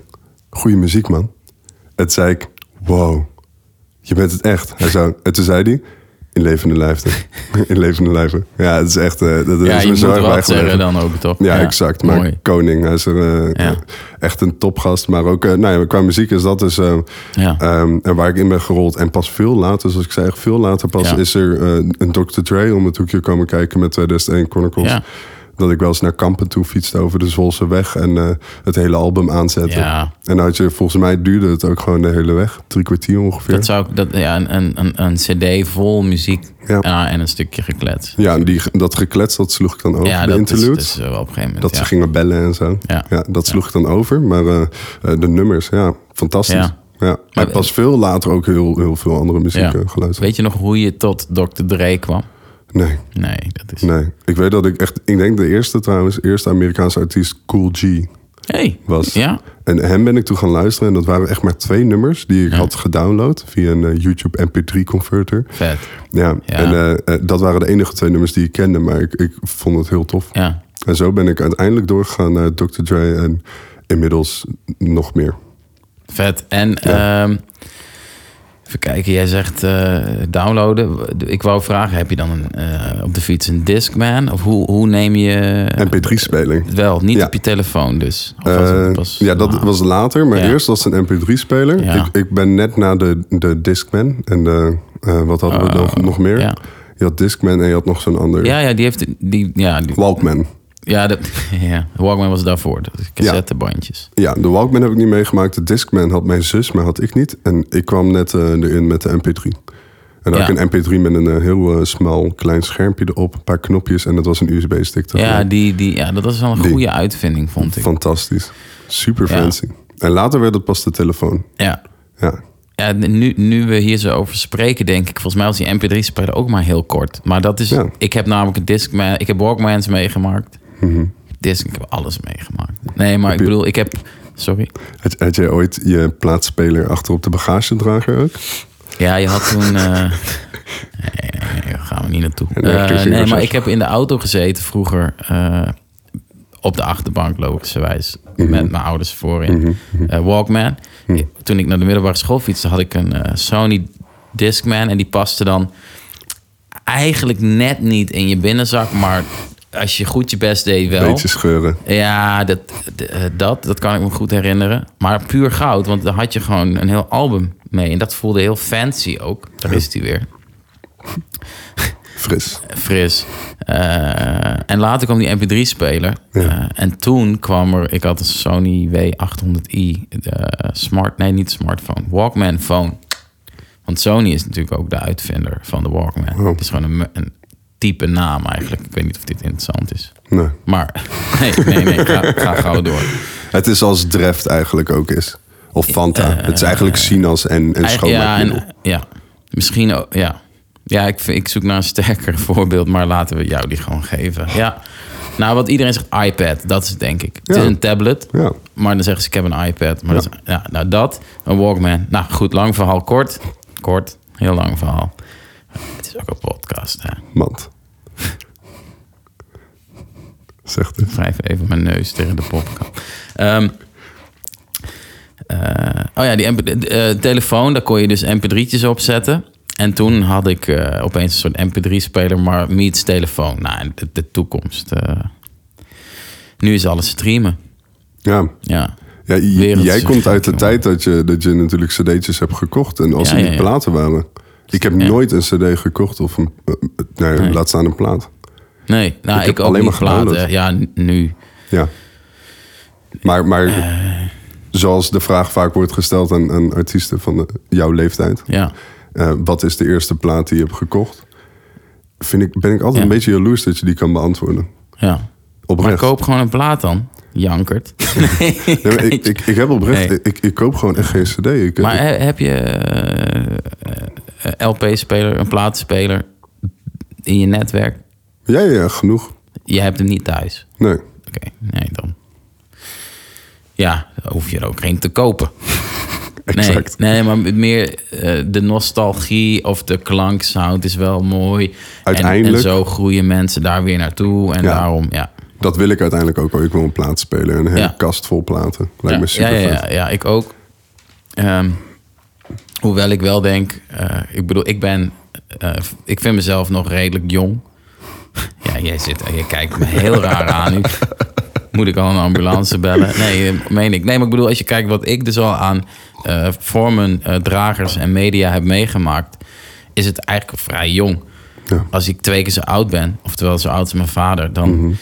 S2: Goeie muziek, man. En toen zei ik, wow, je bent het echt. Hij zou, en toen zei hij, in levende lijfde. in levende lijven. Ja, het is echt... eh, dat
S1: Ja,
S2: is
S1: je
S2: me
S1: moet
S2: zo erg
S1: er wat
S2: bijgebleven.
S1: zeggen dan ook, toch?
S2: Ja, exact. Maar
S1: Mooi.
S2: koning. Hij is er, eh,
S1: Ja.
S2: echt een topgast. Maar ook eh, nou ja, qua muziek is dat dus... eh,
S1: Ja.
S2: ehm, en waar ik in ben gerold. En pas veel later, zoals ik zei, echt veel later pas...
S1: Ja.
S2: is er eh, een Dr. Dre om het hoekje komen kijken met 2001 Chronicles.
S1: Ja.
S2: Dat ik wel eens naar Kampen toe fietste over de Zwolse weg. En eh, het hele album aanzette.
S1: Ja.
S2: En had je, volgens mij duurde het ook gewoon de hele weg. Drie kwartier ongeveer.
S1: Dat zou ik- dat, ja, een, een, een, een cd vol muziek
S2: Ja.
S1: ja, en een stukje geklets.
S2: Ja, die, dat geklets, dat sloeg ik dan over.
S1: Ja,
S2: de
S1: dat is, dus-
S2: interludes.
S1: dat is eh, wel op een gegeven moment.
S2: Dat
S1: ja.
S2: ze gingen bellen en zo.
S1: Ja.
S2: Ja. dat sloeg ik dan over. Maar eh, eh, de nummers, ja, fantastisch.
S1: Ja.
S2: Ja.
S1: Maar-
S2: Maar pas veel later ook heel, heel veel andere muziek
S1: Ja.
S2: eh, geluisterd.
S1: Weet je nog hoe je tot Dr. Dre kwam?
S2: Nee,
S1: Nee, dat is...
S2: nee. Ik weet dat ik echt... Ik denk de eerste trouwens, eerste Amerikaanse artiest Cool G
S1: Hey,
S2: was.
S1: ja?
S2: En hem ben ik toen gaan luisteren. En dat waren echt maar twee nummers die ik
S1: Ja.
S2: had gedownload. Via een eh, YouTube MP3 converter.
S1: Vet.
S2: Ja,
S1: Ja.
S2: en eh, eh, dat waren de enige twee nummers die ik kende. Maar ik, ik vond het heel tof.
S1: Ja.
S2: En zo ben ik uiteindelijk doorgegaan naar Dr. Dre. En inmiddels nog meer.
S1: Vet. En ehm, even kijken, jij zegt eh, downloaden. Ik wou vragen, heb je dan een, eh, op de fiets een Discman? Of hoe, hoe neem je...
S2: MP3-speling.
S1: Wel, niet
S2: Ja.
S1: op je telefoon dus. Of was het
S2: Eh,
S1: pas-
S2: ja, dat
S1: Ah.
S2: was later, maar
S1: Ja.
S2: eerst was het een MP3-speler.
S1: Ja.
S2: Ik, ik ben net na de, de Discman en de, eh, wat hadden we nog, nog meer?
S1: Ah, ja.
S2: Je had Discman en je had nog zo'n ander.
S1: Ja, ja, die heeft... Die, ja, die,
S2: Walkman.
S1: ja, dat, ja, Walkman was daarvoor. de Cassettebandjes.
S2: Ja, de Walkman heb ik niet meegemaakt. De Discman had mijn zus, maar had ik niet. En ik kwam net eh, erin met de MP3. En dan
S1: Ja.
S2: had ik een MP3 met een eh, heel eh, smal klein schermpje erop, een paar knopjes en dat was een USB-stick.
S1: Ja, die, die, ja, dat was wel een
S2: Die.
S1: goede uitvinding, vond ik.
S2: Fantastisch. Super
S1: Ja.
S2: fancy. En later werd het pas de telefoon.
S1: Ja.
S2: Ja.
S1: Ja, nu, nu we hier zo over spreken, denk ik, volgens mij was die MP3-speler ook maar heel kort. Maar dat is,
S2: Ja.
S1: ik heb namelijk een Discman, ik heb Walkmans meegemaakt. Disc, ik heb alles meegemaakt. Nee, maar ik
S2: Mhm. je-
S1: bedoel, ik heb, sorry.
S2: Had, had jij ooit je plaatsspeler achter op de bagagedrager ook?
S1: Ja, je had toen, eh, nee, nee, nee, daar gaan we niet naartoe.
S2: Een elektrische
S1: Eh, nee, maar
S2: proces.
S1: ik heb in de auto gezeten vroeger, eh, op de achterbank logischerwijs,
S2: Mhm.
S1: met mijn ouders voorin. Eh, Walkman. Toen ik naar de middelbare school fietste, had ik een eh, Sony Discman en die paste dan... eigenlijk net niet in je binnenzak, maar als je goed je best deed wel.
S2: Beetje scheuren.
S1: Ja, dat, d- eh, dat, dat kan ik me goed herinneren. Maar puur goud, want daar had je gewoon een heel album mee. En dat voelde heel fancy ook. Daar is hij weer.
S2: Fris.
S1: Fris. Eh, en later kwam die MP3-speler. Eh, en toen kwam er... Ik had een Sony W800i. eh, smart, nee, niet smartphone. Walkman phone. Want Sony is natuurlijk ook de uitvinder van de Walkman.
S2: Oh.
S1: Het is gewoon een, een type naam eigenlijk. Ik weet niet of dit interessant is.
S2: Nee.
S1: Maar nee, nee, nee. Ga, ga gauw door.
S2: Het is als Dreft eigenlijk ook is. Of Fanta. het is eigenlijk sinaas en, en
S1: Eigen- Eh, ja,
S2: schoonmaakmiddel.
S1: en, ja, misschien ook. Ja, ja ik, vind- ik zoek naar een sterker voorbeeld, maar laten we jou die gewoon geven. Ja. Nou, wat iedereen zegt, iPad, dat is het denk ik. Het
S2: Ja.
S1: is een tablet,
S2: Ja.
S1: maar dan zeggen ze, ik heb een iPad. Maar Dat is- ja, nou, dat, een Walkman. Nou, goed, lang verhaal, kort. Kort, heel lang verhaal. Het is ook een podcast, hè.
S2: Mand. Zegt het.
S1: wrijf even mijn neus tegen de popkap. Ehm, eh, oh ja, die MP eh, telefoon, daar kon je dus mp3'tjes op zetten. En toen had ik eh, opeens een soort mp3-speler, maar meets telefoon. Nou, en de, de toekomst. eh. nu is alles streamen.
S2: Ja.
S1: Ja.
S2: ja j-
S1: Wereld
S2: jij
S1: is
S2: komt uit de
S1: gek,
S2: tijd dat je, dat je natuurlijk cd'tjes hebt gekocht. En als
S1: Ja,
S2: er niet
S1: ja, ja.
S2: platen waren. Ik heb
S1: Ja.
S2: nooit een cd gekocht of een... eh, eh, nee,
S1: Nee.
S2: laat staan een plaat.
S1: Nee, nou, ik,
S2: heb
S1: ook
S2: alleen
S1: niet
S2: maar gedownload.
S1: platen. Ja, n- nu.
S2: Ja. Maar, maar
S1: Eh.
S2: zoals de vraag vaak wordt gesteld aan, aan artiesten van eh, jouw leeftijd.
S1: Ja.
S2: Eh, wat is de eerste plaat die je hebt gekocht? Vind ik, ben ik altijd
S1: Ja.
S2: een beetje jaloers dat je die kan beantwoorden.
S1: ja. Maar
S2: Oprecht.
S1: koop gewoon een plaat dan, jankert. Nee,
S2: Nee, maar ik, ik, ik heb oprecht,
S1: Nee.
S2: ik, ik koop gewoon echt geen cd. Ik,
S1: Maar
S2: ik-
S1: he- heb je eh, eh, LP-speler, een plaatspeler in je netwerk?
S2: ja, ja, ja, genoeg.
S1: Je hebt hem niet thuis.
S2: Nee.
S1: Oké, nee dan. Ja, dan hoef je er ook geen te kopen. Nee,
S2: exact.
S1: nee, maar meer eh, de nostalgie of de klanksound is wel mooi. En- En,
S2: Uiteindelijk-
S1: zo groeien mensen daar weer naartoe. En
S2: Ja.
S1: daarom, ja.
S2: Dat wil ik uiteindelijk ook wel. Ik wil een plaat spelen. Een hele
S1: Ja.
S2: kast vol platen. Lijkt me
S1: ja,
S2: super
S1: ja, ja, ja, ja, ik ook. Ehm, hoewel ik wel denk, eh, ik bedoel, ik ben, eh, ik vind mezelf nog redelijk jong. ja, jij zit, je kijkt me heel raar aan nu. Moet ik al een ambulance bellen? Nee, eh, meen ik. Nee, maar ik bedoel, als je kijkt wat ik dus al aan eh, vormen, eh, dragers en media heb meegemaakt, is het eigenlijk vrij jong.
S2: Ja.
S1: Als ik twee keer zo oud ben, oftewel zo oud als mijn vader, dan
S2: Mhm.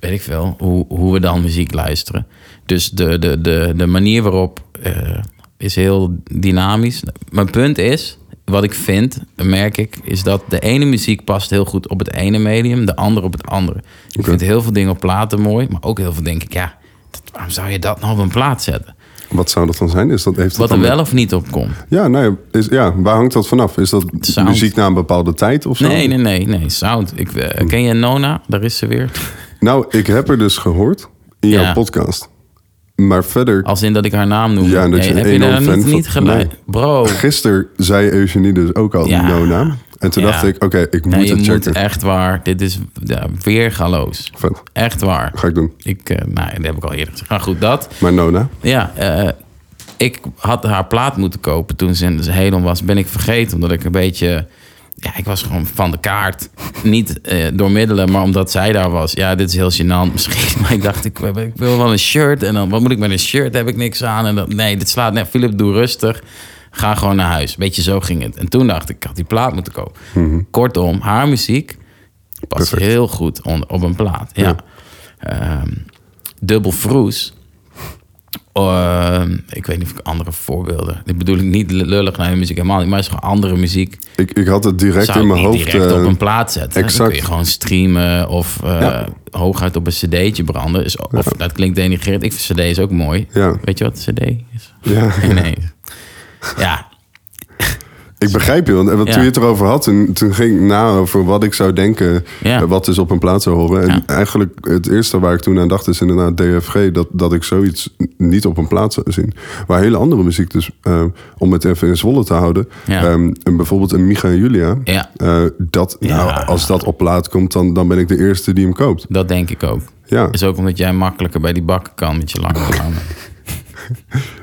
S1: weet ik veel hoe, hoe we dan muziek luisteren. Dus de, de, de, de manier waarop eh, is heel dynamisch. Mijn punt is, wat ik vind, merk ik, is dat de ene muziek past heel goed op het ene medium, de andere op het andere. Ik
S2: Oké.
S1: vind heel veel dingen op platen mooi, maar ook heel veel denk ik, ja, dat- waarom zou je dat nou op een plaat zetten?
S2: Wat zou dat dan zijn? Is dat, heeft dat
S1: Wat er
S2: dan-
S1: wel of niet op komt.
S2: Ja, nee, is, ja, waar hangt dat vanaf? Is dat
S1: Sound.
S2: muziek na een bepaalde tijd of zo?
S1: Nee, nee, nee, nee, sound. Ik, eh, ken je Nona? Daar is ze weer.
S2: Nou, ik heb er dus gehoord in
S1: Ja. Oh.
S2: jouw podcast. Maar verder,
S1: Als in dat ik haar naam noem.
S2: Ja, en dat
S1: Nee,
S2: je
S1: heb
S2: een
S1: je daar
S2: enorm fan
S1: niet,
S2: van-
S1: niet gelijk?
S2: Nee.
S1: Bro.
S2: gisteren zei Eugenie dus ook al
S1: Ja.
S2: Nona. En toen
S1: Ja.
S2: dacht ik, oké, ik moet
S1: Nee, je
S2: het
S1: moet
S2: checken.
S1: echt waar. Dit is ja, weer galoos.
S2: Vet.
S1: Echt waar.
S2: Ga ik doen.
S1: Ik, eh, nou, dat heb ik al eerder gezegd. Maar goed, dat.
S2: Maar Nona,
S1: Ja, eh, ik had haar plaat moeten kopen toen ze in Helon was. Ben ik vergeten, omdat ik een beetje... Ja, ik was gewoon van de kaart. Niet eh, door middelen, maar omdat zij daar was. Ja, dit is heel gênant misschien. Maar ik dacht, ik, ik wil wel een shirt. En dan, wat moet ik met een shirt? Daar heb ik niks aan. En dan, nee, dit slaat... Nee, Philip, doe rustig. Ga gewoon naar huis. Beetje zo ging het. En toen dacht ik, ik had die plaat moeten kopen. Kortom, haar muziek past
S2: Perfect.
S1: heel goed on- op een plaat. Ja. Ehm, dubbel vroes. Ehm, ik weet niet of ik andere voorbeelden. Dit bedoel ik niet lullig naar de muziek helemaal niet, maar het is gewoon andere muziek.
S2: ik, ik had het direct
S1: Zou
S2: in
S1: ik
S2: mijn
S1: niet
S2: hoofd.
S1: direct
S2: eh,
S1: op een plaat zetten. Dan
S2: exact.
S1: kun je gewoon streamen of eh,
S2: Ja.
S1: hooguit op een cd'tje branden. Is, of dat klinkt denigrerend. Ik vind cd is ook mooi.
S2: Ja.
S1: Weet je wat cd is?
S2: Ja.
S1: nee. Ja.
S2: Ik begrijp je, want eh, wat-
S1: Ja.
S2: toen je het erover had, toen, toen ging ik na over wat ik zou denken,
S1: Ja.
S2: eh, wat dus op een plaat zou horen. En
S1: Ja.
S2: eigenlijk het eerste waar ik toen aan dacht is inderdaad DFG, dat, dat ik zoiets n- niet op een plaat zou zien. Maar hele andere muziek dus, eh, om het even in Zwolle te houden.
S1: Ja.
S2: Ehm, en bijvoorbeeld een Micha en Julia.
S1: Ja.
S2: Eh, dat,
S1: Ja.
S2: nou, als dat op plaat komt, dan, dan ben ik de eerste die hem koopt.
S1: Dat denk ik ook.
S2: Ja,
S1: Is ook omdat jij makkelijker bij die bakken kan met je lange armen.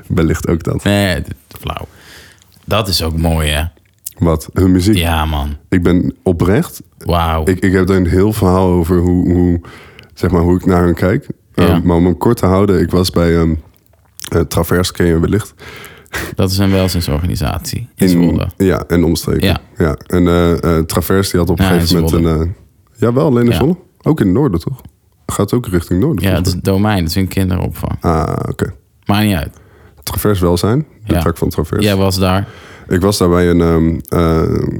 S2: wellicht ook dat.
S1: Nee, dit is flauw. Dat is ook mooi, hè?
S2: Wat, hun muziek.
S1: Ja, man.
S2: Ik ben oprecht
S1: Wauw.
S2: Ik, ik heb daar een heel verhaal over hoe, hoe, zeg maar, hoe ik naar hun kijk.
S1: Ja.
S2: Um, maar om hem kort te houden, ik was bij ehm eh, Travers, ken je wellicht.
S1: Dat is een welzijnsorganisatie in Zwolle.
S2: Ja, en omstreken.
S1: Ja.
S2: En eh, eh, Travers die had op een
S1: Ja, in
S2: gegeven moment een...
S1: Zwolle.
S2: eh, jawel, alleen in
S1: Ja.
S2: Zwolle? Ook in het noorden, toch? Gaat ook richting noorden.
S1: Ja, het
S2: volgens
S1: is het domein. Het is een kinderopvang.
S2: mij. Ah, oké.
S1: Maakt niet uit.
S2: Travers welzijn, de
S1: Ja.
S2: tak van Travers.
S1: Jij was daar.
S2: Ik was daar bij een ehm, eh,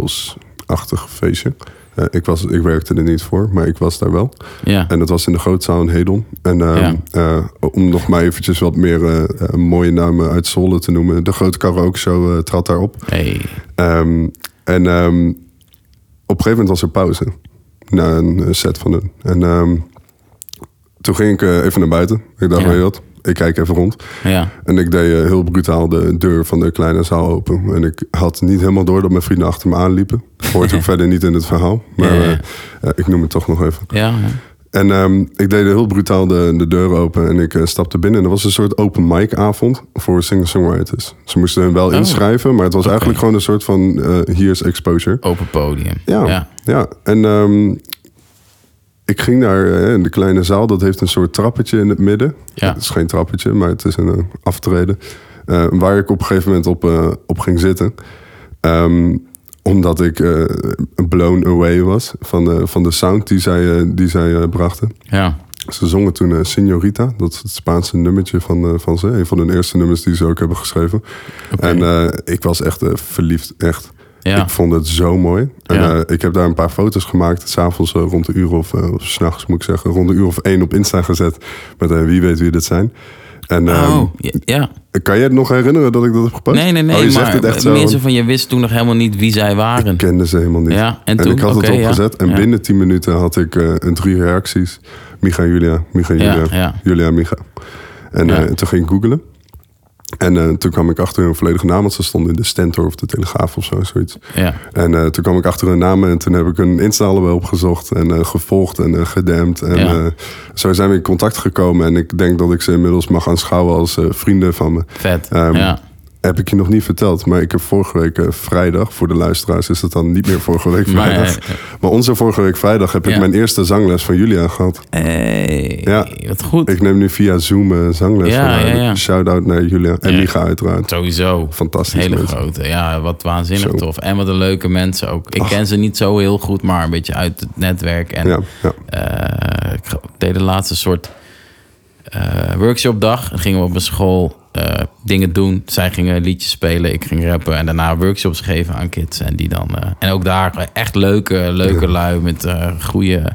S2: personeelsachtig feestje. Eh, ik, was, ik werkte er niet voor, maar ik was daar wel.
S1: Ja.
S2: En dat was in de grootzaal in Hedon. En ehm, eh, om nog maar eventjes wat meer eh, eh, mooie namen uit Zwolle te noemen. De grote karaoke show eh, trad daar op.
S1: Hey.
S2: Ehm, en ehm, op een gegeven moment was er pauze. Na een eh, set van hun. En ehm, toen ging ik eh, even naar buiten. Ik dacht,
S1: Ja.
S2: weet je wat? Ik kijk even rond.
S1: Ja.
S2: En ik deed eh, heel brutaal de deur van de kleine zaal open. En ik had niet helemaal door dat mijn vrienden achter me aanliepen. Hoort ook verder niet in het verhaal. Maar
S1: Ja, ja, ja.
S2: eh, eh, ik noem het toch nog even.
S1: Ja. ja.
S2: En ehm, ik deed heel brutaal de, de deur open en ik eh, stapte binnen. En er was een soort open mic avond voor singer-songwriters. Ze moesten hun wel
S1: Oh.
S2: inschrijven, maar het was eigenlijk gewoon een soort van eh here's exposure.
S1: Open podium.
S2: Ja, ja.
S1: Ja.
S2: en ehm, ik ging daar eh, in de kleine zaal. Dat heeft een soort trappetje in het midden.
S1: Ja.
S2: Het is geen trappetje, maar het is een eh, aftreden. eh, waar ik op een gegeven moment op, eh, op ging zitten. Ehm, omdat ik eh, blown away was van de, van de sound die zij, eh, die zij eh, brachten.
S1: Ja.
S2: Ze zongen toen eh, Señorita. Dat is het Spaanse nummertje van, eh, van ze. Een van hun eerste nummers die ze ook hebben geschreven. En eh, ik was echt eh, verliefd, echt.
S1: Ja.
S2: Ik vond het zo mooi. En
S1: Ja.
S2: eh, ik heb daar een paar foto's gemaakt. S'avonds avonds eh, rond de uur of, eh, of s'nachts moet ik zeggen. Rond de uur of één op Insta gezet. Met eh, wie weet wie dit zijn. En ehm,
S1: oh. Ja. ja.
S2: kan jij het nog herinneren dat ik dat heb gepost?
S1: Nee, nee, nee.
S2: Oh, je
S1: maar
S2: zegt het echt zo.
S1: mensen van je wist toen nog helemaal niet wie zij waren.
S2: Ik kende ze helemaal niet.
S1: Ja, en toen?
S2: ik had
S1: Oké,
S2: het
S1: ja.
S2: opgezet. En
S1: Ja.
S2: binnen 10 minuten had ik eh, een drie reacties. Micha, Julia, Micha,
S1: Ja,
S2: Julia,
S1: ja.
S2: Julia, Micha. En
S1: Ja.
S2: eh, toen ging ik googlen. En eh, toen kwam ik achter hun volledige naam, want ze stonden in de Stentor of de Telegraaf of zo, zoiets.
S1: Ja.
S2: En eh, toen kwam ik achter hun namen en toen heb ik hun Insta wel opgezocht en eh, gevolgd en eh, gedempt. En
S1: Ja.
S2: eh, zo zijn we in contact gekomen en ik denk dat ik ze inmiddels mag aanschouwen als eh, vrienden van me.
S1: Vet.
S2: Ehm,
S1: ja.
S2: Heb ik je nog niet verteld, maar ik heb vorige week eh, vrijdag, voor de luisteraars is dat dan niet meer vorige week
S1: Maar,
S2: vrijdag.
S1: eh,
S2: Maar onze vorige week vrijdag heb ik
S1: Ja.
S2: mijn eerste zangles van Julia gehad.
S1: Hey,
S2: Ja.
S1: wat goed.
S2: Ik neem nu via Zoom eh, zangles
S1: Ja,
S2: van haar.
S1: ja, ja.
S2: Shout-out naar Julia en
S1: Ja.
S2: Micha uiteraard.
S1: Sowieso.
S2: Fantastisch
S1: Hele
S2: mensen.
S1: grote. Ja, wat waanzinnig
S2: Zo.
S1: tof. En wat een leuke mensen ook. Ik ken ze niet zo heel goed, maar een beetje uit het netwerk. En
S2: Ja, ja.
S1: eh, ik deed de laatste soort eh, workshopdag. Dan gingen we op een school eh, dingen doen. Zij gingen liedjes spelen, ik ging rappen. En daarna workshops geven aan kids. En, die dan, eh, en ook daar echt leuke, leuke lui met eh goede,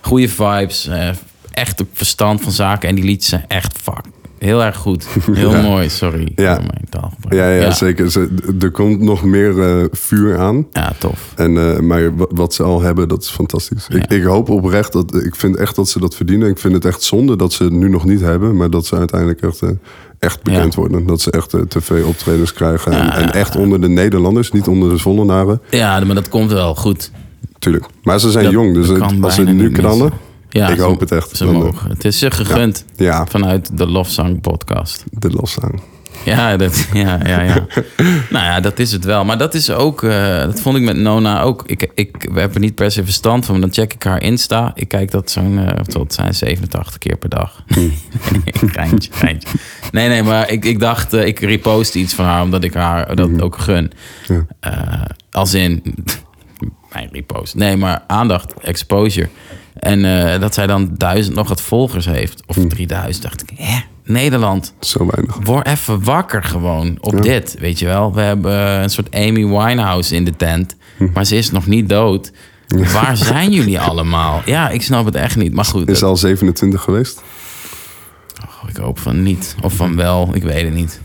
S1: goede vibes. eh, echt op verstand van zaken. En die liedjes zijn echt fuck. Heel erg goed. Heel
S2: Ja.
S1: mooi, sorry.
S2: Ja.
S1: voor mijn taalgebruik.
S2: Ja, ja, zeker. Ze- d- er komt nog meer eh, vuur aan.
S1: Ja, tof.
S2: En, eh, maar wa- wat ze al hebben, dat is fantastisch. Ik, ik hoop oprecht dat. Ik vind echt dat ze dat verdienen. Ik vind het echt zonde dat ze het nu nog niet hebben. Maar dat ze uiteindelijk echt, eh, echt bekend
S1: Ja.
S2: worden. Dat ze echt eh, tv-optredens krijgen. en,
S1: Ja,
S2: en
S1: ja,
S2: echt onder de Nederlanders, niet onder de Zonlenaren.
S1: Ja, maar dat komt wel goed.
S2: Tuurlijk. Maar ze zijn
S1: Dat-
S2: jong, dus
S1: dat
S2: het-
S1: kan
S2: als ze
S1: bijna
S2: nu
S1: niet missen.
S2: knallen.
S1: Ja,
S2: ik
S1: ze-
S2: hoop het echt.
S1: Ze
S2: Dan, eh,
S1: mogen. Het is ze gegund.
S2: Ja,
S1: Vanuit de Lofzang podcast.
S2: de eh, last aan.
S1: Ja, dat, ja, ja, ja. nou ja, dat is het wel. Maar dat is ook, eh, dat vond ik met Nona ook. Ik, ik we hebben er niet per se verstand van, maar dan check ik haar Insta. Ik kijk dat zo'n, eh, wat zal het zijn 87 keer per dag. Geintje, geintje. Nee, nee, maar ik, ik dacht, eh, ik repost iets van haar, omdat ik haar dat ook gun.
S2: Ja.
S1: Eh, als in, mijn repost. Nee, maar aandacht, exposure. En eh, dat zij dan duizend nog wat volgers heeft. Of 3000, dacht ik, hè, Nederland.
S2: Zo weinig.
S1: Word even wakker gewoon op dit, weet je wel. We hebben eh, een soort Amy Winehouse in de tent,
S2: Hm.
S1: maar ze is nog niet dood. Waar zijn jullie allemaal? Ja, ik snap het echt niet. Maar goed,
S2: Is ze
S1: dat-
S2: al 27 geweest?
S1: oh, ik hoop van niet. Of van wel, ik weet het niet.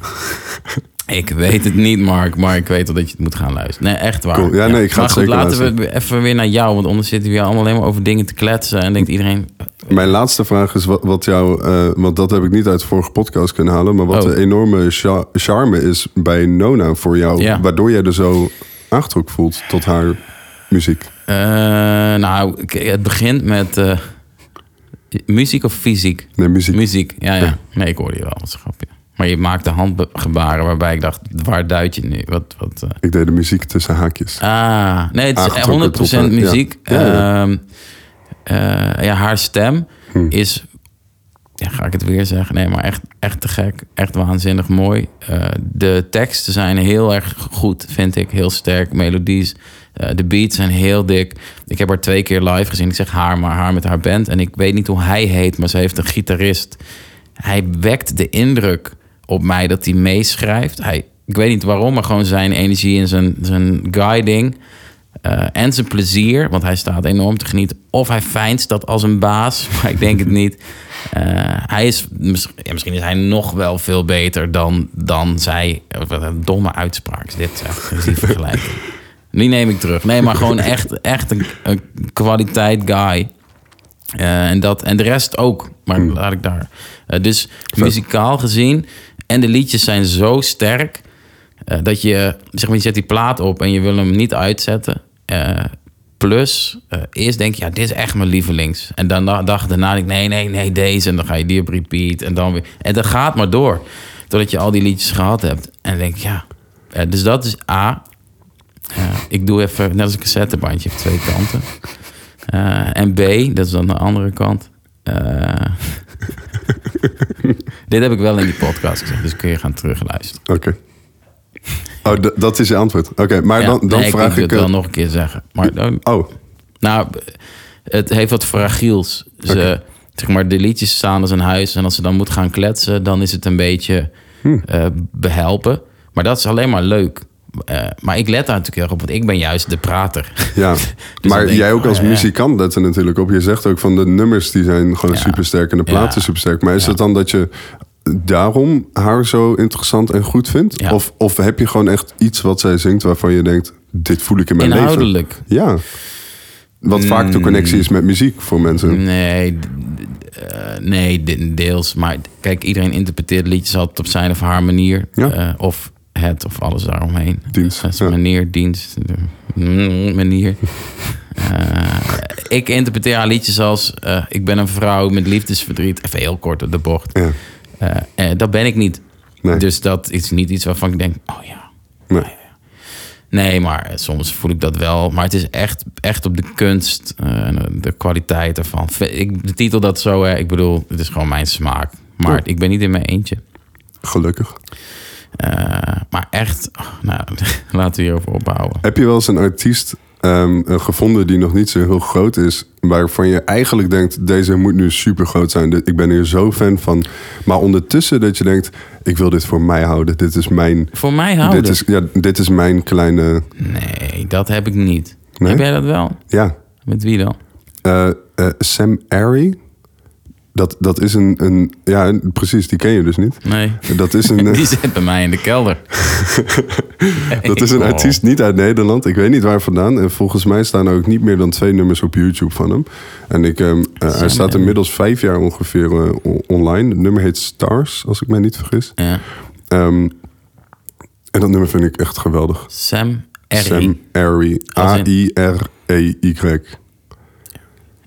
S1: Ik weet het niet, Mark, maar ik weet wel dat je het moet gaan luisteren. Nee, echt waar.
S2: Cool. Ja, nee, ik ga
S1: maar
S2: het
S1: goed,
S2: zeker
S1: laten we even weer naar jou, want anders zitten we hier allemaal alleen maar over dingen te kletsen. En
S2: Hm.
S1: denkt iedereen,
S2: Mijn laatste vraag is wat, wat jou, eh, want dat heb ik niet uit de vorige podcast kunnen halen, maar wat
S1: Oh.
S2: de enorme cha- charme is bij Nona voor jou,
S1: Ja.
S2: waardoor jij er zo aangetrokken voelt tot haar muziek.
S1: eh, nou, ik- het begint met eh, muziek of fysiek?
S2: Nee, muziek.
S1: Muziek, ja, ja. Nee, ik hoorde je wel. Dat is een grapje. Maar je maakte handgebaren waarbij ik dacht, waar duid je nu? Wat, wat, eh.
S2: Ik deed de muziek tussen haakjes.
S1: Ah, nee, het is
S2: Aangetrokken
S1: 100%
S2: tot haar, ja.
S1: muziek.
S2: Ja, ja. Hmm.
S1: Ehm, eh, ja, haar stem is, ja, ga ik het weer zeggen, nee, maar echt, echt te gek. Echt waanzinnig mooi. Eh, de teksten zijn heel erg goed, vind ik. Heel sterk, melodies. Eh, de beats zijn heel dik. Ik heb haar twee keer live gezien. Ik zeg haar, maar haar met haar band. En ik weet niet hoe hij heet, maar ze heeft een gitarist. Hij wekt de indruk op mij dat hij meeschrijft. Hij, ik weet niet waarom, maar gewoon zijn energie en zijn, zijn guiding. Eh, en zijn plezier, want hij staat enorm te genieten. Of hij fijnst dat als een baas, maar ik denk het niet. Eh, hij is, mis- ja, misschien is hij nog wel veel beter dan, dan zij. Wat een domme uitspraak is dit, zeg, als die vergelijking. Die neem ik terug. Nee, maar gewoon echt, echt een, een kwaliteit guy. Eh, en, dat, en de rest ook, maar laat ik daar. Eh, dus muzikaal gezien, en de liedjes zijn zo sterk... Eh, dat je, zeg maar, je zet die plaat op en je wil hem niet uitzetten. Eh, plus, eh, eerst denk je, ja, dit is echt mijn lievelings. En dan da- dag daarna denk ik, nee, nee, nee, deze. En dan ga je die op repeat en dan weer. En dat gaat maar door. Totdat je al die liedjes gehad hebt. En dan denk ik, ja. Eh, dus dat is A. Eh, ik doe even, net als een cassettebandje, heeft twee kanten. Eh, en B, dat is dan de andere kant. Eh, dit heb ik wel in die podcast gezegd, dus kun je gaan terugluisteren.
S2: Oké. Oh, d- dat is je antwoord. Oké, maar
S1: Ja,
S2: dan, dan
S1: nee,
S2: vraag
S1: ik. wil
S2: ik.
S1: het
S2: eh,
S1: wel nog een keer zeggen. Maar,
S2: Oh,
S1: nou, het heeft wat fragiels. Ze,
S2: Oké.
S1: zeg maar, de liedjes staan als een huis. En als ze dan moet gaan kletsen, dan is het een beetje
S2: Hm.
S1: eh, behelpen. Maar dat is alleen maar leuk. Eh, maar ik let daar natuurlijk heel erg op, want ik ben juist de prater. Dus
S2: ja.
S1: dan
S2: maar
S1: denk ik,
S2: jij ook
S1: oh,
S2: als
S1: ja.
S2: muzikant let er natuurlijk op. Je zegt ook van de nummers die zijn gewoon
S1: Ja.
S2: supersterk en de platen
S1: Ja.
S2: supersterk. Maar is het dan dat je daarom haar zo interessant en goed vindt?
S1: Ja.
S2: Of, of heb je gewoon echt iets wat zij zingt waarvan je denkt, dit voel ik in mijn leven?
S1: Inhoudelijk. Mm.
S2: Ja. Wat vaak de connectie is met muziek voor mensen.
S1: Nee, d- d- eh, nee, de- deels. Maar kijk, iedereen interpreteert liedjes altijd op zijn of haar manier.
S2: Ja.
S1: Eh, of het of alles daaromheen.
S2: Dienst,
S1: Dat is
S2: ja.
S1: Manier, dienst, mm, manier. Eh, ik interpreteer haar liedjes als... eh, ik ben een vrouw met liefdesverdriet. Even heel kort op de bocht.
S2: Ja.
S1: Eh, eh, dat ben ik niet.
S2: Nee.
S1: Dus dat is niet iets waarvan ik denk... Oh ja,
S2: Nee.
S1: Nee, maar soms voel ik dat wel. Maar het is echt, echt op de kunst eh, en de kwaliteit ervan. Ve- Ik betitel dat zo, hè. ik bedoel, het is gewoon mijn smaak. Maar
S2: Ja.
S1: ik ben niet in mijn eentje.
S2: Gelukkig.
S1: Eh, maar echt, oh, nou, laten we hierover opbouwen.
S2: Heb je wel eens een artiest ehm, eh, gevonden die nog niet zo heel groot is, waarvan je eigenlijk denkt, deze moet nu super groot zijn. Dit- Ik ben hier zo fan van. Maar ondertussen dat je denkt, ik wil dit voor mij houden. Dit is mijn,
S1: Voor mij houden.
S2: dit is, ja, dit is mijn kleine,
S1: Nee, dat heb ik niet.
S2: Nee?
S1: Heb jij dat wel?
S2: ja.
S1: Met wie dan?
S2: Eh, eh, Sam Airy. Dat, dat is een, een, ja precies, die ken je dus niet.
S1: Nee.
S2: Dat is een, eh,
S1: Die zit bij mij in de kelder.
S2: Dat is een
S1: Oh.
S2: artiest niet uit Nederland. Ik weet niet waar vandaan. En volgens mij staan er ook niet meer dan twee nummers op YouTube van hem. En ik, ehm, eh, hij
S1: Zijn
S2: staat
S1: hem.
S2: inmiddels vijf jaar ongeveer eh, on- online. Het nummer heet Stars, als ik mij niet vergis.
S1: Ja.
S2: Ehm, en dat nummer vind ik echt geweldig.
S1: Sam R.
S2: Sam Airy.
S1: Als in-
S2: A-I-R-E-Y.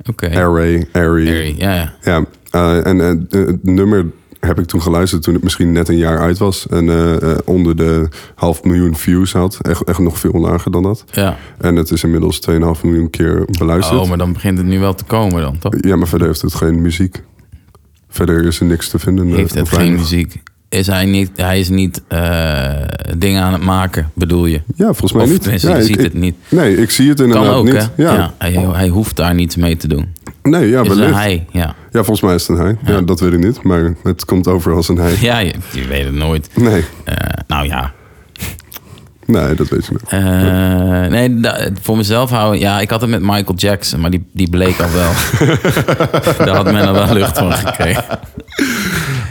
S1: Oké.
S2: Airy. Airy.
S1: Airy, Ja, ja.
S2: Ja, eh, en eh, eh, het nummer heb ik toen geluisterd toen het misschien net een jaar uit was. En eh, eh, onder de half miljoen views had. Echt, echt nog veel lager dan dat.
S1: ja.
S2: En het is inmiddels 2,5 miljoen keer beluisterd.
S1: Oh, maar dan begint het nu wel te komen dan, toch?
S2: Ja, maar verder heeft het geen muziek. Verder is er niks te vinden. eh,
S1: Heeft het
S2: of
S1: geen
S2: weinig.
S1: muziek? Is hij, niet, hij is niet eh, dingen aan het maken, bedoel je?
S2: Ja, volgens mij
S1: Of
S2: niet.
S1: tenminste,
S2: ja,
S1: je
S2: ik-
S1: ziet
S2: ik-
S1: het niet.
S2: Nee, ik zie het
S1: Kan
S2: inderdaad
S1: ook,
S2: niet.
S1: hè?
S2: Ja.
S1: hij, hij hoeft daar niets mee te doen.
S2: Nee, ja,
S1: is een
S2: wellicht.
S1: hij, ja.
S2: Ja, volgens mij is het een hij. Ja. dat weet ik niet. Maar het komt over als een hij.
S1: Ja, je, je weet het nooit.
S2: Nee,
S1: Eh, nou ja.
S2: nee, dat weet je niet.
S1: Eh, nee, da- voor mezelf houden... Ja, ik had het met Michael Jackson, maar die, die bleek al wel. daar had men al wel lucht van gekregen.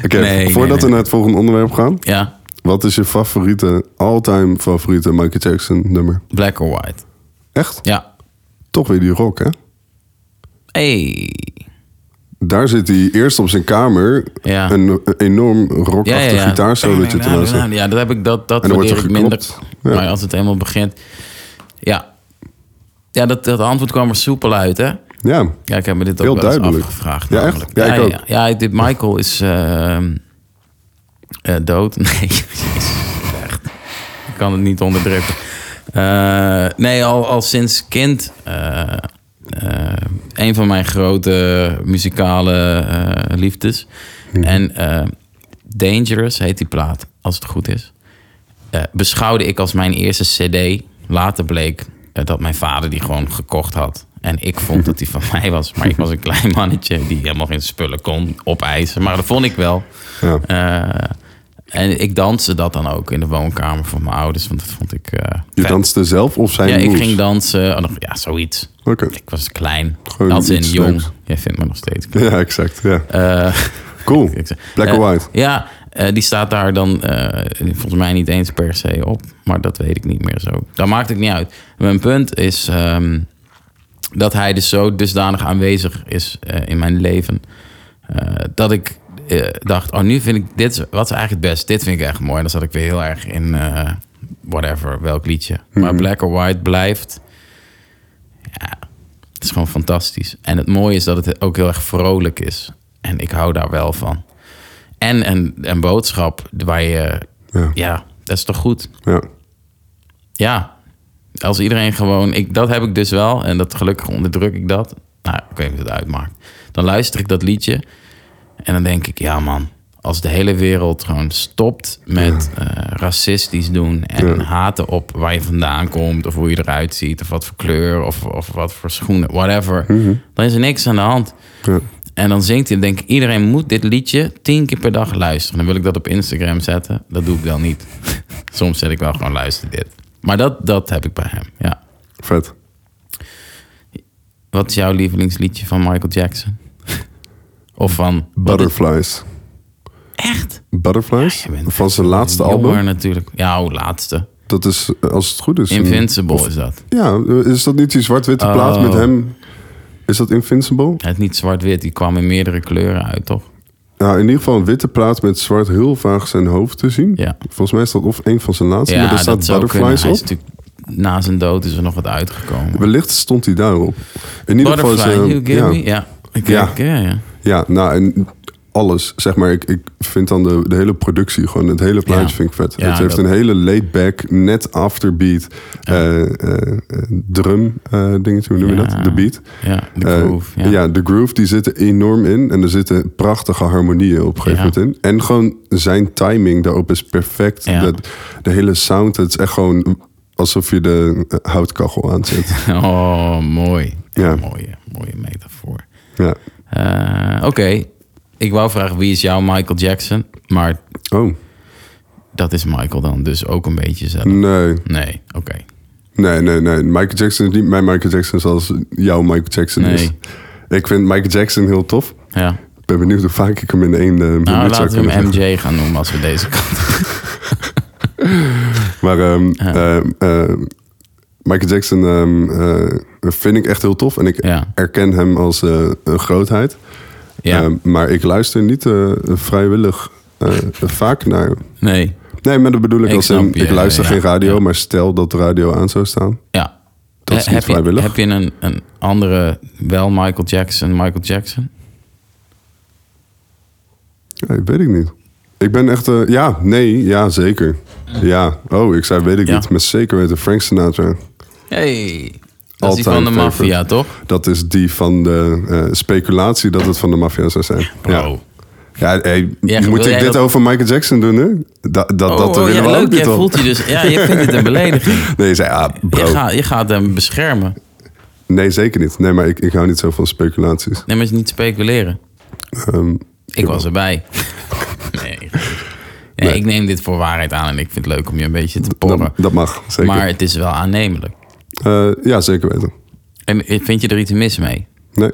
S2: Oké,
S1: nee,
S2: voordat
S1: nee.
S2: we naar het volgende onderwerp gaan.
S1: Ja,
S2: Wat is je favoriete, all-time favoriete Michael Jackson nummer?
S1: black or white.
S2: Echt?
S1: Ja.
S2: Toch weer die rock, hè?
S1: Hey.
S2: Daar zit hij eerst op zijn kamer
S1: Ja.
S2: een, een enorm rockachtig gitaarsolotje te luisteren.
S1: Ja, dat heb ik, dat, dat
S2: En dan wordt
S1: waardeer ik
S2: er
S1: minder.
S2: geklopt. Ja.
S1: Maar als het helemaal begint... Ja, ja dat, dat antwoord kwam er soepel uit, hè?
S2: Ja,
S1: Ja, ik heb me dit ook
S2: Heel
S1: wel eens
S2: duidelijk.
S1: afgevraagd.
S2: Ja, echt?
S1: namelijk.
S2: Ja, ik ook.
S1: ja, ja, dit Michael is ehm, eh, dood. Nee, jezus, echt. Ik kan het niet onderdrukken. Eh, nee, al, al sinds kind... eh, eh, een van mijn grote muzikale eh, liefdes. En eh, Dangerous heet die plaat, als het goed is. Eh, beschouwde ik als mijn eerste CD. Later bleek eh, dat mijn vader die gewoon gekocht had. En ik vond dat die van mij was. Maar ik was een klein mannetje die helemaal geen spullen kon opeisen. Maar dat vond ik wel.
S2: ja.
S1: Eh, en ik danste dat dan ook in de woonkamer van mijn ouders. Want dat vond ik. eh,
S2: Je
S1: vet.
S2: danste zelf of zijn
S1: Ja, ik
S2: moves?
S1: ging dansen. Oh, nog- ja, zoiets.
S2: Oké.
S1: Ik was klein.
S2: Gewoon
S1: Als in
S2: iets
S1: jong.
S2: leuks.
S1: Jij vindt me nog steeds klein.
S2: Ja, exact. Ja.
S1: Eh,
S2: cool.
S1: ik zeg.
S2: Black
S1: Eh,
S2: or white.
S1: Ja, eh, die staat daar dan eh, volgens mij niet eens per se op. Maar dat weet ik niet meer zo. Dat maakt het niet uit. Mijn punt is ehm, dat hij dus zo dusdanig aanwezig is eh, in mijn leven. eh, dat ik eh, dacht, oh nu vind ik dit, is- wat is eigenlijk het best? Dit vind ik echt mooi. En dan zat ik weer heel erg in eh, whatever, welk liedje. Maar Black or White blijft... Ja, het is gewoon fantastisch. En het mooie is dat het ook heel erg vrolijk is. En ik hou daar wel van. En een, een boodschap waar je...
S2: Ja.
S1: Ja, dat is toch goed?
S2: Ja.
S1: Ja. Als iedereen gewoon... Ik, dat heb ik dus wel. En dat gelukkig onderdruk ik dat. Nou, ik weet niet of het uitmaakt. Dan luister ik dat liedje. En dan denk ik, ja man. Als de hele wereld gewoon stopt met eh, racistisch doen. En
S2: Ja.
S1: haten op waar je vandaan komt. Of hoe je eruit ziet. Of wat voor kleur. Of, of wat voor schoenen. Whatever. Dan is er niks aan de hand.
S2: Mhm. Ja.
S1: En dan zingt hij, denk ik, iedereen moet dit liedje tien keer per dag luisteren. Dan wil ik dat op Instagram zetten. Dat doe ik dan niet. Soms zet ik wel gewoon luister dit. Maar dat, dat heb ik bij hem, ja.
S2: Vet.
S1: Wat is jouw lievelingsliedje van Michael Jackson? of van... wat is-
S2: Butterflies.
S1: Echt?
S2: Butterflies?
S1: Ja, je bent-
S2: van zijn laatste
S1: Jonger
S2: album.
S1: natuurlijk. Ja, oh, laatste.
S2: Dat is, eh, als het goed is... een-
S1: Invincible is dat.
S2: Ja, eh, is dat niet die zwart-witte plaat
S1: Oh.
S2: met hem? Is dat Invincible?
S1: Het is niet zwart-wit, die kwam in meerdere kleuren uit, toch?
S2: Nou, in ieder geval een witte plaat met zwart heel vaag zijn hoofd te zien.
S1: Ja.
S2: Volgens mij is dat of een van zijn laatste, maar daar staat
S1: zou kunnen.
S2: Butterflies
S1: Hij
S2: op.
S1: is natuurlijk, na zijn dood is er nog wat uitgekomen.
S2: Wellicht stond hij daarop. In ieder geval is,
S1: Butterfly,
S2: eh,
S1: you give
S2: ja,
S1: me? Ja. Ik
S2: Ja.
S1: denk, ja, ja.
S2: Ja, nou en alles. Zeg maar, ik, ik vind dan de, de hele productie, gewoon het hele plaatje
S1: Ja.
S2: vind ik vet.
S1: Ja,
S2: het heeft
S1: dat-
S2: een hele laid-back, net afterbeat eh, eh, eh, drum eh, dingetje, hoe noem je
S1: Ja.
S2: dat? De beat.
S1: Ja, de
S2: Eh,
S1: groove. ja.
S2: de groove die zit er enorm in. En er zitten prachtige harmonieën op een gegeven
S1: Ja.
S2: moment in. En gewoon zijn timing daarop is perfect.
S1: Ja.
S2: Dat, de hele sound, het is echt gewoon alsof je de eh, houtkachel aanzet.
S1: Oh, mooi.
S2: Ja.
S1: Mooie, mooie metafoor.
S2: ja.
S1: Eh, Oké, ik wou vragen wie is jouw Michael Jackson? Maar
S2: Oh,
S1: dat is Michael dan dus ook een beetje zelf.
S2: nee.
S1: Nee, oké.
S2: Nee, nee, nee. Michael Jackson is niet mijn Michael Jackson zoals jouw Michael Jackson
S1: Nee.
S2: is. Ik vind Michael Jackson heel tof.
S1: Ja.
S2: Ik ben benieuwd hoe vaak ik hem in één eh minuut
S1: Nou,
S2: zou
S1: laten
S2: kunnen
S1: we hem
S2: zeggen.
S1: MJ gaan noemen als we deze kant.
S2: Maar ehm, ehm, ehm, Michael Jackson ehm, eh, vind ik echt heel tof. En ik
S1: Ja.
S2: erken hem als eh, een grootheid.
S1: Ja.
S2: Ehm, maar ik luister niet eh, vrijwillig eh, vaak naar...
S1: nee.
S2: Nee, maar dat bedoel ik,
S1: Ik
S2: als
S1: snap
S2: in,
S1: je,
S2: ik luister
S1: ja,
S2: geen radio.
S1: ja.
S2: Maar stel dat de radio aan zou staan.
S1: Ja.
S2: Dat is
S1: Eh,
S2: niet
S1: heb, je,
S2: vrijwillig.
S1: heb je een, een andere, wel Michael Jackson, Michael Jackson?
S2: Ja, weet ik niet. Ik ben echt... eh, ja, nee, ja, zeker. Ja, oh, ik zei weet ik
S1: Ja.
S2: niet. Maar zeker weten, Frank Sinatra.
S1: Hey, dat is die
S2: All-time
S1: van de
S2: favorite.
S1: maffia, toch?
S2: Dat is die van de eh, speculatie dat het van de maffia zou zijn. Ja.
S1: Bro.
S2: Ja, hey,
S1: Ja, wil
S2: moet ik
S1: jij
S2: dit
S1: dat-
S2: over Michael Jackson doen nu? Dat, dat,
S1: Oh,
S2: dat
S1: oh,
S2: willen
S1: ja,
S2: we ook
S1: leuk.
S2: niet
S1: Jij
S2: op.
S1: voelt je dus... Ja, je vindt het een belediging.
S2: Nee, je zei, ah,
S1: Je,
S2: bro.
S1: gaat- je gaat hem beschermen.
S2: Nee, zeker niet. Nee, maar ik, ik hou niet zo van speculaties.
S1: Nee, maar het is niet speculeren.
S2: Ehm,
S1: Ik was erbij. nee. Nee, Ik neem dit voor waarheid aan en ik vind het leuk om je een beetje te porren.
S2: dat, dat mag, zeker.
S1: maar het is wel aannemelijk.
S2: Eh, ja, zeker weten.
S1: En vind je er iets mis mee?
S2: Nee.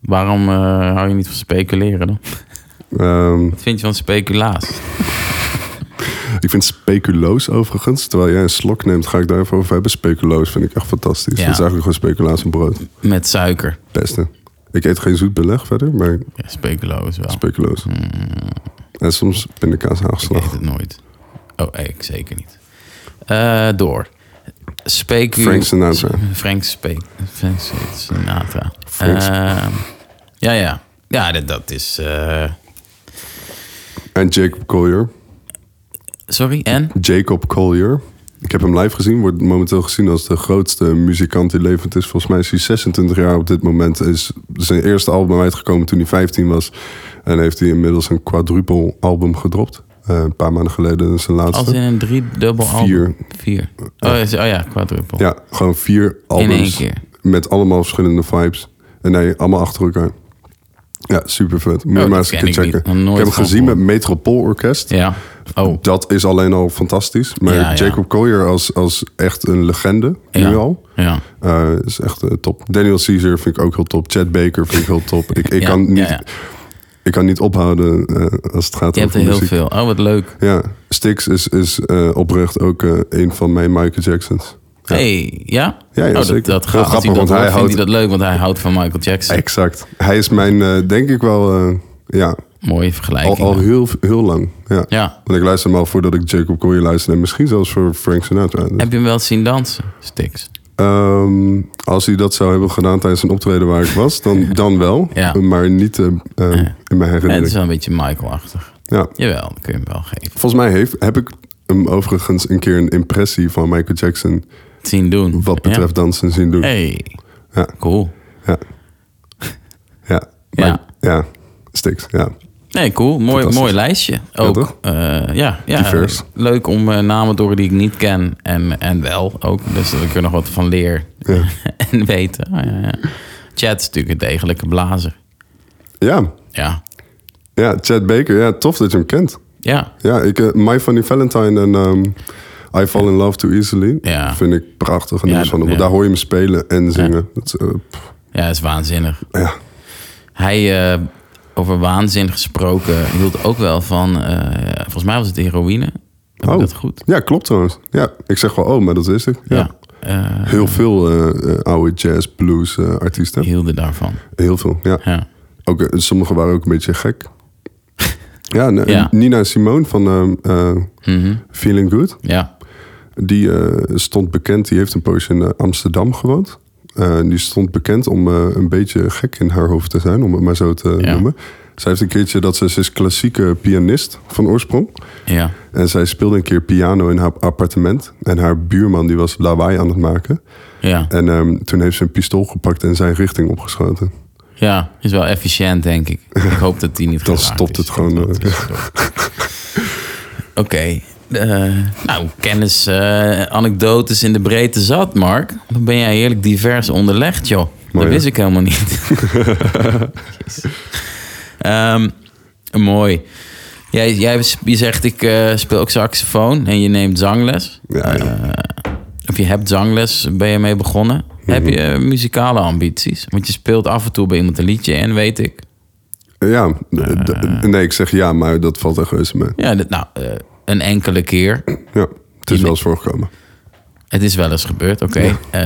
S1: Waarom eh, hou je niet van speculeren dan?
S2: Ehm,
S1: Wat vind je van speculaas?
S2: ik vind speculoos overigens. Terwijl jij een slok neemt, ga ik daar even over hebben. Speculoos vind ik echt fantastisch.
S1: Ja.
S2: Dat is eigenlijk gewoon speculaas en brood.
S1: Met suiker.
S2: Beste. Ik eet geen zoet beleg verder, maar
S1: Ja, speculoos wel.
S2: speculoos. En soms pindakaas
S1: Hmm. Ik eet
S2: haagslag.
S1: het nooit. Oh, ik zeker niet. Eh, door. Specu...
S2: Frank Sinatra.
S1: Frank, Spe... Frank Sinatra.
S2: Frank Sp-
S1: Ehm, ja, ja. Ja, dat, dat is... eh,
S2: En Jacob Collier.
S1: Sorry, en?
S2: Jacob Collier. Ik heb hem live gezien. Wordt momenteel gezien als de grootste muzikant die levend is. Volgens mij is hij 26 jaar op dit moment. Is zijn eerste album uitgekomen toen hij 15 was. En heeft hij inmiddels een quadruple album gedropt. Eh, een paar maanden geleden zijn laatste.
S1: Als in een driedubbel album.
S2: Vier.
S1: Vier. Oh, is- oh ja, quadruple.
S2: Ja, gewoon vier albums.
S1: één keer.
S2: Met allemaal verschillende vibes. En nee, allemaal achter elkaar. Ja, super vet. Moet je
S1: Oh,
S2: maar
S1: dat
S2: eens een
S1: ken
S2: keer
S1: ik niet.
S2: checken.
S1: Nog nooit
S2: Ik heb hem
S1: van
S2: gezien met
S1: gehoord.
S2: Metropool Orkest.
S1: Ja. Oh,
S2: Dat is alleen al fantastisch. Maar
S1: Ja, ja.
S2: Jacob Collier als, als echt een legende,
S1: ja.
S2: nu al.
S1: Ja.
S2: Eh, is echt eh, top. Daniel Caesar vind ik ook heel top. Chad Baker vind ik heel top. Ik, ik,
S1: Ja,
S2: kan, niet,
S1: ja, ja.
S2: ik kan niet ophouden eh, als het gaat
S1: Je hebt
S2: over
S1: er heel
S2: muziek.
S1: veel. Oh, wat leuk.
S2: Ja, Styx is, is eh, oprecht ook eh, een van mijn Michael Jacksons. Ja.
S1: hey, ja?
S2: ja,
S1: oh, dat,
S2: zeker.
S1: dat
S2: Heel
S1: gaat. Als hij
S2: grappig,
S1: dat
S2: want hij
S1: hoort, vindt
S2: houdt-
S1: hij dat leuk, want hij houdt van Michael Jackson.
S2: Exact. Hij is mijn, eh, denk ik wel, eh, ja,
S1: Mooie
S2: al,
S1: vergelijking.
S2: al heel, heel lang. Ja.
S1: Ja.
S2: Want ik luister hem al voordat ik Jacob Collier luisterde. En misschien zelfs voor Frank Sinatra. Dus,
S1: Heb je hem wel eens zien dansen, Stix?
S2: ehm, als hij dat zou hebben gedaan tijdens een optreden waar ik was, dan, dan wel.
S1: Ja.
S2: Maar niet eh, eh, in mijn
S1: Nee, het is
S2: herinnering.
S1: wel een beetje Michael-achtig.
S2: Ja.
S1: Jawel, dat kun je hem wel geven.
S2: Volgens mij heeft, heb ik hem overigens een keer een impressie van Michael Jackson...
S1: Zien doen.
S2: wat betreft dansen zien doen.
S1: Ja. Hey,
S2: Ja.
S1: cool.
S2: Ja. Ja. Maar-
S1: Ja.
S2: ja. Sticks, ja.
S1: Nee, cool. Mooi,
S2: Fantastisch.
S1: mooi lijstje. Ook.
S2: toch?
S1: Eh, ja, ja.
S2: Divers.
S1: Leuk om eh, namen door die ik niet ken en, en wel ook. Dus dat ik er nog wat van leer
S2: Ja.
S1: en weten. Ah, ja, ja. Chad is natuurlijk een degelijke blazer.
S2: Ja.
S1: Ja.
S2: Ja, Chad Baker. Ja, tof dat je hem kent.
S1: Ja.
S2: Ja, ik, eh, My Funny Valentine en ehm, I Fall in Love Too Easily
S1: Ja.
S2: vind ik prachtig.
S1: Ja,
S2: nummers van hem.
S1: ja.
S2: Daar hoor je hem spelen en zingen. Dat is, eh, pff,
S1: Ja, is waanzinnig.
S2: ja.
S1: Hij, eh, over waanzin gesproken, hield ook wel van... eh, volgens mij was het heroïne.
S2: Oh.
S1: Heb ik dat goed?
S2: Ja, klopt trouwens. Ja, ik zeg wel oh, maar dat wist ik. Ja.
S1: Ja. Eh,
S2: Heel veel eh, eh, oude jazz, blues eh, artiesten.
S1: hielden daarvan.
S2: Heel veel, ja.
S1: Ja.
S2: Ook, eh, sommigen waren ook een beetje gek. Ja, nee,
S1: Ja.
S2: Nina Simone van ehm, eh,
S1: Mhm.
S2: Feeling Good.
S1: ja.
S2: Die eh, stond bekend, die heeft een poosje in eh, Amsterdam gewoond. Eh, die stond bekend om eh, een beetje gek in haar hoofd te zijn, om het maar zo te
S1: Ja.
S2: noemen. Zij heeft een keertje dat ze, ze is klassieke pianist van oorsprong.
S1: Ja.
S2: En zij speelde een keer piano in haar appartement. En haar buurman die was lawaai aan het maken.
S1: Ja.
S2: En ehm, toen heeft ze een pistool gepakt en zijn richting opgeschoten.
S1: Ja, is wel efficiënt, denk ik. Ik hoop dat die niet
S2: Dan
S1: geraakt
S2: stopt
S1: is.
S2: het gewoon,
S1: Dat
S2: eh,
S1: is toch- Oké. eh, nou, kennis, eh, anekdotes in de breedte zat, Mark. Dan ben jij heerlijk divers onderlegd, joh.
S2: Mooi,
S1: dat
S2: hè?
S1: wist ik helemaal niet. Jezus. Ehm, mooi. Jij, jij sp- je zegt, ik eh, speel ook saxofoon en je neemt zangles.
S2: Ja, ja.
S1: Eh, of je hebt zangles, ben je mee begonnen.
S2: Mhm.
S1: Heb je eh, muzikale ambities? Want je speelt af en toe bij iemand een liedje en weet ik.
S2: Ja, d- d- nee, ik zeg ja, maar dat valt echt reuze mee.
S1: Eh. Ja, dat, nou, eh, een enkele keer.
S2: Ja, het is wel eens voorgekomen.
S1: Het is wel eens gebeurd, oké. Eh,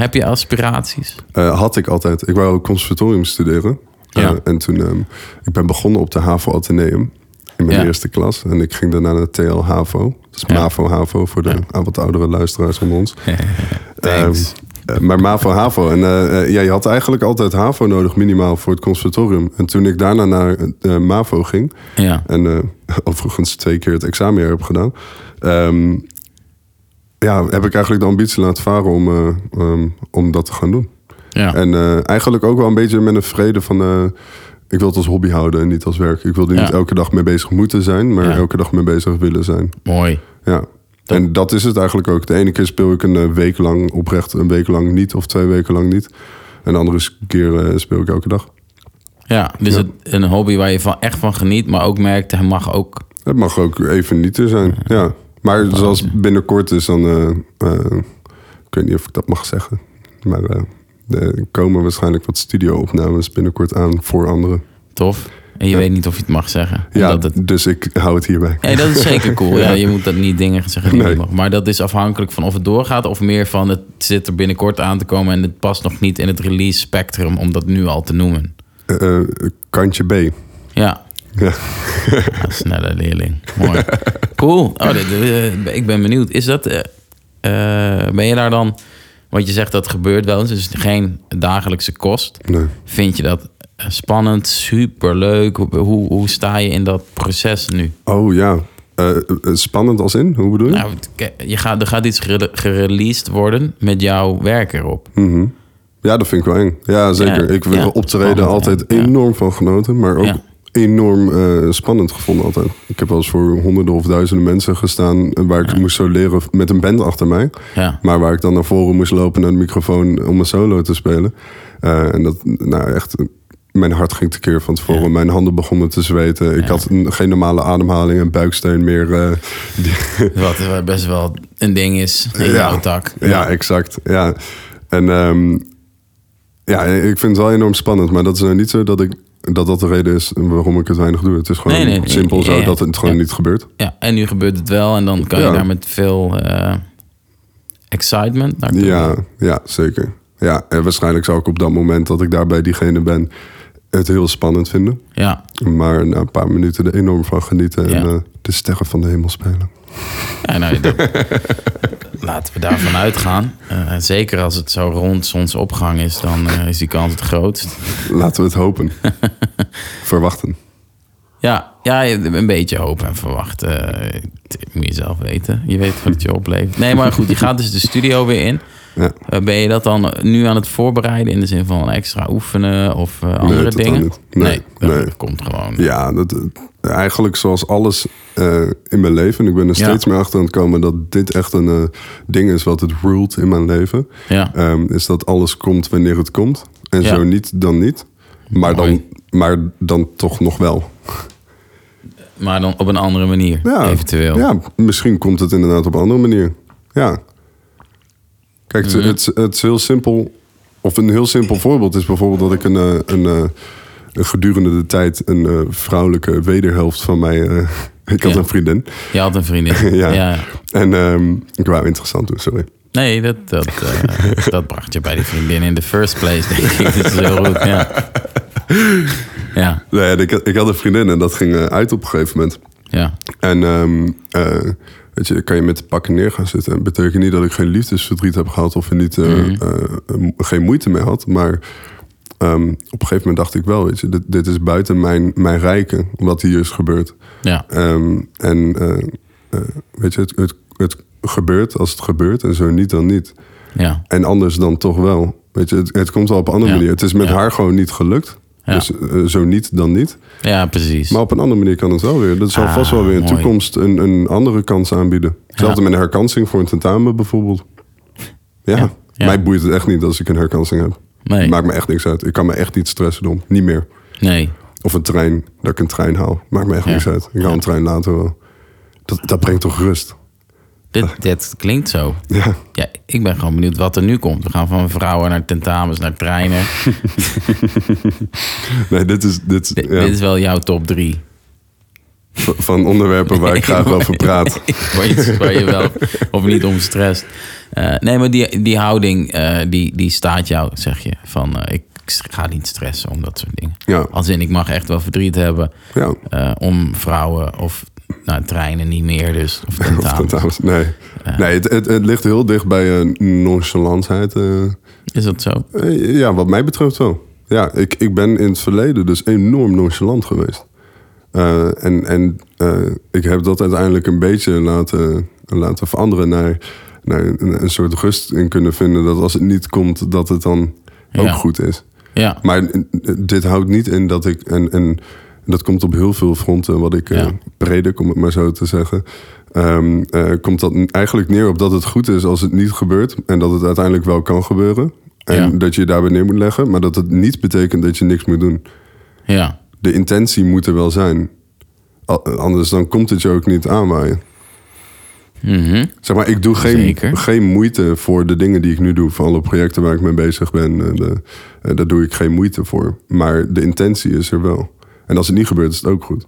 S1: heb je aspiraties?
S2: Eh, had ik altijd. Ik wou ook conservatorium studeren.
S1: Ja.
S2: Eh, en toen, ehm, ik ben begonnen op de HAVO Atheneum. In mijn
S1: Ja.
S2: eerste klas. En ik ging daarna naar de TL HAVO. Dus MAVO HAVO voor de ah, wat oudere luisteraars van ons.
S1: Thanks.
S2: Ehm, eh, maar MAVO HAVO. En eh, eh, ja, je had eigenlijk altijd HAVO nodig minimaal voor het conservatorium. En toen ik daarna naar eh, MAVO ging.
S1: Ja.
S2: En eh, overigens twee keer het examenjaar heb gedaan. ehm, ja, heb ik eigenlijk de ambitie laten varen om, eh, ehm, om dat te gaan doen.
S1: Ja.
S2: En eh, eigenlijk ook wel een beetje met een vrede van... eh, ik wil het als hobby houden en niet als werk. Ik wil er
S1: Ja.
S2: niet elke dag mee bezig moeten zijn... maar
S1: Ja.
S2: elke dag mee bezig willen zijn.
S1: Mooi.
S2: Ja. En dat is het eigenlijk ook. De ene keer speel ik een eh, week lang oprecht... een week lang niet of twee weken lang niet. En de andere keer eh, speel ik elke dag.
S1: Ja, dus
S2: Ja.
S1: Het, een hobby waar je van, echt van geniet, maar ook merkt, hij mag ook.
S2: Het mag ook even niet er zijn, ja. Maar zoals binnenkort is dan... eh, eh, ik weet niet of ik dat mag zeggen. Maar eh, er komen waarschijnlijk wat studio-opnames binnenkort aan voor anderen.
S1: Tof. En je weet niet of je het mag zeggen.
S2: Ja,
S1: omdat het
S2: dus ik hou het hierbij.
S1: Nee, dat is zeker cool. Ja, je moet dat niet dingen zeggen die
S2: Nee.
S1: niet mag. Maar dat is afhankelijk van of het doorgaat of meer van het zit er binnenkort aan te komen en het past nog niet in het release spectrum om dat nu al te noemen.
S2: Eh, eh, kantje B.
S1: Ja,
S2: Ja.
S1: een snelle leerling. Mooi. Cool. Oh, dit- eh, ik ben benieuwd. Is dat, eh, eh, ben je daar dan, want je zegt dat gebeurt wel eens, dus geen dagelijkse kost.
S2: Nee.
S1: Vind je dat eh, spannend, superleuk? Hoe, hoe, hoe sta je in dat proces nu?
S2: Oh ja. Eh, eh, spannend als in? Hoe bedoel je?
S1: Nou, het- ke- je gaat, er gaat iets gere- gereleased worden met jouw werk erop.
S2: Mhm. Ja, dat vind ik wel eng. Ja, zeker.
S1: Ja,
S2: ik wil
S1: ja.
S2: optreden
S1: Spannend,
S2: altijd
S1: ja.
S2: enorm van genoten, maar ook
S1: Ja.
S2: enorm eh, spannend gevonden altijd. Ik heb wel eens voor honderden of duizenden mensen gestaan eh, waar ik moest zo leren met een band achter mij.
S1: Ja.
S2: Maar waar ik dan naar voren moest lopen naar de microfoon om een solo te spelen. Eh, en dat, nou echt, eh, mijn hart ging tekeer van tevoren. Mijn handen begonnen te zweten. Ik had een- geen normale ademhaling en buiksteun meer. eh, die-
S1: Wat eh, best wel een ding is in jouw tak.
S2: ja, exact. Ja. En ehm, ja, ik vind het wel enorm spannend. Maar dat is nou niet zo dat ik, dat, dat de reden is waarom ik het weinig doe. Het is gewoon
S1: Nee, nee, nee,
S2: simpel
S1: ja,
S2: zo
S1: ja.
S2: dat het gewoon
S1: Ja.
S2: niet gebeurt.
S1: Ja, en nu gebeurt het wel en dan kan je
S2: Ja.
S1: daar met veel eh, excitement naartoe.
S2: Ja, ja zeker. Ja, en waarschijnlijk zou ik op dat moment dat ik daar bij diegene ben... het heel spannend vinden.
S1: Ja.
S2: Maar na een paar minuten er enorm van genieten... en
S1: Ja.
S2: eh, de sterren van de hemel spelen.
S1: Ja, nou, dat- laten we daarvan uitgaan. Eh, zeker als het zo rond zonsopgang is, dan eh, is die kans het grootst.
S2: Laten we het hopen. Verwachten.
S1: Ja, ja, een beetje hoop en verwachten. Eh, t- moet je zelf weten. Je weet wat het je oplevert. Nee, maar goed, je gaat dus de studio weer in.
S2: Ja.
S1: Eh, Ben je dat dan nu aan het voorbereiden in de zin van extra oefenen of eh, andere
S2: totaal
S1: dingen?
S2: niet. Nee,
S1: dat
S2: nee.
S1: komt gewoon.
S2: Ja, dat, eh, eigenlijk zoals alles eh, in mijn leven. En ik ben er
S1: Ja.
S2: steeds meer achter aan het komen dat dit echt een eh, ding is wat het ruled in mijn leven.
S1: Ja.
S2: Ehm, is dat alles komt wanneer het komt. En
S1: Ja.
S2: zo niet, dan niet. Maar dan,
S1: Mooi.
S2: maar dan toch nog wel.
S1: Maar dan op een andere manier,
S2: Ja,
S1: eventueel.
S2: Ja, misschien komt het inderdaad op een andere manier. Ja. Kijk, het-
S1: Mhm.
S2: het, het is heel simpel. Of een heel simpel voorbeeld is bijvoorbeeld dat ik een, eh, een, eh, gedurende de tijd een eh, vrouwelijke wederhelft van mij. eh, ik had
S1: Ja.
S2: een vriendin.
S1: Je had een vriendin.
S2: ja. En ehm, ik wou interessant doen, sorry.
S1: Nee, dat, dat, eh, dat bracht je bij die vriendin in the first place, denk ik. Dat is heel goed, ja. Ja,
S2: Nee, ik, ik had een vriendin en dat ging eh, uit op een gegeven moment.
S1: ja.
S2: En ehm, eh, weet je, kan je met de pakken neer gaan zitten. Dat betekent niet dat ik geen liefdesverdriet heb gehad of er niet, eh,
S1: Mhm.
S2: eh, m- geen moeite mee had. Maar ehm, op een gegeven moment dacht ik wel, weet je, dit, dit is buiten mijn, mijn rijken, wat hier is gebeurd.
S1: ja.
S2: Ehm, en eh, eh, weet je, het, het, het gebeurt als het gebeurt en zo niet dan niet.
S1: Ja,
S2: En anders dan toch wel. Weet je, het, het komt wel op een andere
S1: Ja.
S2: manier. Het is met
S1: Ja.
S2: haar gewoon niet gelukt.
S1: Ja.
S2: Dus eh, zo niet dan niet.
S1: ja precies.
S2: Maar op een andere manier kan het wel weer. Dat zal
S1: Ah,
S2: vast wel weer in de
S1: mooi.
S2: toekomst een, een andere kans aanbieden. Hetzelfde met een herkansing voor een tentamen bijvoorbeeld. Ja.
S1: Ja, ja.
S2: mij boeit het echt niet als ik een herkansing heb.
S1: Nee.
S2: Maakt me echt niks uit. Ik kan me echt niet stressen doen. Niet meer.
S1: Nee,
S2: Of een trein, dat ik een trein haal. Maakt me echt
S1: Ja.
S2: niks uit. Ik haal een trein later wel. Dat, dat brengt toch rust?
S1: dit, dit klinkt zo.
S2: Ja.
S1: Ja, ik ben gewoon benieuwd wat er nu komt. We gaan van vrouwen naar tentamens, naar treinen.
S2: Nee, dit is, dit,
S1: D-
S2: ja,
S1: Dit is wel jouw top drie.
S2: v- van onderwerpen waar ik graag over praat.
S1: waar, je, waar je wel of niet om stress. Eh, nee, maar die, die houding, eh, die, die staat jou, zeg je. Van eh, ik ga niet stressen om dat soort dingen.
S2: Ja.
S1: Als in, ik mag echt wel verdriet hebben
S2: Ja.
S1: eh, om vrouwen of nou, treinen niet meer dus. Of
S2: Of
S1: tentamens.
S2: tentamens. Nee, nee het, het, het ligt heel dicht bij eh, nonchalantheid. eh.
S1: Is dat zo?
S2: Eh, Ja, wat mij betreft wel. Ja, ik, ik ben in het verleden dus enorm nonchalant geweest. Eh, en en eh, ik heb dat uiteindelijk een beetje laten, laten veranderen naar, naar een, een soort rust in kunnen vinden. Dat als het niet komt, dat het dan ook
S1: Ja.
S2: goed is.
S1: Ja.
S2: Maar eh, dit houdt niet in dat ik. En, en dat komt op heel veel fronten, wat ik eh,
S1: Ja.
S2: predik, om het maar zo te zeggen. Ehm, eh, komt dat eigenlijk neer op dat het goed is als het niet gebeurt. En dat het uiteindelijk wel kan gebeuren. En
S1: Ja.
S2: dat je je daarbij neer moet leggen. Maar dat het niet betekent dat je niks moet doen.
S1: Ja.
S2: De intentie moet er wel zijn. Al- Anders dan komt het je ook niet aanwaaien.
S1: Mhm.
S2: Zeg maar, ik doe geen,
S1: Zeker.
S2: geen moeite voor de dingen die ik nu doe. Voor alle projecten waar ik mee bezig ben. eh, de- eh, daar doe ik geen moeite voor. Maar de intentie is er wel. En als het niet gebeurt, is het ook goed.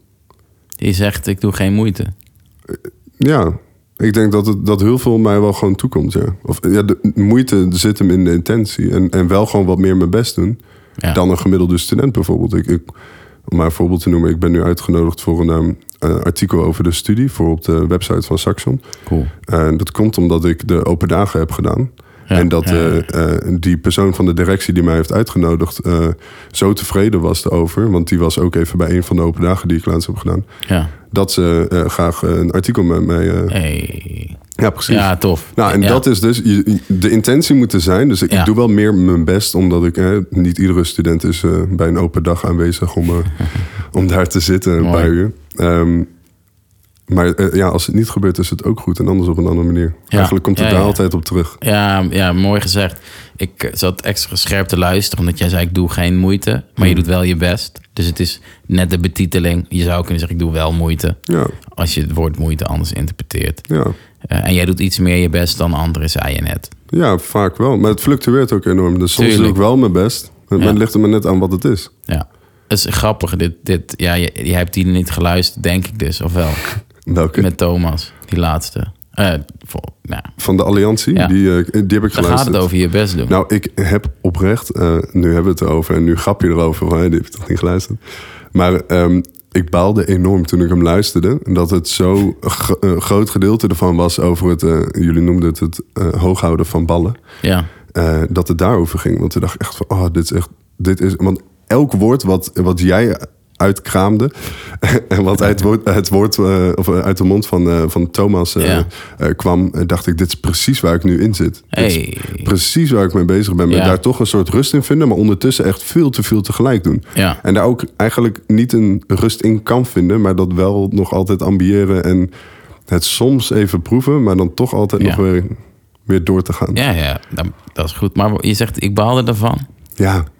S1: Die zegt, ik doe geen moeite.
S2: Ja, ik denk dat, het, dat heel veel mij wel gewoon toekomt. Ja. Of, ja, de moeite zit hem in de intentie. En, en wel gewoon wat meer mijn best doen.
S1: Ja.
S2: Dan een gemiddelde student bijvoorbeeld. Ik, ik, om maar een voorbeeld te noemen. Ik ben nu uitgenodigd voor een ehm, eh, artikel over de studie. Voor op de website van Saxon.
S1: Cool.
S2: En dat komt omdat ik de open dagen heb gedaan.
S1: Ja,
S2: en dat
S1: ja, ja.
S2: eh, eh, die persoon van de directie die mij heeft uitgenodigd... eh, zo tevreden was erover. Want die was ook even bij een van de open dagen die ik laatst heb gedaan.
S1: Ja.
S2: Dat ze eh, graag eh, een artikel met mij... eh,
S1: Hey.
S2: ja, precies.
S1: Ja, tof.
S2: Nou, en
S1: Ja.
S2: dat is dus... je- je- de intentie moet er zijn. Dus ik
S1: Ja.
S2: doe wel meer mijn best. Omdat ik... eh, niet iedere student is eh, bij een open dag aanwezig om, eh, om daar te zitten een
S1: Mooi.
S2: paar uur. Ehm, maar eh, ja, als het niet gebeurt is het ook goed. En anders op een andere manier.
S1: Ja.
S2: Eigenlijk komt het
S1: Ja,
S2: daar
S1: ja.
S2: altijd op terug.
S1: Ja, ja, mooi gezegd. Ik eh, zat extra scherp te luisteren, omdat jij zei: ik doe geen moeite, maar
S2: Hmm.
S1: je doet wel je best. Dus het is net de betiteling. Je zou kunnen zeggen: ik doe wel moeite.
S2: Ja,
S1: Als je het woord moeite anders interpreteert.
S2: ja.
S1: Eh, en jij doet iets meer je best dan anderen, zei je net.
S2: ja, vaak wel. Maar het fluctueert ook enorm. Dus soms
S1: Tuurlijk.
S2: doe ik wel mijn best. Maar
S1: Ja.
S2: het ligt er maar net aan wat het is.
S1: Ja. Het is grappig. Dit, dit, ja, je, je hebt die niet geluisterd, denk ik dus, of wel?
S2: Welke?
S1: Met Thomas, die laatste. Eh, vol- nou,
S2: Van de Alliantie,
S1: Ja.
S2: die, eh, die heb ik
S1: dan
S2: geluisterd.
S1: gaat het over je best doen.
S2: Nou, ik heb oprecht, eh, nu hebben we het erover en nu grap je erover, van, hè, die heb je toch niet geluisterd. Maar ehm, ik baalde enorm toen ik hem luisterde, dat het zo'n groot gedeelte ervan was over het, eh, jullie noemden het het eh, hooghouden van ballen,
S1: ja.
S2: eh, dat het daarover ging. Want toen dacht ik echt van, oh, dit is echt, dit is, want elk woord wat, wat jij uitkraamde en wat uit woord, het woord, eh, of uit de mond van, eh, van Thomas eh,
S1: Ja.
S2: eh, kwam, eh, dacht ik, dit is precies waar ik nu in zit. Dit is
S1: Hey.
S2: precies waar ik mee bezig ben.
S1: Ja.
S2: En daar toch een soort rust in vinden, maar ondertussen echt veel te veel tegelijk doen.
S1: Ja.
S2: En daar ook eigenlijk niet een rust in kan vinden, maar dat wel nog altijd ambiëren en het soms even proeven, maar dan toch altijd
S1: Ja.
S2: nog weer, weer door te gaan. Ja,
S1: Ja, ja dat, dat is goed. Maar je zegt: ik baalde ervan.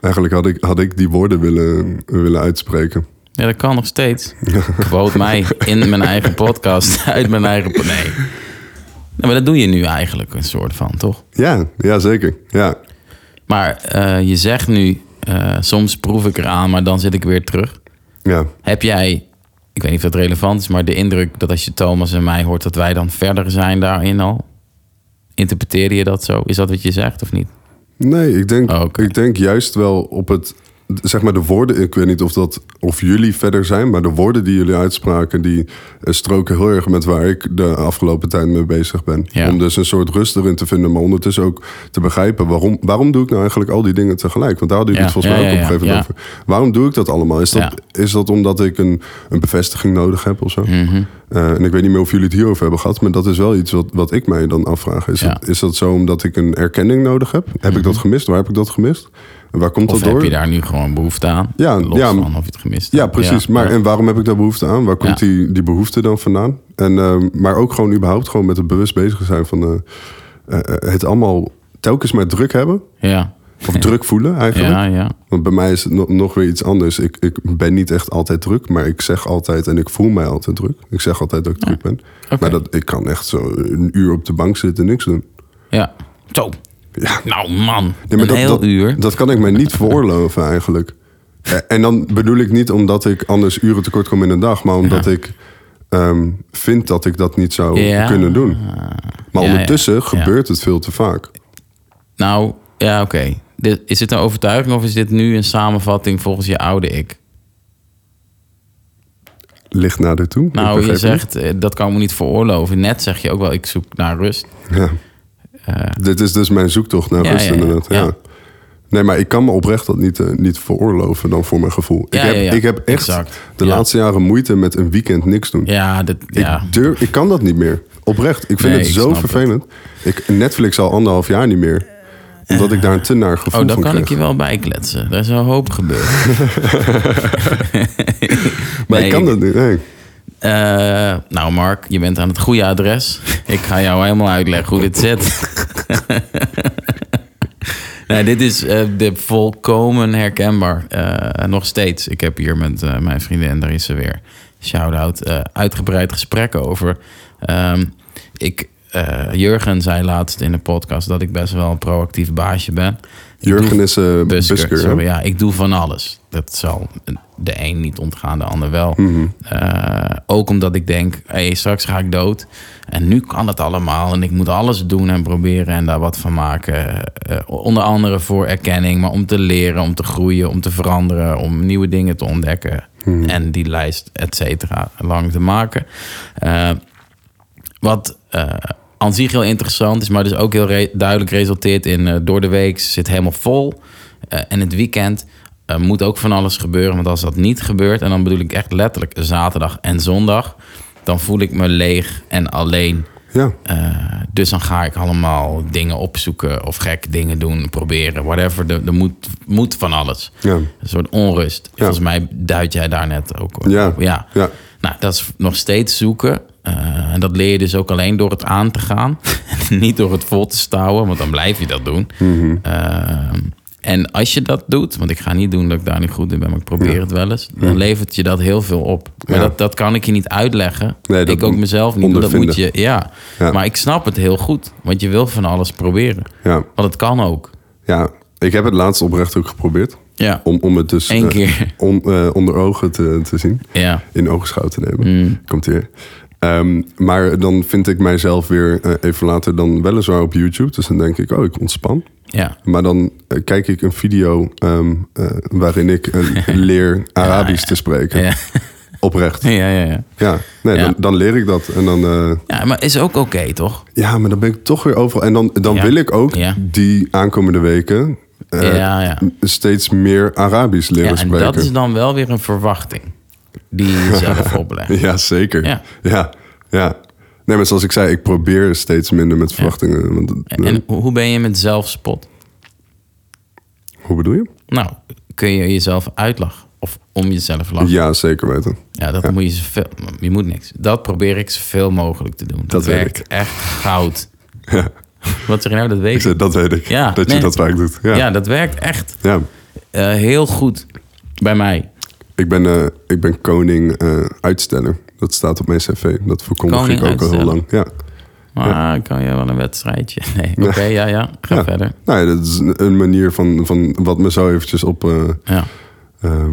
S2: eigenlijk had ik, had ik die woorden willen, willen uitspreken.
S1: Ja, dat kan nog steeds. Quote mij in mijn eigen podcast, uit mijn eigen... po- Nee. Nou, maar dat doe je nu eigenlijk een soort van, toch?
S2: Ja, ja zeker. Ja.
S1: Maar eh, je zegt nu, eh, eh, soms proef ik eraan, maar dan zit ik weer terug.
S2: Ja.
S1: Heb jij, ik weet niet of dat relevant is, maar de indruk dat als je Thomas en mij hoort, dat wij dan verder zijn daarin al? Interpreteer je dat zo? Is dat wat je zegt of niet?
S2: Nee, ik denk,
S1: Oh, oké.
S2: ik denk juist wel op het. Zeg maar de woorden, ik weet niet of, dat, of jullie verder zijn, maar de woorden die jullie uitspraken, die eh, stroken heel erg met waar ik de afgelopen tijd mee bezig ben.
S1: Ja.
S2: Om dus een soort rust erin te vinden, maar ondertussen ook te begrijpen waarom, waarom doe ik nou eigenlijk al die dingen tegelijk? Want daar hadden jullie
S1: Ja,
S2: het volgens mij
S1: ja,
S2: ook
S1: ja,
S2: op een gegeven moment
S1: ja.
S2: over. Waarom doe ik dat allemaal? Is dat, is dat omdat ik een, een bevestiging nodig heb of zo?
S1: Mhm.
S2: Eh, en ik weet niet meer of jullie het hierover hebben gehad, maar dat is wel iets wat, wat ik mij dan afvraag. Is,
S1: Ja. Mhm.
S2: dat, is dat zo omdat ik een erkenning nodig heb? Heb ik dat gemist? Waar heb ik dat gemist? En waar komt
S1: Of
S2: dat door?
S1: heb je daar nu gewoon behoefte aan?
S2: Ja,
S1: Los
S2: ja,
S1: van of je het gemist
S2: Ja,
S1: hebt.
S2: precies.
S1: Ja.
S2: maar en waarom heb ik daar behoefte aan? Waar komt
S1: Ja.
S2: die, die behoefte dan vandaan? En, ehm, maar ook gewoon überhaupt gewoon met het bewust bezig zijn van eh, eh, eh, het allemaal telkens maar druk hebben.
S1: Ja.
S2: Of druk voelen eigenlijk.
S1: Ja, ja.
S2: Want bij mij is het no- nog weer iets anders. Ik, ik ben niet echt altijd druk, maar ik zeg altijd en ik voel mij altijd druk. Ik zeg altijd dat ik druk ben. Maar dat, ik kan echt zo een uur op de bank zitten en niks doen.
S1: Ja. Zo.
S2: Ja.
S1: Nou man,
S2: Ja, maar
S1: een
S2: dat,
S1: heel
S2: dat,
S1: uur.
S2: dat kan ik mij niet veroorloven eigenlijk. Eh, En dan bedoel ik niet omdat ik anders uren tekort kom in een dag, maar omdat ik ehm, vind dat ik dat niet zou
S1: Ja.
S2: kunnen doen.
S1: Ja,
S2: Maar
S1: ja.
S2: ondertussen
S1: Ja.
S2: gebeurt het veel te vaak.
S1: Nou, ja, oké. Dit- Is dit een overtuiging of is dit nu een samenvatting volgens je oude ik?
S2: Ligt naar de toe. ik
S1: Nou, je
S2: begreep het.
S1: zegt, eh, dat kan ik me niet veroorloven. Net zeg je ook wel, ik zoek naar rust.
S2: Ja. Dit is dus mijn zoektocht naar
S1: Eh. Ja,
S2: rust
S1: ja, ja.
S2: inderdaad. Ja.
S1: Ja.
S2: Nee, maar ik kan me oprecht dat niet, eh, niet veroorloven dan voor mijn gevoel.
S1: Ja,
S2: ik, heb,
S1: ja, ja.
S2: ik heb echt
S1: Exact.
S2: de
S1: Ja.
S2: laatste jaren moeite met een weekend niks doen.
S1: Ja, dat, ja.
S2: Ik, durf, ik kan dat niet meer. Oprecht. Ik vind
S1: Nee,
S2: het
S1: ik
S2: zo
S1: snap
S2: vervelend. Ik, Netflix al anderhalf jaar niet meer. Omdat ik daar een te naar gevoel
S1: Oh, daar
S2: van
S1: kan
S2: kreeg.
S1: ik je wel bij kletsen. Er is een hoop gebeurd.
S2: Maar
S1: Nee,
S2: ik kan dat niet. Nee.
S1: Eh, nou, Mark, je bent aan het goede adres. Ik ga jou helemaal uitleggen hoe dit zit. nee, dit is eh, de volkomen herkenbaar. Eh, nog steeds. Ik heb hier met eh, mijn vriendin, en daar is ze weer. Shout-out. eh, uitgebreid gesprek over. Ehm, ik, eh, Jurgen zei laatst in de podcast dat ik best wel een proactief baasje ben. Ik doe-
S2: Jurgen is eh busker.
S1: Busker,
S2: hè?
S1: sorry, ja, ik doe van alles. Dat zal de een niet ontgaan, de ander wel. Eh, ook omdat ik denk, hey, straks ga ik dood. En nu kan het allemaal. En ik moet alles doen en proberen en daar wat van maken. Eh, onder andere voor erkenning, maar om te leren, om te groeien, om te veranderen, om nieuwe dingen te ontdekken. En die lijst, et cetera, lang te maken. Eh, wat eh, aan zich heel interessant is, maar dus ook heel re- duidelijk resulteert in eh, door de week zit helemaal vol. Eh, en het weekend eh, moet ook van alles gebeuren. Want als dat niet gebeurt, en dan bedoel ik echt letterlijk zaterdag en zondag, dan voel ik me leeg en alleen.
S2: Ja.
S1: Eh, dus dan ga ik allemaal dingen opzoeken of gekke dingen doen, proberen, whatever. Er, er moet, moet van alles.
S2: Ja.
S1: Een soort onrust. Volgens mij duid jij daar net ook op.
S2: Ja.
S1: ja.
S2: Ja.
S1: Nou, dat is nog steeds zoeken. Eh, en dat leer je dus ook alleen door het aan te gaan. Niet door het vol te stouwen, want dan blijf je dat doen.
S2: Mhm.
S1: Ehm, en als je dat doet, want ik ga niet doen dat ik daar niet goed in ben, maar ik probeer het wel eens, dan levert je dat heel veel op. Maar
S2: Ja.
S1: dat, dat kan ik je niet uitleggen.
S2: Nee, dat
S1: ik ook
S2: moet-
S1: mezelf niet. want Dat moet je,
S2: ondervinden.
S1: ja.
S2: Ja.
S1: maar ik snap het heel goed, want je wil van alles proberen.
S2: Ja.
S1: Want het kan ook.
S2: ja, ik heb het laatst oprecht ook geprobeerd.
S1: Ja.
S2: Om, om het dus
S1: Eén
S2: eh,
S1: keer.
S2: on- eh, onder ogen te, te zien.
S1: Ja.
S2: in oogschouw te nemen.
S1: Mm.
S2: Komt hier. Ehm, maar dan vind ik mijzelf weer eh, even later dan weliswaar op YouTube. Dus dan denk ik, oh, ik ontspan.
S1: Ja.
S2: Maar dan eh, kijk ik een video ehm, eh, waarin ik eh, leer Arabisch te spreken.
S1: Ja.
S2: Oprecht.
S1: Ja, ja, ja.
S2: Ja, nee,
S1: Ja.
S2: Dan, dan leer ik dat. En dan, eh,
S1: Ja, maar is ook oké, toch?
S2: ja, maar dan ben ik toch weer overal. En dan, dan
S1: Ja.
S2: wil ik ook
S1: Ja.
S2: die aankomende weken eh,
S1: Ja, ja.
S2: steeds meer Arabisch leren
S1: Ja, en
S2: spreken.
S1: dat is dan wel weer een verwachting die je zelf oplegt.
S2: Ja, zeker.
S1: Ja.
S2: Ja. ja, Nee, maar zoals ik zei, ik probeer steeds minder met verwachtingen. Want,
S1: En,
S2: eh,
S1: en ho- hoe ben je met zelfspot?
S2: hoe bedoel je?
S1: Nou, kun je jezelf uitlachen of om jezelf lachen?
S2: Ja, zeker weten.
S1: Ja, dat moet je zoveel... Je moet niks. Dat probeer ik zoveel mogelijk te doen. Dat,
S2: Dat weet
S1: werkt
S2: ik.
S1: echt goud.
S2: Ja.
S1: Wat zeg je nou? Dat weet
S2: Ik zei, dat weet ik.
S1: Ja,
S2: dat
S1: nee.
S2: je dat vaak doet. Ja.
S1: Ja.
S2: ja.
S1: dat werkt echt eh, heel goed bij mij.
S2: Ik, ben, eh, ik ben koning eh, uitsteller. Dat staat op mijn cv. Dat verkondig
S1: Koning
S2: ik ook al heel
S1: uitsteller.
S2: lang. Ja.
S1: Maar kan je wel een wedstrijdje. Nee. Oké, ja, ja. Ga
S2: Ja.
S1: verder.
S2: Nou ja, dat is een een manier van, van wat me zo eventjes op eh,
S1: Ja.
S2: eh,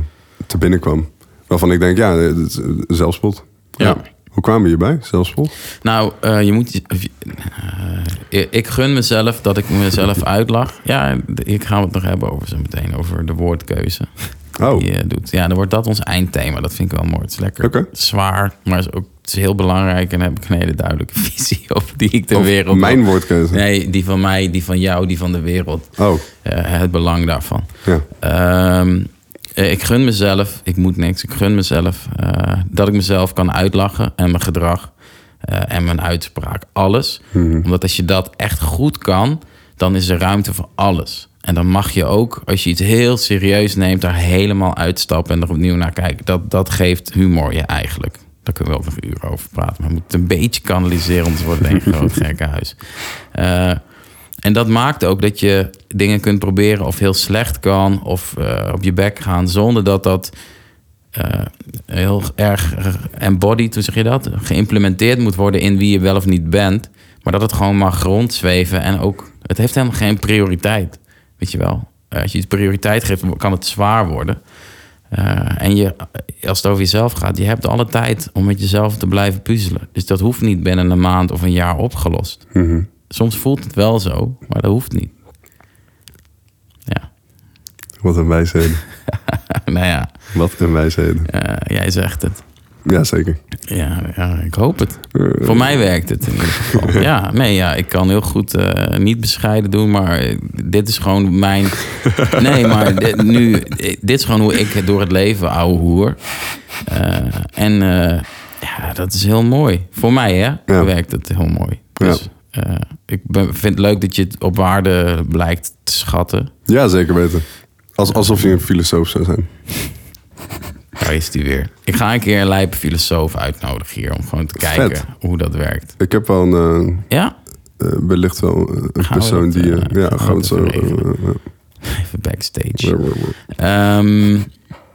S2: te binnen kwam. Waarvan ik denk, ja, dat is, eh, zelfspot.
S1: Ja.
S2: Hoe kwamen we hierbij? Zelfspot?
S1: Nou, eh, je moet. eh, ik gun mezelf dat ik mezelf uitlach. Ja, ik ga het nog hebben over zo meteen. Over de woordkeuze.
S2: Oh,
S1: die je doet. Ja, dan wordt dat ons eindthema. Dat vind ik wel mooi. Het is lekker
S2: Oké.
S1: zwaar, maar is ook, het is heel belangrijk. En daar heb ik een hele duidelijke visie over die ik de
S2: Of
S1: wereld...
S2: mijn woordkeuze.
S1: Nee, die van mij, die van jou, die van de wereld.
S2: Oh,
S1: Eh, het belang daarvan.
S2: ja.
S1: Ehm, eh, ik gun mezelf, ik moet niks, ik gun mezelf eh, dat ik mezelf kan uitlachen en mijn gedrag eh, en mijn uitspraak, alles. Omdat als je dat echt goed kan, dan is er ruimte voor alles. En dan mag je ook, als je iets heel serieus neemt, daar helemaal uitstappen en er opnieuw naar kijken. Dat, dat geeft humor je eigenlijk. Daar kunnen we ook nog uren over praten. Maar we moeten het een beetje kanaliseren, anders wordt het een groot gekkenhuis. Eh en dat maakt ook dat je dingen kunt proberen of heel slecht kan of eh, op je bek gaan zonder dat dat eh, heel erg embodied, hoe zeg je dat, geïmplementeerd moet worden in wie je wel of niet bent. Maar dat het gewoon mag rondzweven en ook, het heeft helemaal geen prioriteit, weet je wel. Eh, als je iets prioriteit geeft, kan het zwaar worden. Eh, en je, als het over jezelf gaat, je hebt alle tijd om met jezelf te blijven puzzelen. Dus dat hoeft niet binnen een maand of een jaar opgelost
S2: Mhm.
S1: soms voelt het wel zo, maar dat hoeft niet. Ja,
S2: Wat een wijsheden.
S1: nou ja,
S2: Wat een wijsheden.
S1: eh, jij zegt het.
S2: Ja, zeker.
S1: Ja, ja, ik hoop het.
S2: Eh.
S1: Voor mij werkt het in ieder geval. Ja, nee, ja, ik kan heel goed eh, niet bescheiden doen, maar eh, dit is gewoon mijn. Nee, maar dit, nu, eh, dit is gewoon hoe ik door het leven, ouwe hoer. Eh, en eh, ja, dat is heel mooi. Voor mij, hè,
S2: Ja.
S1: werkt het heel mooi. Dus eh, ik ben, vind het leuk dat je het op waarde blijkt te schatten.
S2: Ja, zeker weten. Als, alsof je een filosoof zou zijn.
S1: Daar is die weer. Ik ga een keer een lijpe filosoof uitnodigen hier om gewoon te
S2: Vet.
S1: kijken hoe dat werkt.
S2: Ik heb wel een, eh,
S1: Ja,
S2: eh, wellicht wel een
S1: we
S2: persoon
S1: dat,
S2: die... eh,
S1: eh, gaan
S2: ja,
S1: we
S2: gewoon
S1: dat
S2: zo...
S1: even
S2: eh,
S1: regelen?
S2: eh,
S1: even backstage.
S2: eh, eh, eh.
S1: Ehm,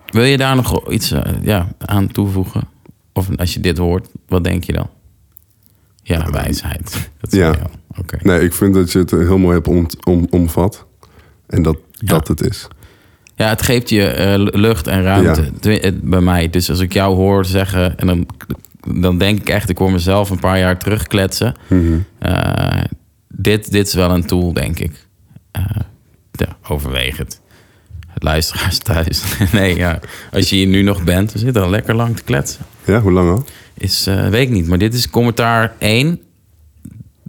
S1: wil je daar nog iets eh, ja, aan toevoegen? Of als je dit hoort, wat denk je dan? Ja, wijsheid. Dat is
S2: ja. Nou,
S1: wel. Oké.
S2: Nee, ik vind dat je het heel mooi hebt om, om, omvat. En dat dat het is.
S1: Ja, het geeft je eh, lucht en ruimte.
S2: Ja.
S1: Twi- het- Bij mij. Dus als ik jou hoor zeggen, en dan, dan denk ik echt, ik hoor mezelf een paar jaar terugkletsen.
S2: Mhm.
S1: Eh, dit, dit is wel een tool, denk ik. Eh, ja, overweeg het. Luisteraars thuis. nee, ja. als je hier nu nog bent, we zitten al lekker lang te kletsen.
S2: Ja, hoe lang al?
S1: Is, eh, weet ik niet, maar dit is commentaar 1.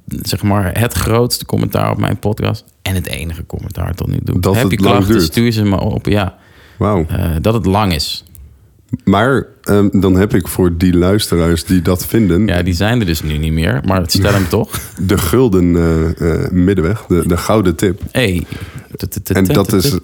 S1: Zeg maar het grootste commentaar op mijn podcast. En het enige commentaar tot nu toe.
S2: Dat
S1: Heb
S2: het
S1: je
S2: lang
S1: klachten,
S2: duurt.
S1: stuur ze maar op. Ja.
S2: Wauw.
S1: Eh, dat het lang is.
S2: Maar ehm, dan heb ik voor die luisteraars die dat vinden...
S1: Ja, die zijn er dus nu niet meer, maar stel hem toch.
S2: de gulden eh, eh, middenweg, de, de gouden tip.
S1: Hey.
S2: En dat is-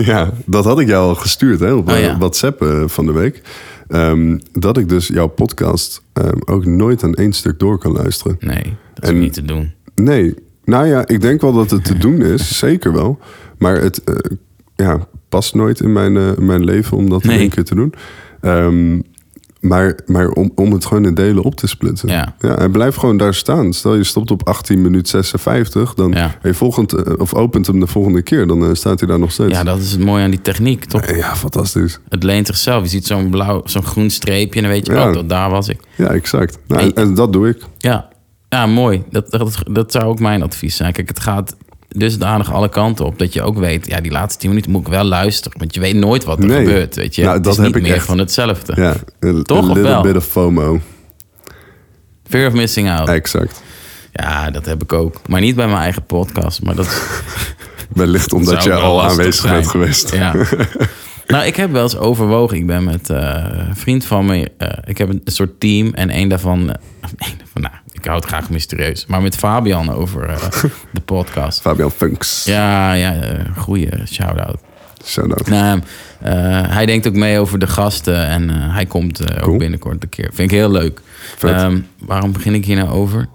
S2: ja, dat had ik jou al gestuurd hè, op
S1: Oh,
S2: eh,
S1: ja.
S2: WhatsApp eh, van de week. Ehm, dat ik dus jouw podcast ehm, ook nooit aan één stuk door kan luisteren.
S1: Nee, dat is
S2: En-
S1: niet te doen.
S2: Nee, nou ja, ik denk wel dat het te doen is, zeker wel. Maar het eh, ja, past nooit in mijn, eh, mijn leven om dat in
S1: Nee.
S2: één keer te doen. Ehm, maar maar om, om het gewoon in delen op te splitsen.
S1: Ja.
S2: en blijf gewoon daar staan. Stel je stopt op 18 minuut 56, dan
S1: Ja.
S2: hey, volgend, eh, of opent hem de volgende keer, dan eh, staat hij daar nog steeds.
S1: Ja, dat is het mooie aan die techniek, toch?
S2: Eh, ja, fantastisch.
S1: Het leent zichzelf. Je ziet zo'n blauw, zo'n groen streepje en dan weet je,
S2: Ja.
S1: oh, dat, daar was ik.
S2: Ja, exact. Nou,
S1: Hey.
S2: en, en dat doe ik.
S1: Ja, ja mooi. Dat, dat, dat zou ook mijn advies zijn. Kijk, het gaat dusdanig alle kanten op dat je ook weet, ja, die laatste tien minuten moet ik wel luisteren, want je weet nooit wat er
S2: Nee.
S1: gebeurt, weet je.
S2: Nou,
S1: het
S2: dat
S1: is niet
S2: heb ik
S1: meer
S2: echt.
S1: van hetzelfde.
S2: Ja, een
S1: Toch,
S2: een
S1: of
S2: little
S1: wel?
S2: bit of FOMO.
S1: Fear of missing out.
S2: Exact.
S1: Ja, dat heb ik ook. Maar niet bij mijn eigen podcast, maar dat is...
S2: Wellicht omdat
S1: Zou
S2: je
S1: ook wel
S2: al
S1: lastig
S2: aanwezig
S1: zijn.
S2: bent geweest.
S1: Ja. nou, ik heb wel eens overwogen. Ik ben met eh, een vriend van me. eh, ik heb een soort team en één daarvan. eh, één daarvan nou, ik hou het graag mysterieus. Maar met Fabian over eh, de podcast.
S2: Fabian Funks.
S1: Ja, ja, eh, goeie shout-out.
S2: Shout-out.
S1: Nou, eh, hij denkt ook mee over de gasten en eh, hij komt eh, ook
S2: Cool.
S1: binnenkort een keer. Vind ik heel leuk.
S2: Vet.
S1: Ehm, waarom begin ik hier nou over?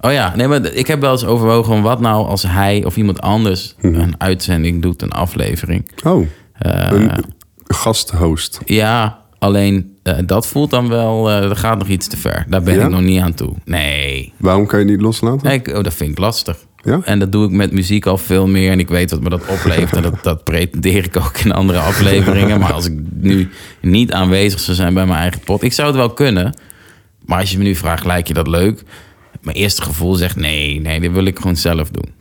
S1: Oh ja, nee, maar ik heb wel eens overwogen van wat nou als hij of iemand anders
S2: Mhm.
S1: een uitzending doet, een aflevering.
S2: Oh,
S1: Eh,
S2: een gasthost.
S1: ja, alleen eh, dat voelt dan wel, eh dat gaat nog iets te ver. Daar ben
S2: Ja?
S1: ik nog niet aan toe. Nee.
S2: Waarom kan je het niet loslaten?
S1: Nee, ik- oh, dat vind ik lastig.
S2: Ja?
S1: En dat doe ik met muziek al veel meer. En ik weet wat me dat oplevert. En dat, dat pretendeer ik ook in andere afleveringen. Maar als ik nu niet aanwezig zou zijn bij mijn eigen pot... Ik zou het wel kunnen. Maar als je me nu vraagt, lijkt je dat leuk? Mijn eerste gevoel zegt, nee, nee, dit wil ik gewoon zelf doen.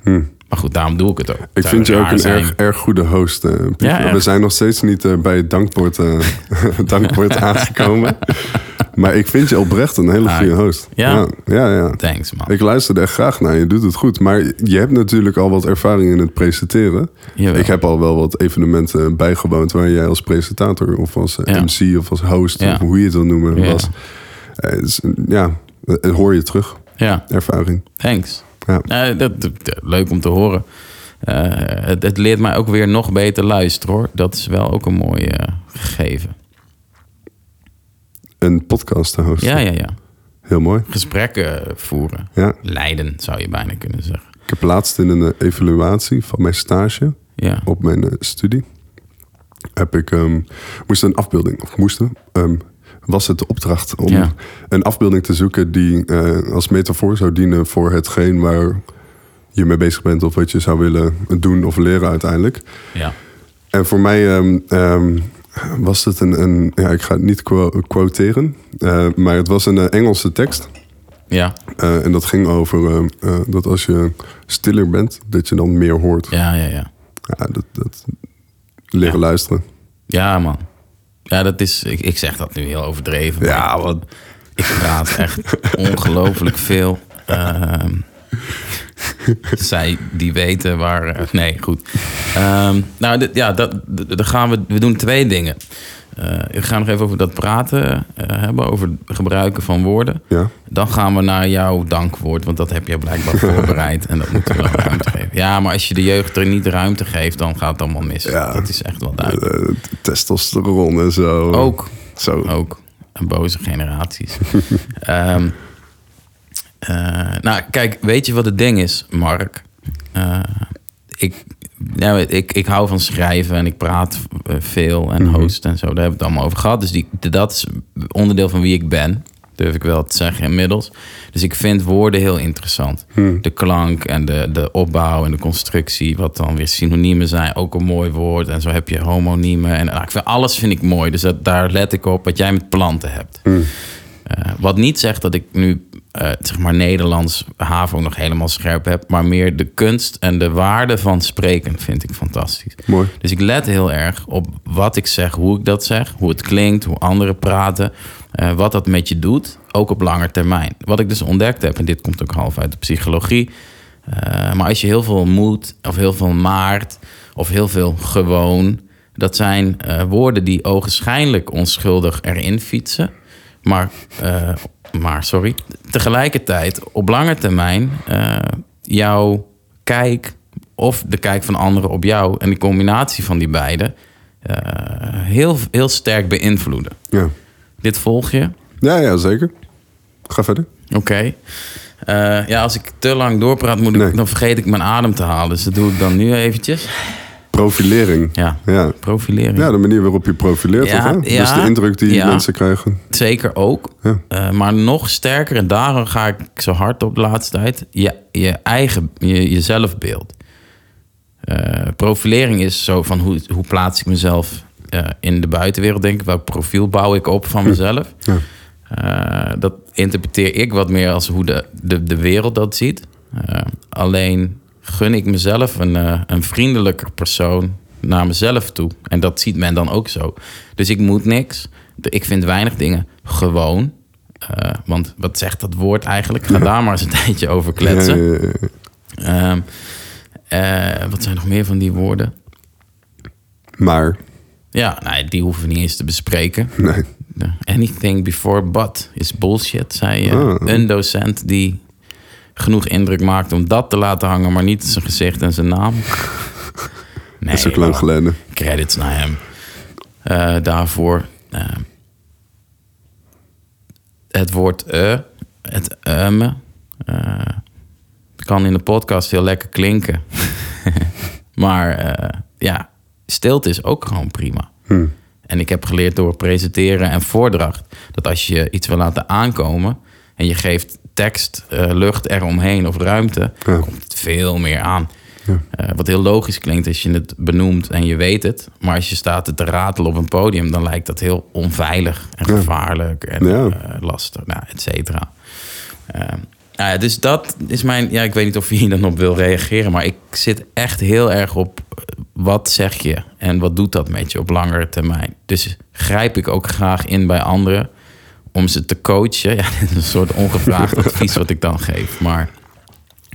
S1: Maar goed, daarom doe ik het ook.
S2: Hm. Ik
S1: Zou
S2: vind je ook
S1: raar
S2: een
S1: zijn.
S2: erg, erg goede host. eh, Pieter.
S1: Ja, echt.
S2: We zijn nog steeds niet eh, bij het dankwoord, eh, dankwoord aangekomen. Maar ik vind je oprecht een hele
S1: Ah,
S2: goede host.
S1: ja?
S2: Ja, ja, ja.
S1: Thanks, man.
S2: Ik luisterde echt graag naar je. Je doet het goed. Maar je hebt natuurlijk al wat ervaring in het presenteren.
S1: Jawel.
S2: Ik heb al wel wat evenementen bijgewoond... waar jij als presentator of als eh,
S1: Ja.
S2: MC of als host...
S1: Ja.
S2: of hoe je het wil noemen
S1: Ja.
S2: was. Eh, het is- ja, dat hoor je terug.
S1: Ja,
S2: Ervaring.
S1: thanks.
S2: Ja.
S1: Nou, dat, dat- dat- leuk om te horen. Eh, het, het leert mij ook weer nog beter luisteren, hoor. Dat is wel ook een mooi eh, gegeven.
S2: Een podcast te hosten.
S1: Ja, ja, ja.
S2: Heel mooi.
S1: Gesprekken voeren.
S2: Ja.
S1: Leiden, zou je bijna kunnen zeggen.
S2: Ik heb laatst in een eh, evaluatie van mijn stage
S1: Ja.
S2: op mijn eh, studie. Heb ik, ehm, moest een afbeelding, of moesten, ehm, was het de opdracht om
S1: Ja.
S2: een afbeelding te zoeken die eh, als metafoor zou dienen voor hetgeen waar je mee bezig bent of wat je zou willen doen of leren uiteindelijk.
S1: Ja.
S2: En voor mij ehm, ehm, was het een, een, ja, ik ga het niet quo- quoteren, eh, maar het was een eh, Engelse tekst.
S1: Ja.
S2: Eh, en dat ging over eh, eh, dat als je stiller bent, dat je dan meer hoort. Ja,
S1: Ja, ja, ja.
S2: dat, dat leren luisteren.
S1: Ja, man. Ja, dat is... Ik, ik zeg dat nu heel overdreven. maar
S2: Ja, wat.
S1: Ik praat echt ongelooflijk veel. Ehm, zij die weten waar... eh, nee, goed. Ehm, nou, dit- ja, dat, d- dan gaan we... We doen twee dingen. Eh we gaan nog even over dat praten eh, hebben. Over het gebruiken van woorden.
S2: Ja.
S1: Dan gaan we naar jouw dankwoord, want dat heb je blijkbaar voorbereid. en dat moeten we wel ruimte geven. Ja, maar als je de jeugd er niet ruimte geeft, dan gaat het allemaal mis.
S2: Ja.
S1: Dat is echt wel duidelijk.
S2: Eh, testosteron en zo.
S1: Ook.
S2: Zo.
S1: Ook. En boze generaties. Ehm, eh, nou, kijk, weet je wat het ding is, Mark? Eh, ik, ja, ik, ik hou van schrijven en ik praat eh, veel en host en zo. Daar hebben we het allemaal over gehad. Dus die, dat is onderdeel van wie ik ben. Durf ik wel te zeggen inmiddels. Dus ik vind woorden heel interessant. De klank en de, de opbouw en de constructie. Wat dan weer synoniemen zijn. Ook een mooi woord. En zo heb je homoniemen. En, nou, ik vind, alles vind ik mooi. Dus dat, daar let ik op wat jij met planten hebt. Eh, wat niet zegt dat ik nu eh, zeg maar Nederlands HAVO nog helemaal scherp heb, maar meer de kunst en de waarde van spreken vind ik fantastisch.
S2: Mooi.
S1: Dus ik let heel erg op wat ik zeg, hoe ik dat zeg, hoe het klinkt, hoe anderen praten, eh, wat dat met je doet, ook op lange termijn. Wat ik dus ontdekt heb, en dit komt ook half uit de psychologie, eh, maar als je heel veel moet, of heel veel maart, of heel veel gewoon, dat zijn eh, woorden die ogenschijnlijk onschuldig erin fietsen. Maar, eh, maar sorry, tegelijkertijd op lange termijn eh, jouw kijk of de kijk van anderen op jou en de combinatie van die beide eh, heel, heel sterk beïnvloeden.
S2: Ja.
S1: Dit volg je?
S2: Ja, ja, zeker. Ga verder.
S1: Oké. Eh, ja, als ik te lang doorpraat, moet ik,
S2: Nee.
S1: dan vergeet ik mijn adem te halen. Dus dat doe ik dan nu eventjes.
S2: Profilering.
S1: Ja,
S2: Ja.
S1: profilering.
S2: Ja, de manier waarop je profileert.
S1: Ja,
S2: toch, hè?
S1: ja.
S2: dus de indruk die
S1: Ja.
S2: mensen krijgen.
S1: Zeker ook.
S2: Ja.
S1: Eh, maar nog sterker, en daarom ga ik zo hard op de laatste tijd, je, je eigen, je, je zelfbeeld. Eh, profilering is zo van hoe, hoe plaats ik mezelf eh, in de buitenwereld, denk ik. Welk profiel bouw ik op van mezelf?
S2: Ja.
S1: Eh, dat interpreteer ik wat meer als hoe de, de, de wereld dat ziet. Eh, alleen gun ik mezelf een, eh, een vriendelijker persoon naar mezelf toe. En dat ziet men dan ook zo. Dus ik moet niks. De- Ik vind weinig dingen gewoon. Eh, want wat zegt dat woord eigenlijk? Ga daar maar eens een tijdje over kletsen.
S2: Ja, ja, ja, ja.
S1: Ehm, eh, wat zijn nog meer van die woorden?
S2: Maar,
S1: Ja, nee, die hoeven we niet eens te bespreken.
S2: nee.
S1: De Anything before but is bullshit, zei eh,
S2: Ah.
S1: een docent die genoeg indruk maakte om dat te laten hangen, maar niet zijn gezicht en zijn naam. Nee,
S2: Dat is ook lang
S1: man.
S2: geleden.
S1: Credits naar hem eh, daarvoor. Eh, het woord eh, het emme, eh, kan in de podcast heel lekker klinken.
S2: Hmm.
S1: maar eh, ja, stilte is ook gewoon prima. En ik heb geleerd door presenteren en voordracht dat als je iets wil laten aankomen en je geeft tekst, eh, lucht eromheen of ruimte,
S2: Ja.
S1: komt het veel meer aan. Eh, wat heel logisch klinkt als je het benoemt en je weet het. Maar als je staat het te ratelen op een podium, dan lijkt dat heel onveilig en
S2: Ja.
S1: gevaarlijk en
S2: Ja.
S1: eh, lastig, nou, et cetera. Eh, nou ja, dus dat is mijn. Ja, ik weet niet of je hier dan op wil reageren, maar ik zit echt heel erg op eh, wat zeg je en wat doet dat met je op langere termijn. Dus grijp ik ook graag in bij anderen om ze te coachen. Ja, dit is een soort ongevraagd advies wat ik dan geef, maar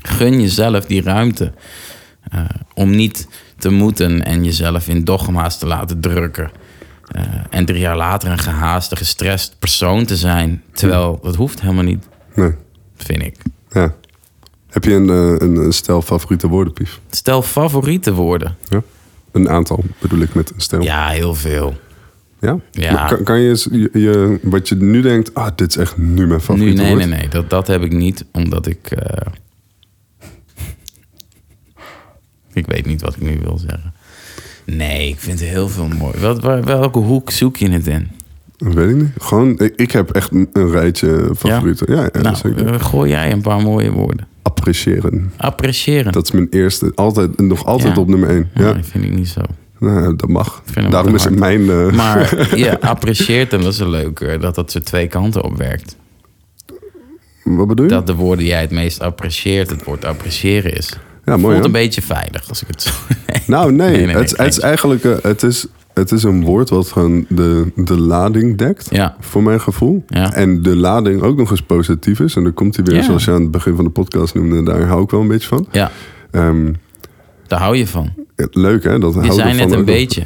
S1: gun jezelf die ruimte eh, om niet te moeten en jezelf in dogma's te laten drukken. Eh, en drie jaar later een gehaaste, gestrest persoon te zijn. Terwijl dat hoeft helemaal niet,
S2: Nee.
S1: vind ik.
S2: Ja. Heb je een, eh, een, een stijl favoriete woordenpief?
S1: Stel favoriete woorden.
S2: Ja. Een aantal bedoel ik met een stijl.
S1: Ja, heel veel.
S2: Ja?
S1: Ja.
S2: Maar Kan, kan je, eens je, je- wat je nu denkt, ah, dit is echt nu mijn
S1: Nu,
S2: favoriete
S1: nee,
S2: woord.
S1: nee, nee. Dat, dat heb ik niet, omdat ik... eh, ik weet niet wat ik nu wil zeggen. Nee, ik vind heel veel mooi. Wat, waar- welke hoek zoek je het in?
S2: Weet ik niet. Gewoon, ik, ik heb echt een, een rijtje eh, favorieten. Ja, ja,
S1: nou,
S2: zeker.
S1: eh, gooi jij een paar mooie woorden.
S2: Appreciëren.
S1: Appreciëren.
S2: Dat is mijn eerste. Altijd, nog altijd
S1: Ja.
S2: op nummer één.
S1: ja.
S2: Ja.
S1: dat vind ik niet zo.
S2: Nou, ja, dat mag.
S1: vind hem
S2: Daarom
S1: te
S2: is het
S1: hard.
S2: mijn... eh,
S1: Maar je apprecieert hem, dat is een leuke, dat dat zo twee kanten op werkt.
S2: wat bedoel je?
S1: Dat de woorden die jij het meest apprecieert, het woord appreciëren is.
S2: ja, mooi
S1: Voelt
S2: hè?
S1: een beetje veilig als ik het zo.
S2: Nou, nee.
S1: Nee, nee, nee,
S2: het, het is
S1: nee.
S2: eigenlijk eh, het is, het is een woord wat gewoon de, de lading dekt.
S1: Ja.
S2: Voor mijn gevoel.
S1: Ja.
S2: En de lading ook nog eens positief is. En dan komt hij weer,
S1: Ja.
S2: zoals je aan het begin van de podcast noemde. Daar hou ik wel een beetje van.
S1: Ja,
S2: Ehm,
S1: daar hou je van.
S2: leuk hè? Dat
S1: Je
S2: houden
S1: zei
S2: van
S1: net een
S2: ook nog.
S1: beetje.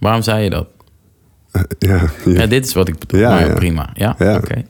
S1: Waarom zei je dat?
S2: Ja, ja.
S1: Ja, dit is wat ik bedoel.
S2: Ja,
S1: nou ja,
S2: ja.
S1: prima. Ja,
S2: Ja.
S1: oké.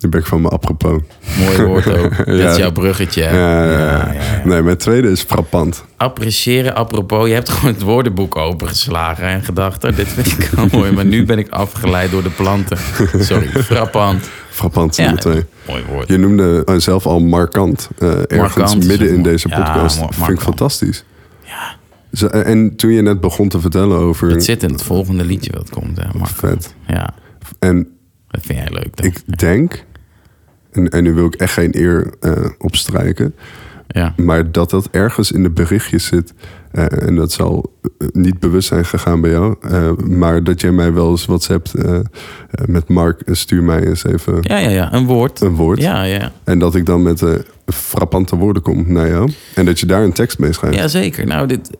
S2: Nu ben ik van me apropos.
S1: Mooi woord ook. Dat
S2: Ja.
S1: is jouw bruggetje. hè?
S2: Ja, ja, ja.
S1: Ja, ja, ja.
S2: Nee, mijn tweede is frappant.
S1: Appreciëren, apropos, je hebt gewoon het woordenboek opengeslagen en gedacht, oh, dit vind ik wel mooi, maar nu ben ik afgeleid door de planten. Sorry, frappant.
S2: Frappant zijn
S1: Ja,
S2: nummer twee.
S1: mooi woord.
S2: Je noemde eh, zelf al markant. eh, ergens
S1: Markant is
S2: midden
S1: een
S2: in
S1: mooi-
S2: deze
S1: ja,
S2: podcast.
S1: mooi-
S2: Vind ik
S1: markant.
S2: fantastisch.
S1: Ja,
S2: Zo, eh, en toen je net begon te vertellen over...
S1: het zit in het volgende liedje wat komt, hè, Mark.
S2: Vet.
S1: Ja,
S2: En
S1: dat vind jij leuk. toch?
S2: ik denk... En, en nu wil ik echt geen eer eh opstrijken.
S1: Ja.
S2: Maar dat dat ergens in de berichtjes zit. eh, en dat zal eh, niet bewust zijn gegaan bij jou. eh, maar dat jij mij wel eens WhatsApp eh eh, met Mark. eh, Stuur mij eens even
S1: ja, ja, ja, een woord.
S2: een woord.
S1: Ja, ja.
S2: En dat ik dan met eh, frappante woorden kom naar jou. En dat je daar een tekst mee schrijft.
S1: ja, zeker. Nou, dit,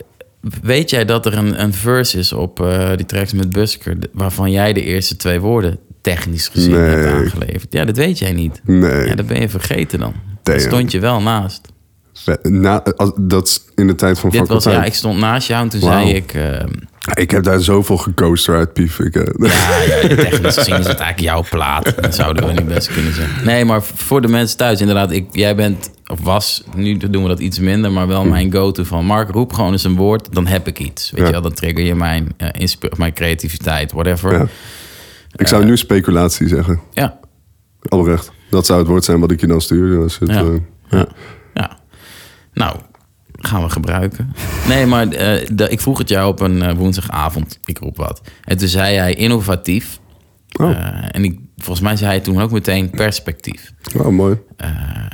S1: weet jij dat er een, een verse is op eh, die tracks met Busker, d- waarvan jij de eerste twee woorden technisch gezien hebt
S2: Nee.
S1: aangeleverd? Ja, dat weet jij niet.
S2: Nee.
S1: Ja, dat ben je vergeten dan.
S2: Damn.
S1: Dat stond je wel naast.
S2: Vet. Eh, Na, als- dat is in de tijd van
S1: Dit was, ja,
S2: faculteit.
S1: ik stond naast jou en toen
S2: Wauw.
S1: zei ik... eh,
S2: ik... heb daar zoveel gecoast uit, Pief. Ik, eh,
S1: ja, ja, technisch gezien is het eigenlijk jouw plaat. Dat zouden we niet best kunnen zeggen. Nee, maar voor de mensen thuis, inderdaad. Ik, jij bent, of was, nu doen we dat iets minder, maar wel mijn go-to van... Mark, roep gewoon eens een woord, dan heb ik iets. Weet
S2: Ja.
S1: je wel, dan trigger je mijn, eh, insp- of mijn creativiteit, whatever.
S2: Ja.
S1: Ja.
S2: ik zou nu speculatie zeggen.
S1: ja,
S2: Oprecht. Dat zou het woord zijn wat ik je dan stuur. Als het,
S1: Ja.
S2: eh, ja.
S1: ja. Nou, gaan we gebruiken. Nee, maar eh, de- ik vroeg het jou op een eh, woensdagavond. Ik roep wat. En toen zei hij innovatief.
S2: Oh.
S1: Eh, en ik, volgens mij zei hij toen ook meteen perspectief.
S2: Oh, mooi.
S1: Eh,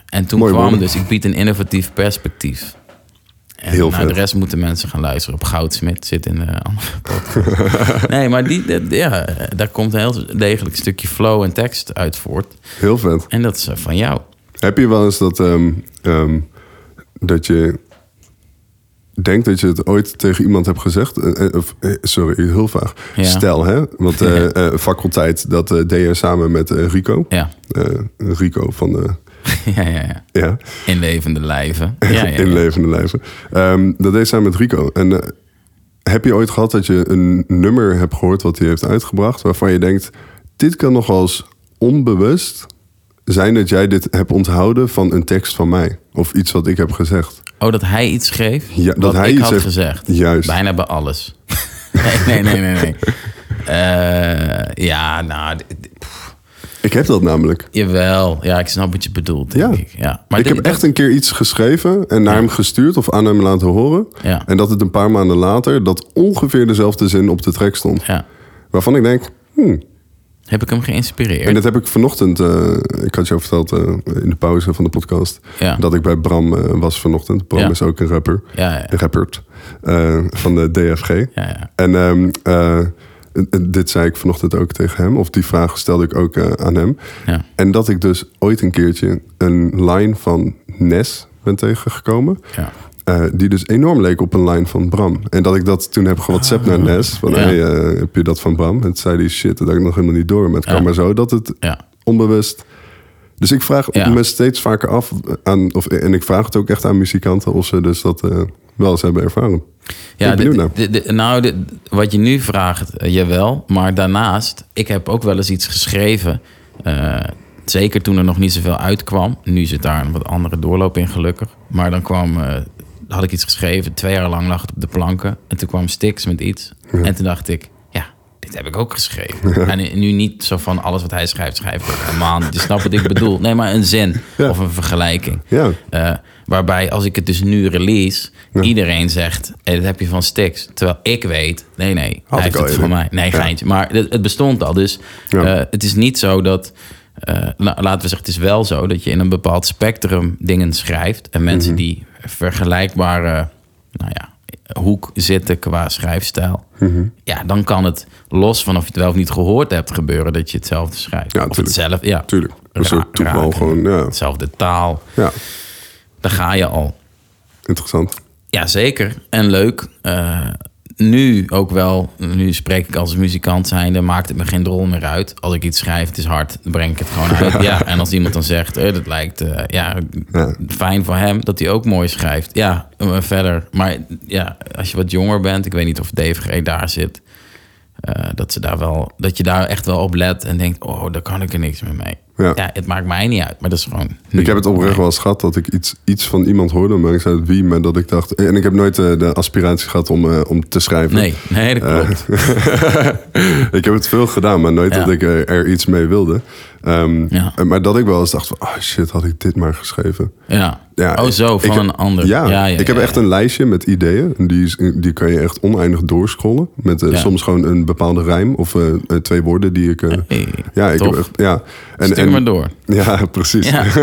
S1: en toen
S2: Mooi
S1: kwam
S2: woorden.
S1: dus, ik bied een innovatief perspectief. En
S2: Heel
S1: naar
S2: vet.
S1: de rest moeten mensen gaan luisteren. Op Goudsmit zit in de andere podcast. nee, maar die, dat- ja, daar komt een heel degelijk stukje flow en tekst uit voort.
S2: Heel vet.
S1: En dat is eh, van jou.
S2: Heb je wel eens dat, ehm, ehm, dat je denkt dat je het ooit tegen iemand hebt gezegd? Eh, eh, of, eh, sorry, heel vaag.
S1: Ja.
S2: Stel, hè? Want eh eh, faculteit, dat eh, deed je samen met eh, Rico.
S1: Ja.
S2: Eh, Rico van de...
S1: ja, ja, ja.
S2: Ja.
S1: In levende lijven. Ja, ja, ja.
S2: in levende lijven. Ehm, dat deed zij met Rico. En eh, heb je ooit gehad dat je een nummer hebt gehoord wat hij heeft uitgebracht, waarvan je denkt, dit kan nog wel eens onbewust zijn dat jij dit hebt onthouden van een tekst van mij of iets wat ik heb gezegd?
S1: Oh, dat hij iets schreef?
S2: Ja, dat
S1: wat
S2: hij
S1: ik
S2: iets
S1: had
S2: heeft-
S1: gezegd.
S2: Juist.
S1: Bijna bij alles. nee, nee, nee, nee. nee. Eh, ja, nou, d- d- pff,
S2: Ik heb dat namelijk.
S1: Jawel, ja, ik snap wat je bedoelt, denk
S2: Ja.
S1: ik. Ja. Maar
S2: ik
S1: dit-
S2: heb echt een keer iets geschreven en naar hem gestuurd of aan hem laten horen.
S1: Ja.
S2: En dat het een paar maanden later dat ongeveer dezelfde zin op de track stond.
S1: Ja.
S2: Waarvan ik denk, hmm.
S1: Heb ik hem geïnspireerd?
S2: En dat heb ik vanochtend, eh, ik had je al verteld eh, in de pauze van de podcast,
S1: Ja.
S2: dat ik bij Bram eh, was vanochtend. Bram
S1: Ja.
S2: is ook een rapper,
S1: Ja, ja.
S2: een rappert eh, van de DFG.
S1: Ja, ja.
S2: En ehm, eh, eh, dit zei ik vanochtend ook tegen hem, of die vraag stelde ik ook eh, aan hem.
S1: Ja.
S2: En dat ik dus ooit een keertje een line van Nes ben tegengekomen.
S1: Ja.
S2: eh, die dus enorm leek op een line van Bram. En dat ik dat toen heb gewhatsappt naar Nes. Van,
S1: Ah. Ja.
S2: hey, eh, heb je dat van Bram? En toen zei die shit, dat had ik nog helemaal niet door. Maar het
S1: Ja.
S2: kwam maar zo dat het
S1: Ja.
S2: onbewust. Dus ik vraag
S1: Ja.
S2: me steeds vaker af, aan, of, en ik vraag het ook echt aan muzikanten, of ze dus dat eh, wel eens hebben ervaren.
S1: Ja,
S2: ik ben benieuwd
S1: dit-
S2: naar.
S1: dit- dit- nou, dit- wat je nu vraagt, eh, jawel. Maar daarnaast, ik heb ook wel eens iets geschreven. eh, zeker toen er nog niet zoveel uitkwam. Nu zit daar een wat andere doorloop in, gelukkig. Maar dan kwam, eh, had ik iets geschreven. Twee jaar lang lag het op de planken. En toen kwam Stix met iets. En toen dacht ik, ja, dit heb ik ook geschreven. En nu niet zo van alles wat hij schrijft, schrijf ik een maand. Je snapt wat ik bedoel. Nee, maar een zin
S2: Ja.
S1: of een vergelijking.
S2: Ja.
S1: Eh, waarbij als ik het dus nu release, iedereen zegt: hey, dat heb je van Stix. Terwijl ik weet, nee, nee, hij
S2: Had ik
S1: heeft
S2: al
S1: het
S2: eerder.
S1: van mij. Nee,
S2: Ja.
S1: geintje. Maar het, het bestond al. Dus
S2: Ja.
S1: eh, het is niet zo dat. eh, la- laten we zeggen, het is wel zo dat je in een bepaald spectrum dingen schrijft. En mensen
S2: Mhm.
S1: die vergelijkbare nou ja, hoek zitten qua schrijfstijl.
S2: Mhm.
S1: Ja, dan kan het los van of je het wel of niet gehoord hebt gebeuren dat je hetzelfde schrijft.
S2: Ja,
S1: of
S2: tuurlijk.
S1: hetzelfde. Ja,
S2: Tuurlijk. Een
S1: Ra-
S2: soort toeval
S1: raken.
S2: gewoon, ja.
S1: Hetzelfde taal.
S2: Ja,
S1: Daar ga je al.
S2: interessant.
S1: Ja, zeker. En leuk. Eh, nu ook wel, nu spreek ik als muzikant zijnde, maakt het me geen rol meer uit. Als ik iets schrijf, het is hard, dan breng ik het gewoon uit. Ja, en als iemand dan zegt, eh, dat lijkt eh, ja,
S2: Ja.
S1: fijn voor hem, dat hij ook mooi schrijft. Ja, eh, verder. Maar ja, als je wat jonger bent, ik weet niet of DVG daar zit, eh, dat, ze daar wel, dat je daar echt wel op let en denkt, oh, daar kan ik er niks meer mee. Ja.
S2: Ja.
S1: het maakt mij niet uit, maar dat is gewoon... nu.
S2: Ik heb het oprecht wel eens gehad dat ik iets, iets van iemand hoorde, maar ik zei het wie, maar dat ik dacht... En ik heb nooit eh, de aspiratie gehad om, eh, om te schrijven.
S1: Nee, nee, dat
S2: Eh,
S1: klopt.
S2: ik heb het veel gedaan, maar nooit
S1: Ja.
S2: dat ik eh, er iets mee wilde. Ehm,
S1: Ja.
S2: eh, Maar dat ik wel eens dacht van, ah shit, had ik dit maar geschreven.
S1: Ja.
S2: Ja,
S1: oh, zo,
S2: ik
S1: van
S2: heb-
S1: een ander.
S2: Ja, ik heb
S1: ja,
S2: echt
S1: ja.
S2: een lijstje met ideeën. En Die, is- die kan je echt oneindig doorscrollen. Met eh,
S1: Ja.
S2: soms gewoon een bepaalde rijm of eh, eh, twee woorden die ik... eh,
S1: Hey,
S2: ja, ik heb
S1: tof.
S2: echt... Ja. En,
S1: Stuur
S2: en-
S1: maar door.
S2: Ja, precies.
S1: Ja. nou,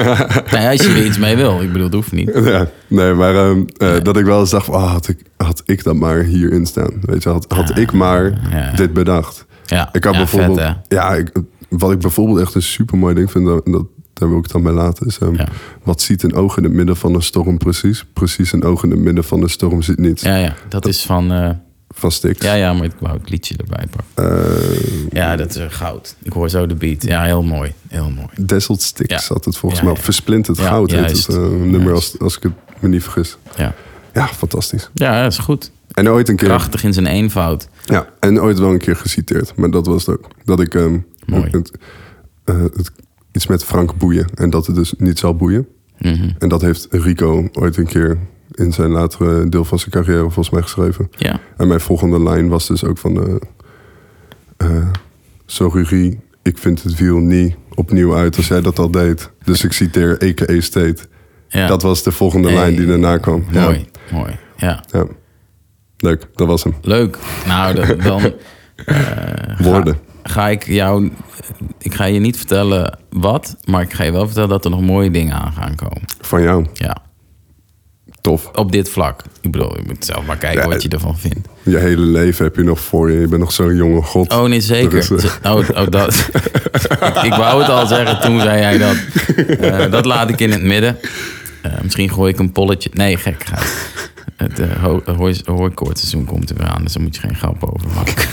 S1: ja, als je er iets mee wil. Ik bedoel, dat hoeft niet.
S2: Ja, nee, maar ehm, eh, dat ik wel eens dacht van, ah, had, ik, had ik dat maar hierin staan. Weet je, had, had ik maar
S1: ja.
S2: dit bedacht.
S1: Ja,
S2: ik had
S1: ja,
S2: bijvoorbeeld,
S1: vet,
S2: ja, ik, wat ik bijvoorbeeld echt een super mooi ding vind, dat, dat daar wil ik het dan bij laten, is ehm,
S1: Ja.
S2: wat ziet een oog in het midden van een storm precies? Precies een oog in het midden van een storm ziet niets
S1: Ja, ja, dat is van... eh,
S2: van Stix.
S1: ja, ja, maar ik wou het liedje erbij pakken.
S2: Eh,
S1: Ja, dat is eh, goud. Ik hoor zo de beat. Ja, heel mooi. Heel mooi.
S2: Dazzled Stix
S1: Ja.
S2: had het volgens
S1: Ja,
S2: mij.
S1: ja.
S2: Versplinterd
S1: Ja,
S2: goud heet
S1: juist.
S2: het eh, nummer,
S1: Juist.
S2: als, als ik het me niet vergis.
S1: Ja,
S2: Ja, fantastisch.
S1: ja dat is goed.
S2: En ooit een keer...
S1: Krachtig in zijn eenvoud.
S2: Ja, en ooit wel een keer geciteerd. Maar dat was het ook. Dat ik ehm,
S1: Mooi.
S2: Het, eh, het- iets met Frank boeien. En dat het dus niet zal boeien.
S1: Mhm.
S2: En dat heeft Rico ooit een keer in zijn latere deel van zijn carrière volgens mij geschreven.
S1: Ja.
S2: En mijn volgende lijn was dus ook van... eh eh, Sorry, ik vind het wiel niet opnieuw uit als jij dat al deed. Dus ik citeer EKE State.
S1: ja.
S2: Dat was de volgende
S1: Hey.
S2: lijn die daarna kwam. Ja.
S1: Mooi, mooi. Ja,
S2: Ja. Leuk, dat was hem.
S1: leuk. Nou, dat- dan...
S2: Woorden.
S1: ga ik jou. Ik ga je niet vertellen wat, maar ik ga je wel vertellen dat er nog mooie dingen aan gaan komen.
S2: Van jou.
S1: Ja,
S2: Tof.
S1: op dit vlak. Ik bedoel, je moet zelf maar kijken
S2: Ja,
S1: wat je ervan vindt.
S2: Je hele leven heb je nog voor je. Je bent nog zo'n jonge god.
S1: Oh nee, zeker.
S2: Er is, eh,
S1: Ze- Oh, oh dat. ik, ik wou het al zeggen, toen zei jij dat. Eh, dat laat ik in het midden. Eh, misschien gooi ik een polletje. Nee, gek. Gaat. Het eh, ho- hooi- hooikoortseizoen komt er weer aan, dus daar moet je geen grap over maken.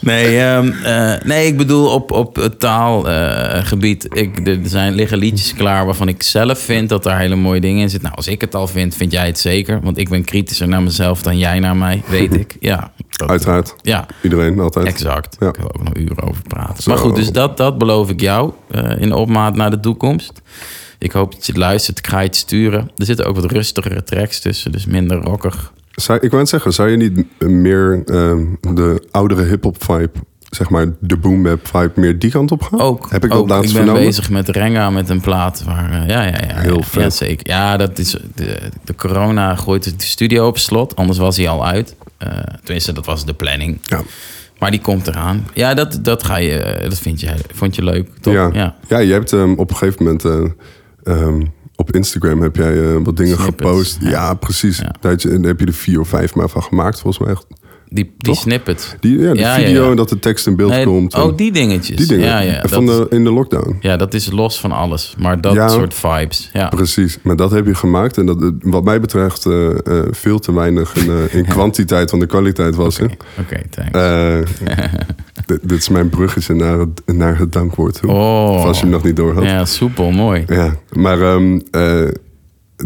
S1: Nee, ehm, eh, nee, ik bedoel op, op het taalgebied. eh, ik, er zijn, liggen liedjes klaar waarvan ik zelf vind dat daar hele mooie dingen in zitten. Nou, als ik het al vind, vind jij het zeker. Want ik ben kritischer naar mezelf dan jij naar mij, weet ik. Ja, dat-
S2: Uiteraard.
S1: ja
S2: Iedereen altijd.
S1: exact.
S2: Ja.
S1: Daar kunnen we ook nog uren over praten.
S2: Zo.
S1: Maar goed, dus dat, dat beloof ik jou eh, in opmaat naar de toekomst. Ik hoop dat je het luistert. Ik ga je het sturen. Er zitten ook wat rustigere tracks tussen, dus minder rockig.
S2: Zou, ik wou het zeggen, zou je niet eh, meer ehm, de oudere hip-hop vibe, zeg maar de boom bap vibe, meer die kant op gaan?
S1: Ook.
S2: Heb ik
S1: ook.
S2: dat laatst
S1: ik ben
S2: vernomen?
S1: bezig met Renga met een plaat. Waar, eh, ja, ja, ja.
S2: Heel
S1: ja,
S2: vet.
S1: Ja, zeker. Ja, dat is, de, de corona gooit de studio op slot. Anders was hij al uit. Eh, tenminste, dat was de planning.
S2: Ja.
S1: Maar die komt eraan. Ja, dat, dat, ga je, eh, dat vind je, vond je leuk, toch?
S2: Ja. ja. je hebt ehm, op een gegeven moment eh, ehm, op Instagram heb jij eh, wat dingen
S1: Snippets,
S2: gepost.
S1: ja.
S2: Ja, precies.
S1: Ja.
S2: Daar heb je- daar heb je er vier of vijf maar van gemaakt, volgens mij. echt.
S1: Die, die
S2: Toch?
S1: snippets.
S2: Die, ja, die
S1: Ja, ja,
S2: video
S1: ja.
S2: en dat de tekst in beeld
S1: Nee,
S2: komt. en
S1: oh, die dingetjes.
S2: die dingen.
S1: Ja, ja,
S2: En van
S1: dat-
S2: de, in de lockdown.
S1: Ja, dat is los van alles. Maar dat
S2: Ja.
S1: soort vibes. Ja.
S2: Precies, maar dat heb je gemaakt. En dat, eh, wat mij betreft eh, eh, veel te weinig in, eh, in kwantiteit, want de kwaliteit was er.
S1: Oké, thanks.
S2: Eh, dit- dit is mijn bruggetje naar het, naar het dankwoord toe.
S1: Oh.
S2: Of als je hem nog niet door had. Ja.
S1: ja, soepel, mooi.
S2: Maar ehm, eh,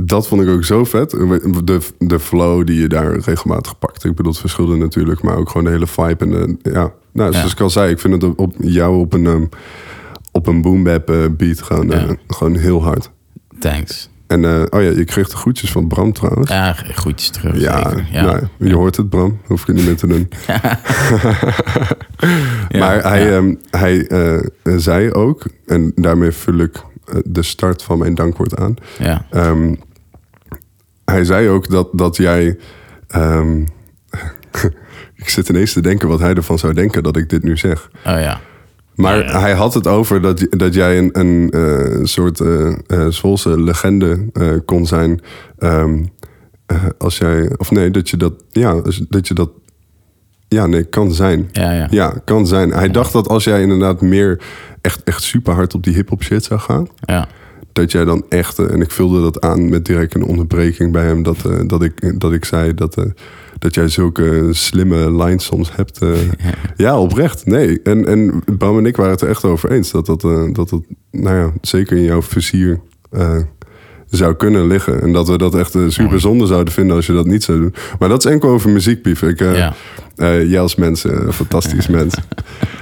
S2: dat vond ik ook zo vet. Eh, De, de flow die je daar regelmatig pakt. Ik bedoel, het verschilde natuurlijk, maar ook gewoon de hele vibe. En de- ja, nou, zoals
S1: Ja.
S2: ik al zei, ik vind het op jou op een, ehm, op een boom bap eh, beat gewoon, eh,
S1: Ja.
S2: gewoon heel hard.
S1: Thanks.
S2: En eh, oh ja, je kreeg de groetjes van Bram trouwens.
S1: Ja, groetjes terug.
S2: Ja,
S1: zeker. ja.
S2: nou, je hoort het, Bram. Hoef ik het niet meer te doen. maar
S1: Ja,
S2: hij,
S1: ja.
S2: ehm, hij eh, zei ook, en daarmee vul ik eh, de start van mijn dankwoord aan.
S1: ja.
S2: Ehm, hij zei ook dat, dat jij. ehm, ik zit ineens te denken wat hij ervan zou denken dat ik dit nu zeg.
S1: Oh ja.
S2: Maar
S1: Ja, ja.
S2: hij had het over dat, j- dat jij een, een eh, soort eh eh, Zwolse legende eh, kon zijn. ehm, eh, als jij, of nee, dat je dat, ja, als- dat je dat, ja, nee, kan zijn.
S1: Ja, ja.
S2: kan zijn. Hij dacht dat als jij inderdaad meer echt, echt super hard op die hip-hop shit zou gaan,
S1: Ja.
S2: dat jij dan echt, eh, en ik vulde dat aan met direct een onderbreking bij hem, dat, eh, dat, ik, dat ik zei dat, eh, dat jij zulke slimme lines soms hebt. eh. ja, oprecht. Nee. En, en Bram en ik waren het er echt over eens dat dat, eh, dat, dat nou ja, zeker in jouw vizier eh, zou kunnen liggen. En dat we dat echt eh,
S1: Mm.
S2: super zonde zouden vinden als je dat niet zou doen. Maar dat is enkel over muziek, Pief. Ik, eh,
S1: Ja.
S2: eh, jij als mens, eh, een fantastisch mens.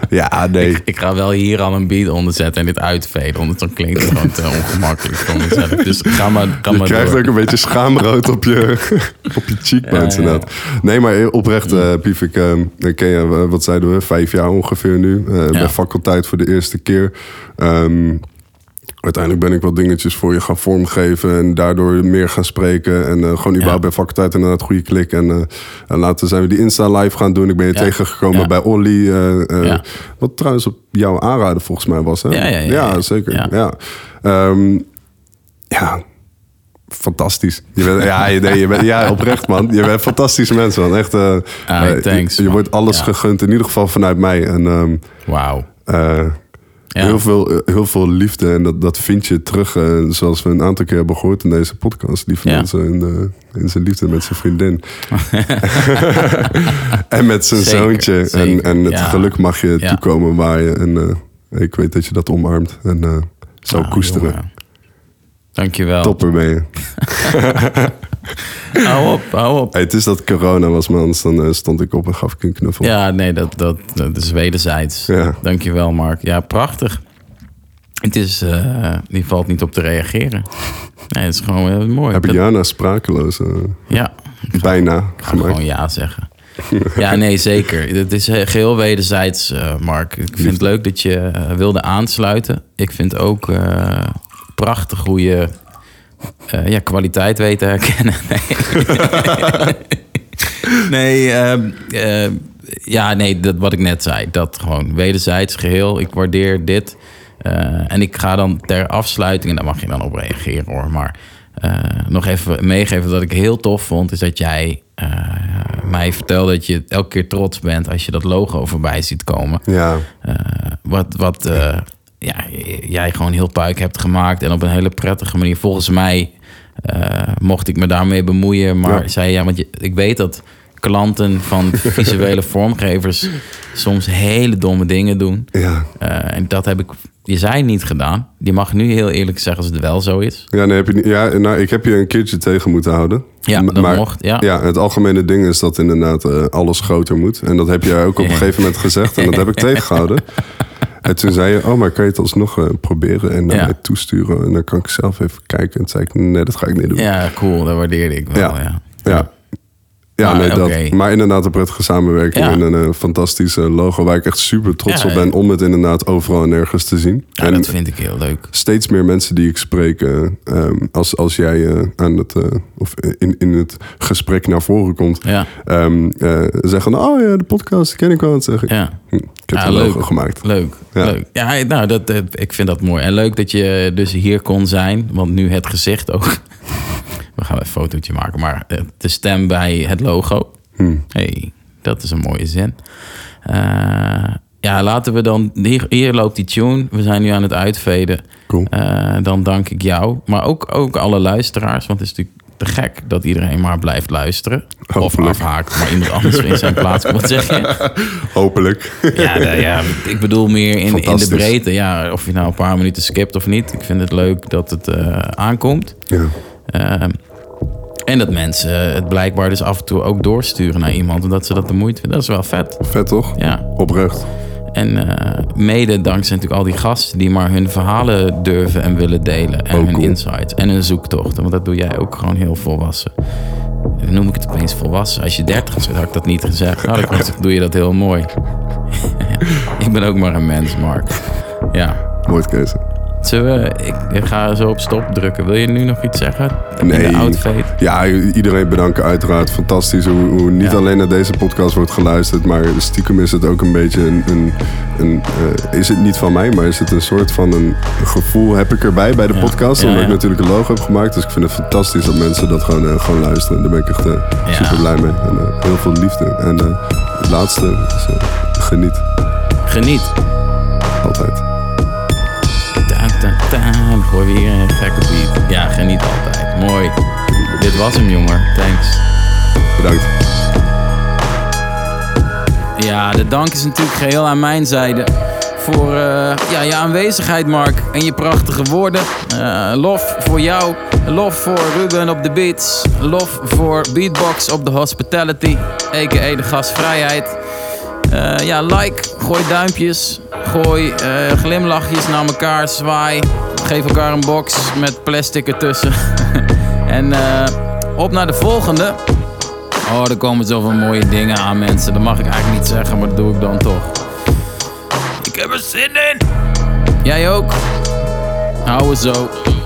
S2: Ja, nee.
S1: Ik ga wel hier al een beat onder zetten en dit uitveden. Anders dan klinkt het gewoon te ongemakkelijk voor mezelf. Dus ga maar, ga
S2: Je
S1: maar
S2: krijgt
S1: door.
S2: ook een beetje schaamrood op je, op je cheekbones
S1: Ja, ja, Mm.
S2: inderdaad. Nee, maar oprecht, eh Pief, ik eh, ik ken je, eh, wat zeiden we, vijf jaar ongeveer nu. eh,
S1: Ja.
S2: Bij faculteit voor de eerste keer. Ehm, uiteindelijk ben ik wat dingetjes voor je gaan vormgeven... en daardoor meer gaan spreken. En eh, gewoon überhaupt bij faculteit inderdaad goede klik. En, eh, en later zijn we die Insta live gaan doen. Ik ben je
S1: Ja.
S2: tegengekomen
S1: Ja.
S2: bij Olly. eh, eh,
S1: Ja.
S2: Wat trouwens op jouw aanraden volgens mij was, hè?
S1: Ja, ja, ja, ja.
S2: zeker.
S1: Ja.
S2: Ja, Ehm, ja fantastisch. Je bent, ja, je, nee, je bent, ja, oprecht man. Je bent een fantastische mens man. Echt, eh,
S1: Ah,
S2: eh,
S1: thanks,
S2: je, je
S1: man.
S2: wordt alles
S1: Ja.
S2: gegund, in ieder geval vanuit mij. En ehm,
S1: Wauw.
S2: eh,
S1: Ja.
S2: heel, veel, eh, heel veel liefde en dat, dat vind je terug, eh, zoals we een aantal keer hebben gehoord in deze podcast. Die van
S1: Ja.
S2: ons eh, in, eh, in zijn liefde met zijn vriendin. en met zijn
S1: Zeker,
S2: zoontje.
S1: zeker.
S2: En, en het
S1: Ja.
S2: geluk mag je
S1: Ja.
S2: toekomen waar je. En eh, ik weet dat je dat omarmt en eh zou
S1: Nou,
S2: koesteren.
S1: jongen. Dankjewel.
S2: Topper ben je.
S1: Hou op, hou op.
S2: Hey, het is dat corona was, man. Anders dan eh, stond ik op en gaf ik een knuffel.
S1: Ja, nee, dat, dat, dat is wederzijds.
S2: Ja.
S1: Dankjewel, Mark. Ja, prachtig. Het is, eh, die valt niet op te reageren. Nee, het is gewoon heel mooi.
S2: Heb ik
S1: Dat-
S2: Jana sprakeloos eh,
S1: ja, ik
S2: bijna
S1: ga gewoon
S2: gemaakt.
S1: ja zeggen. Ja, nee, zeker. Het is eh, geheel wederzijds, eh, Mark. Ik vind het leuk dat je eh, wilde aansluiten. Ik vind ook eh, prachtig hoe je eh, ja, kwaliteit weet te herkennen. Nee, nee ehm, ehm, ja, nee, dat, wat ik net zei. Dat gewoon wederzijds geheel. Ik waardeer dit. Eh, en ik ga dan ter afsluiting, en daar mag je dan op reageren hoor. Maar eh, nog even meegeven dat ik heel tof vond, is dat jij eh, mij vertelde dat je elke keer trots bent als je dat logo voorbij ziet komen.
S2: Ja,
S1: Eh, wat wat eh, ja, jij gewoon heel puik hebt gemaakt. En op een hele prettige manier. Volgens mij eh, mocht ik me daarmee bemoeien. Maar
S2: Ja.
S1: zei ja, want je, ik weet dat klanten van visuele vormgevers soms hele domme dingen doen.
S2: ja.
S1: Eh, en dat heb ik, je zei niet gedaan. Je mag nu heel eerlijk zeggen als het wel zo is.
S2: Ja, nee, heb je, niet- ja nou, ik heb je een keertje tegen moeten houden.
S1: Ja,
S2: M-
S1: dat mocht, ja.
S2: het algemene ding is dat inderdaad eh, alles groter moet. En dat heb jij ook op een gegeven moment gezegd. En dat heb ik tegengehouden. En toen zei je, oh, maar kan je het alsnog eh, proberen en naar
S1: Ja.
S2: mij toesturen? En dan kan ik zelf even kijken. En toen zei ik, nee, dat ga ik niet doen.
S1: Ja, cool, dat waardeerde ik wel. Ja.
S2: Ja. ja. Ja,
S1: Maar,
S2: nee, dat.
S1: Oh, Ah, oké.
S2: Maar inderdaad een prettige samenwerking
S1: Ja.
S2: en een eh, fantastische logo waar ik echt super trots
S1: Ja,
S2: op ben
S1: ja.
S2: om het inderdaad overal en nergens te zien.
S1: Ja,
S2: en
S1: dat vind ik heel leuk.
S2: steeds meer mensen die ik spreek, eh, ehm, als, als jij eh, aan het, eh, of in, in het gesprek naar voren komt,
S1: Ja,
S2: ehm, eh, zeggen, oh ja, de podcast ken ik wel. Dat zeg ik.
S1: ja.
S2: Hm, Ik heb
S1: Ja,
S2: een logo
S1: leuk.
S2: gemaakt.
S1: Leuk,
S2: Ja.
S1: leuk. Ja, nou, dat, eh, ik vind dat mooi. En leuk dat je dus hier kon zijn, want nu het gezicht ook. We gaan een fotootje maken, maar eh, de stem bij het logo.
S2: Hmm.
S1: hey, dat is een mooie zin. Eh, ja, laten we dan... Hier, hier loopt die tune. We zijn nu aan het uitveden.
S2: Cool.
S1: Eh, dan dank ik jou, maar ook, ook alle luisteraars, want het is natuurlijk te gek dat iedereen maar blijft luisteren. Of
S2: Hopelijk.
S1: afhaakt, maar iemand anders in zijn plaats. Wat zeg je?
S2: Hopelijk.
S1: Ja, nou ja, ik bedoel meer in, in de
S2: Fantastisch.
S1: breedte. Ja, of je nou een paar minuten skipt of niet. Ik vind het leuk dat het eh, aankomt.
S2: ja.
S1: Ehm, en dat mensen het blijkbaar dus af en toe ook doorsturen naar iemand. Omdat ze dat de moeite vinden. Dat is wel vet.
S2: Vet toch?
S1: Ja.
S2: Oprecht.
S1: En eh, mede dankzij natuurlijk al die gasten die maar hun verhalen durven en willen delen. En
S2: Oh,
S1: hun
S2: cool.
S1: insights en hun zoektochten. Want dat doe jij ook gewoon heel volwassen. Dan noem ik het opeens volwassen. Als je 30 bent, had ik dat niet gezegd. Nou, dan kan ik- doe je dat heel mooi. ik ben ook maar een mens, Mark. Ja.
S2: Mooi keuze.
S1: Zullen we, ik, ik ga zo op stop drukken. Wil je nu nog iets zeggen? In de outfade?
S2: Ja, iedereen bedanken uiteraard. Fantastisch hoe, hoe niet
S1: Ja.
S2: alleen naar deze podcast wordt geluisterd, maar stiekem is het ook een beetje een... een, een, eh, is het niet van mij, maar is het een soort van een gevoel heb ik erbij bij de podcast.
S1: Ja,
S2: Omdat
S1: ja.
S2: ik natuurlijk een logo heb gemaakt. Dus ik vind het fantastisch dat mensen dat gewoon, eh, gewoon luisteren. Daar ben ik echt eh,
S1: Ja.
S2: super blij mee. En eh, heel veel liefde. En eh, het laatste is eh, geniet.
S1: Geniet.
S2: Altijd.
S1: Ta, ta, ta. Dan gooien we hier een gekke beat. Ja, geniet altijd. Mooi. Dit was hem, jongen. Thanks.
S2: Bedankt.
S1: Ja, de dank is natuurlijk geheel aan mijn zijde. Voor eh, ja, je aanwezigheid, Mark. En je prachtige woorden. Eh, lof voor jou. Lof voor Ruben op de beats. Lof voor Beatbox op de hospitality. A.k.a. de gastvrijheid. Eh, ja, like. Gooi duimpjes. Gooi eh, glimlachjes naar elkaar. Zwaai. Geef elkaar een box met plastic ertussen. en eh, op naar de volgende. Oh, er komen zoveel mooie dingen aan, mensen. Dat mag ik eigenlijk niet zeggen, maar dat doe ik dan toch. Ik heb er zin in! Jij ook? Hou het zo.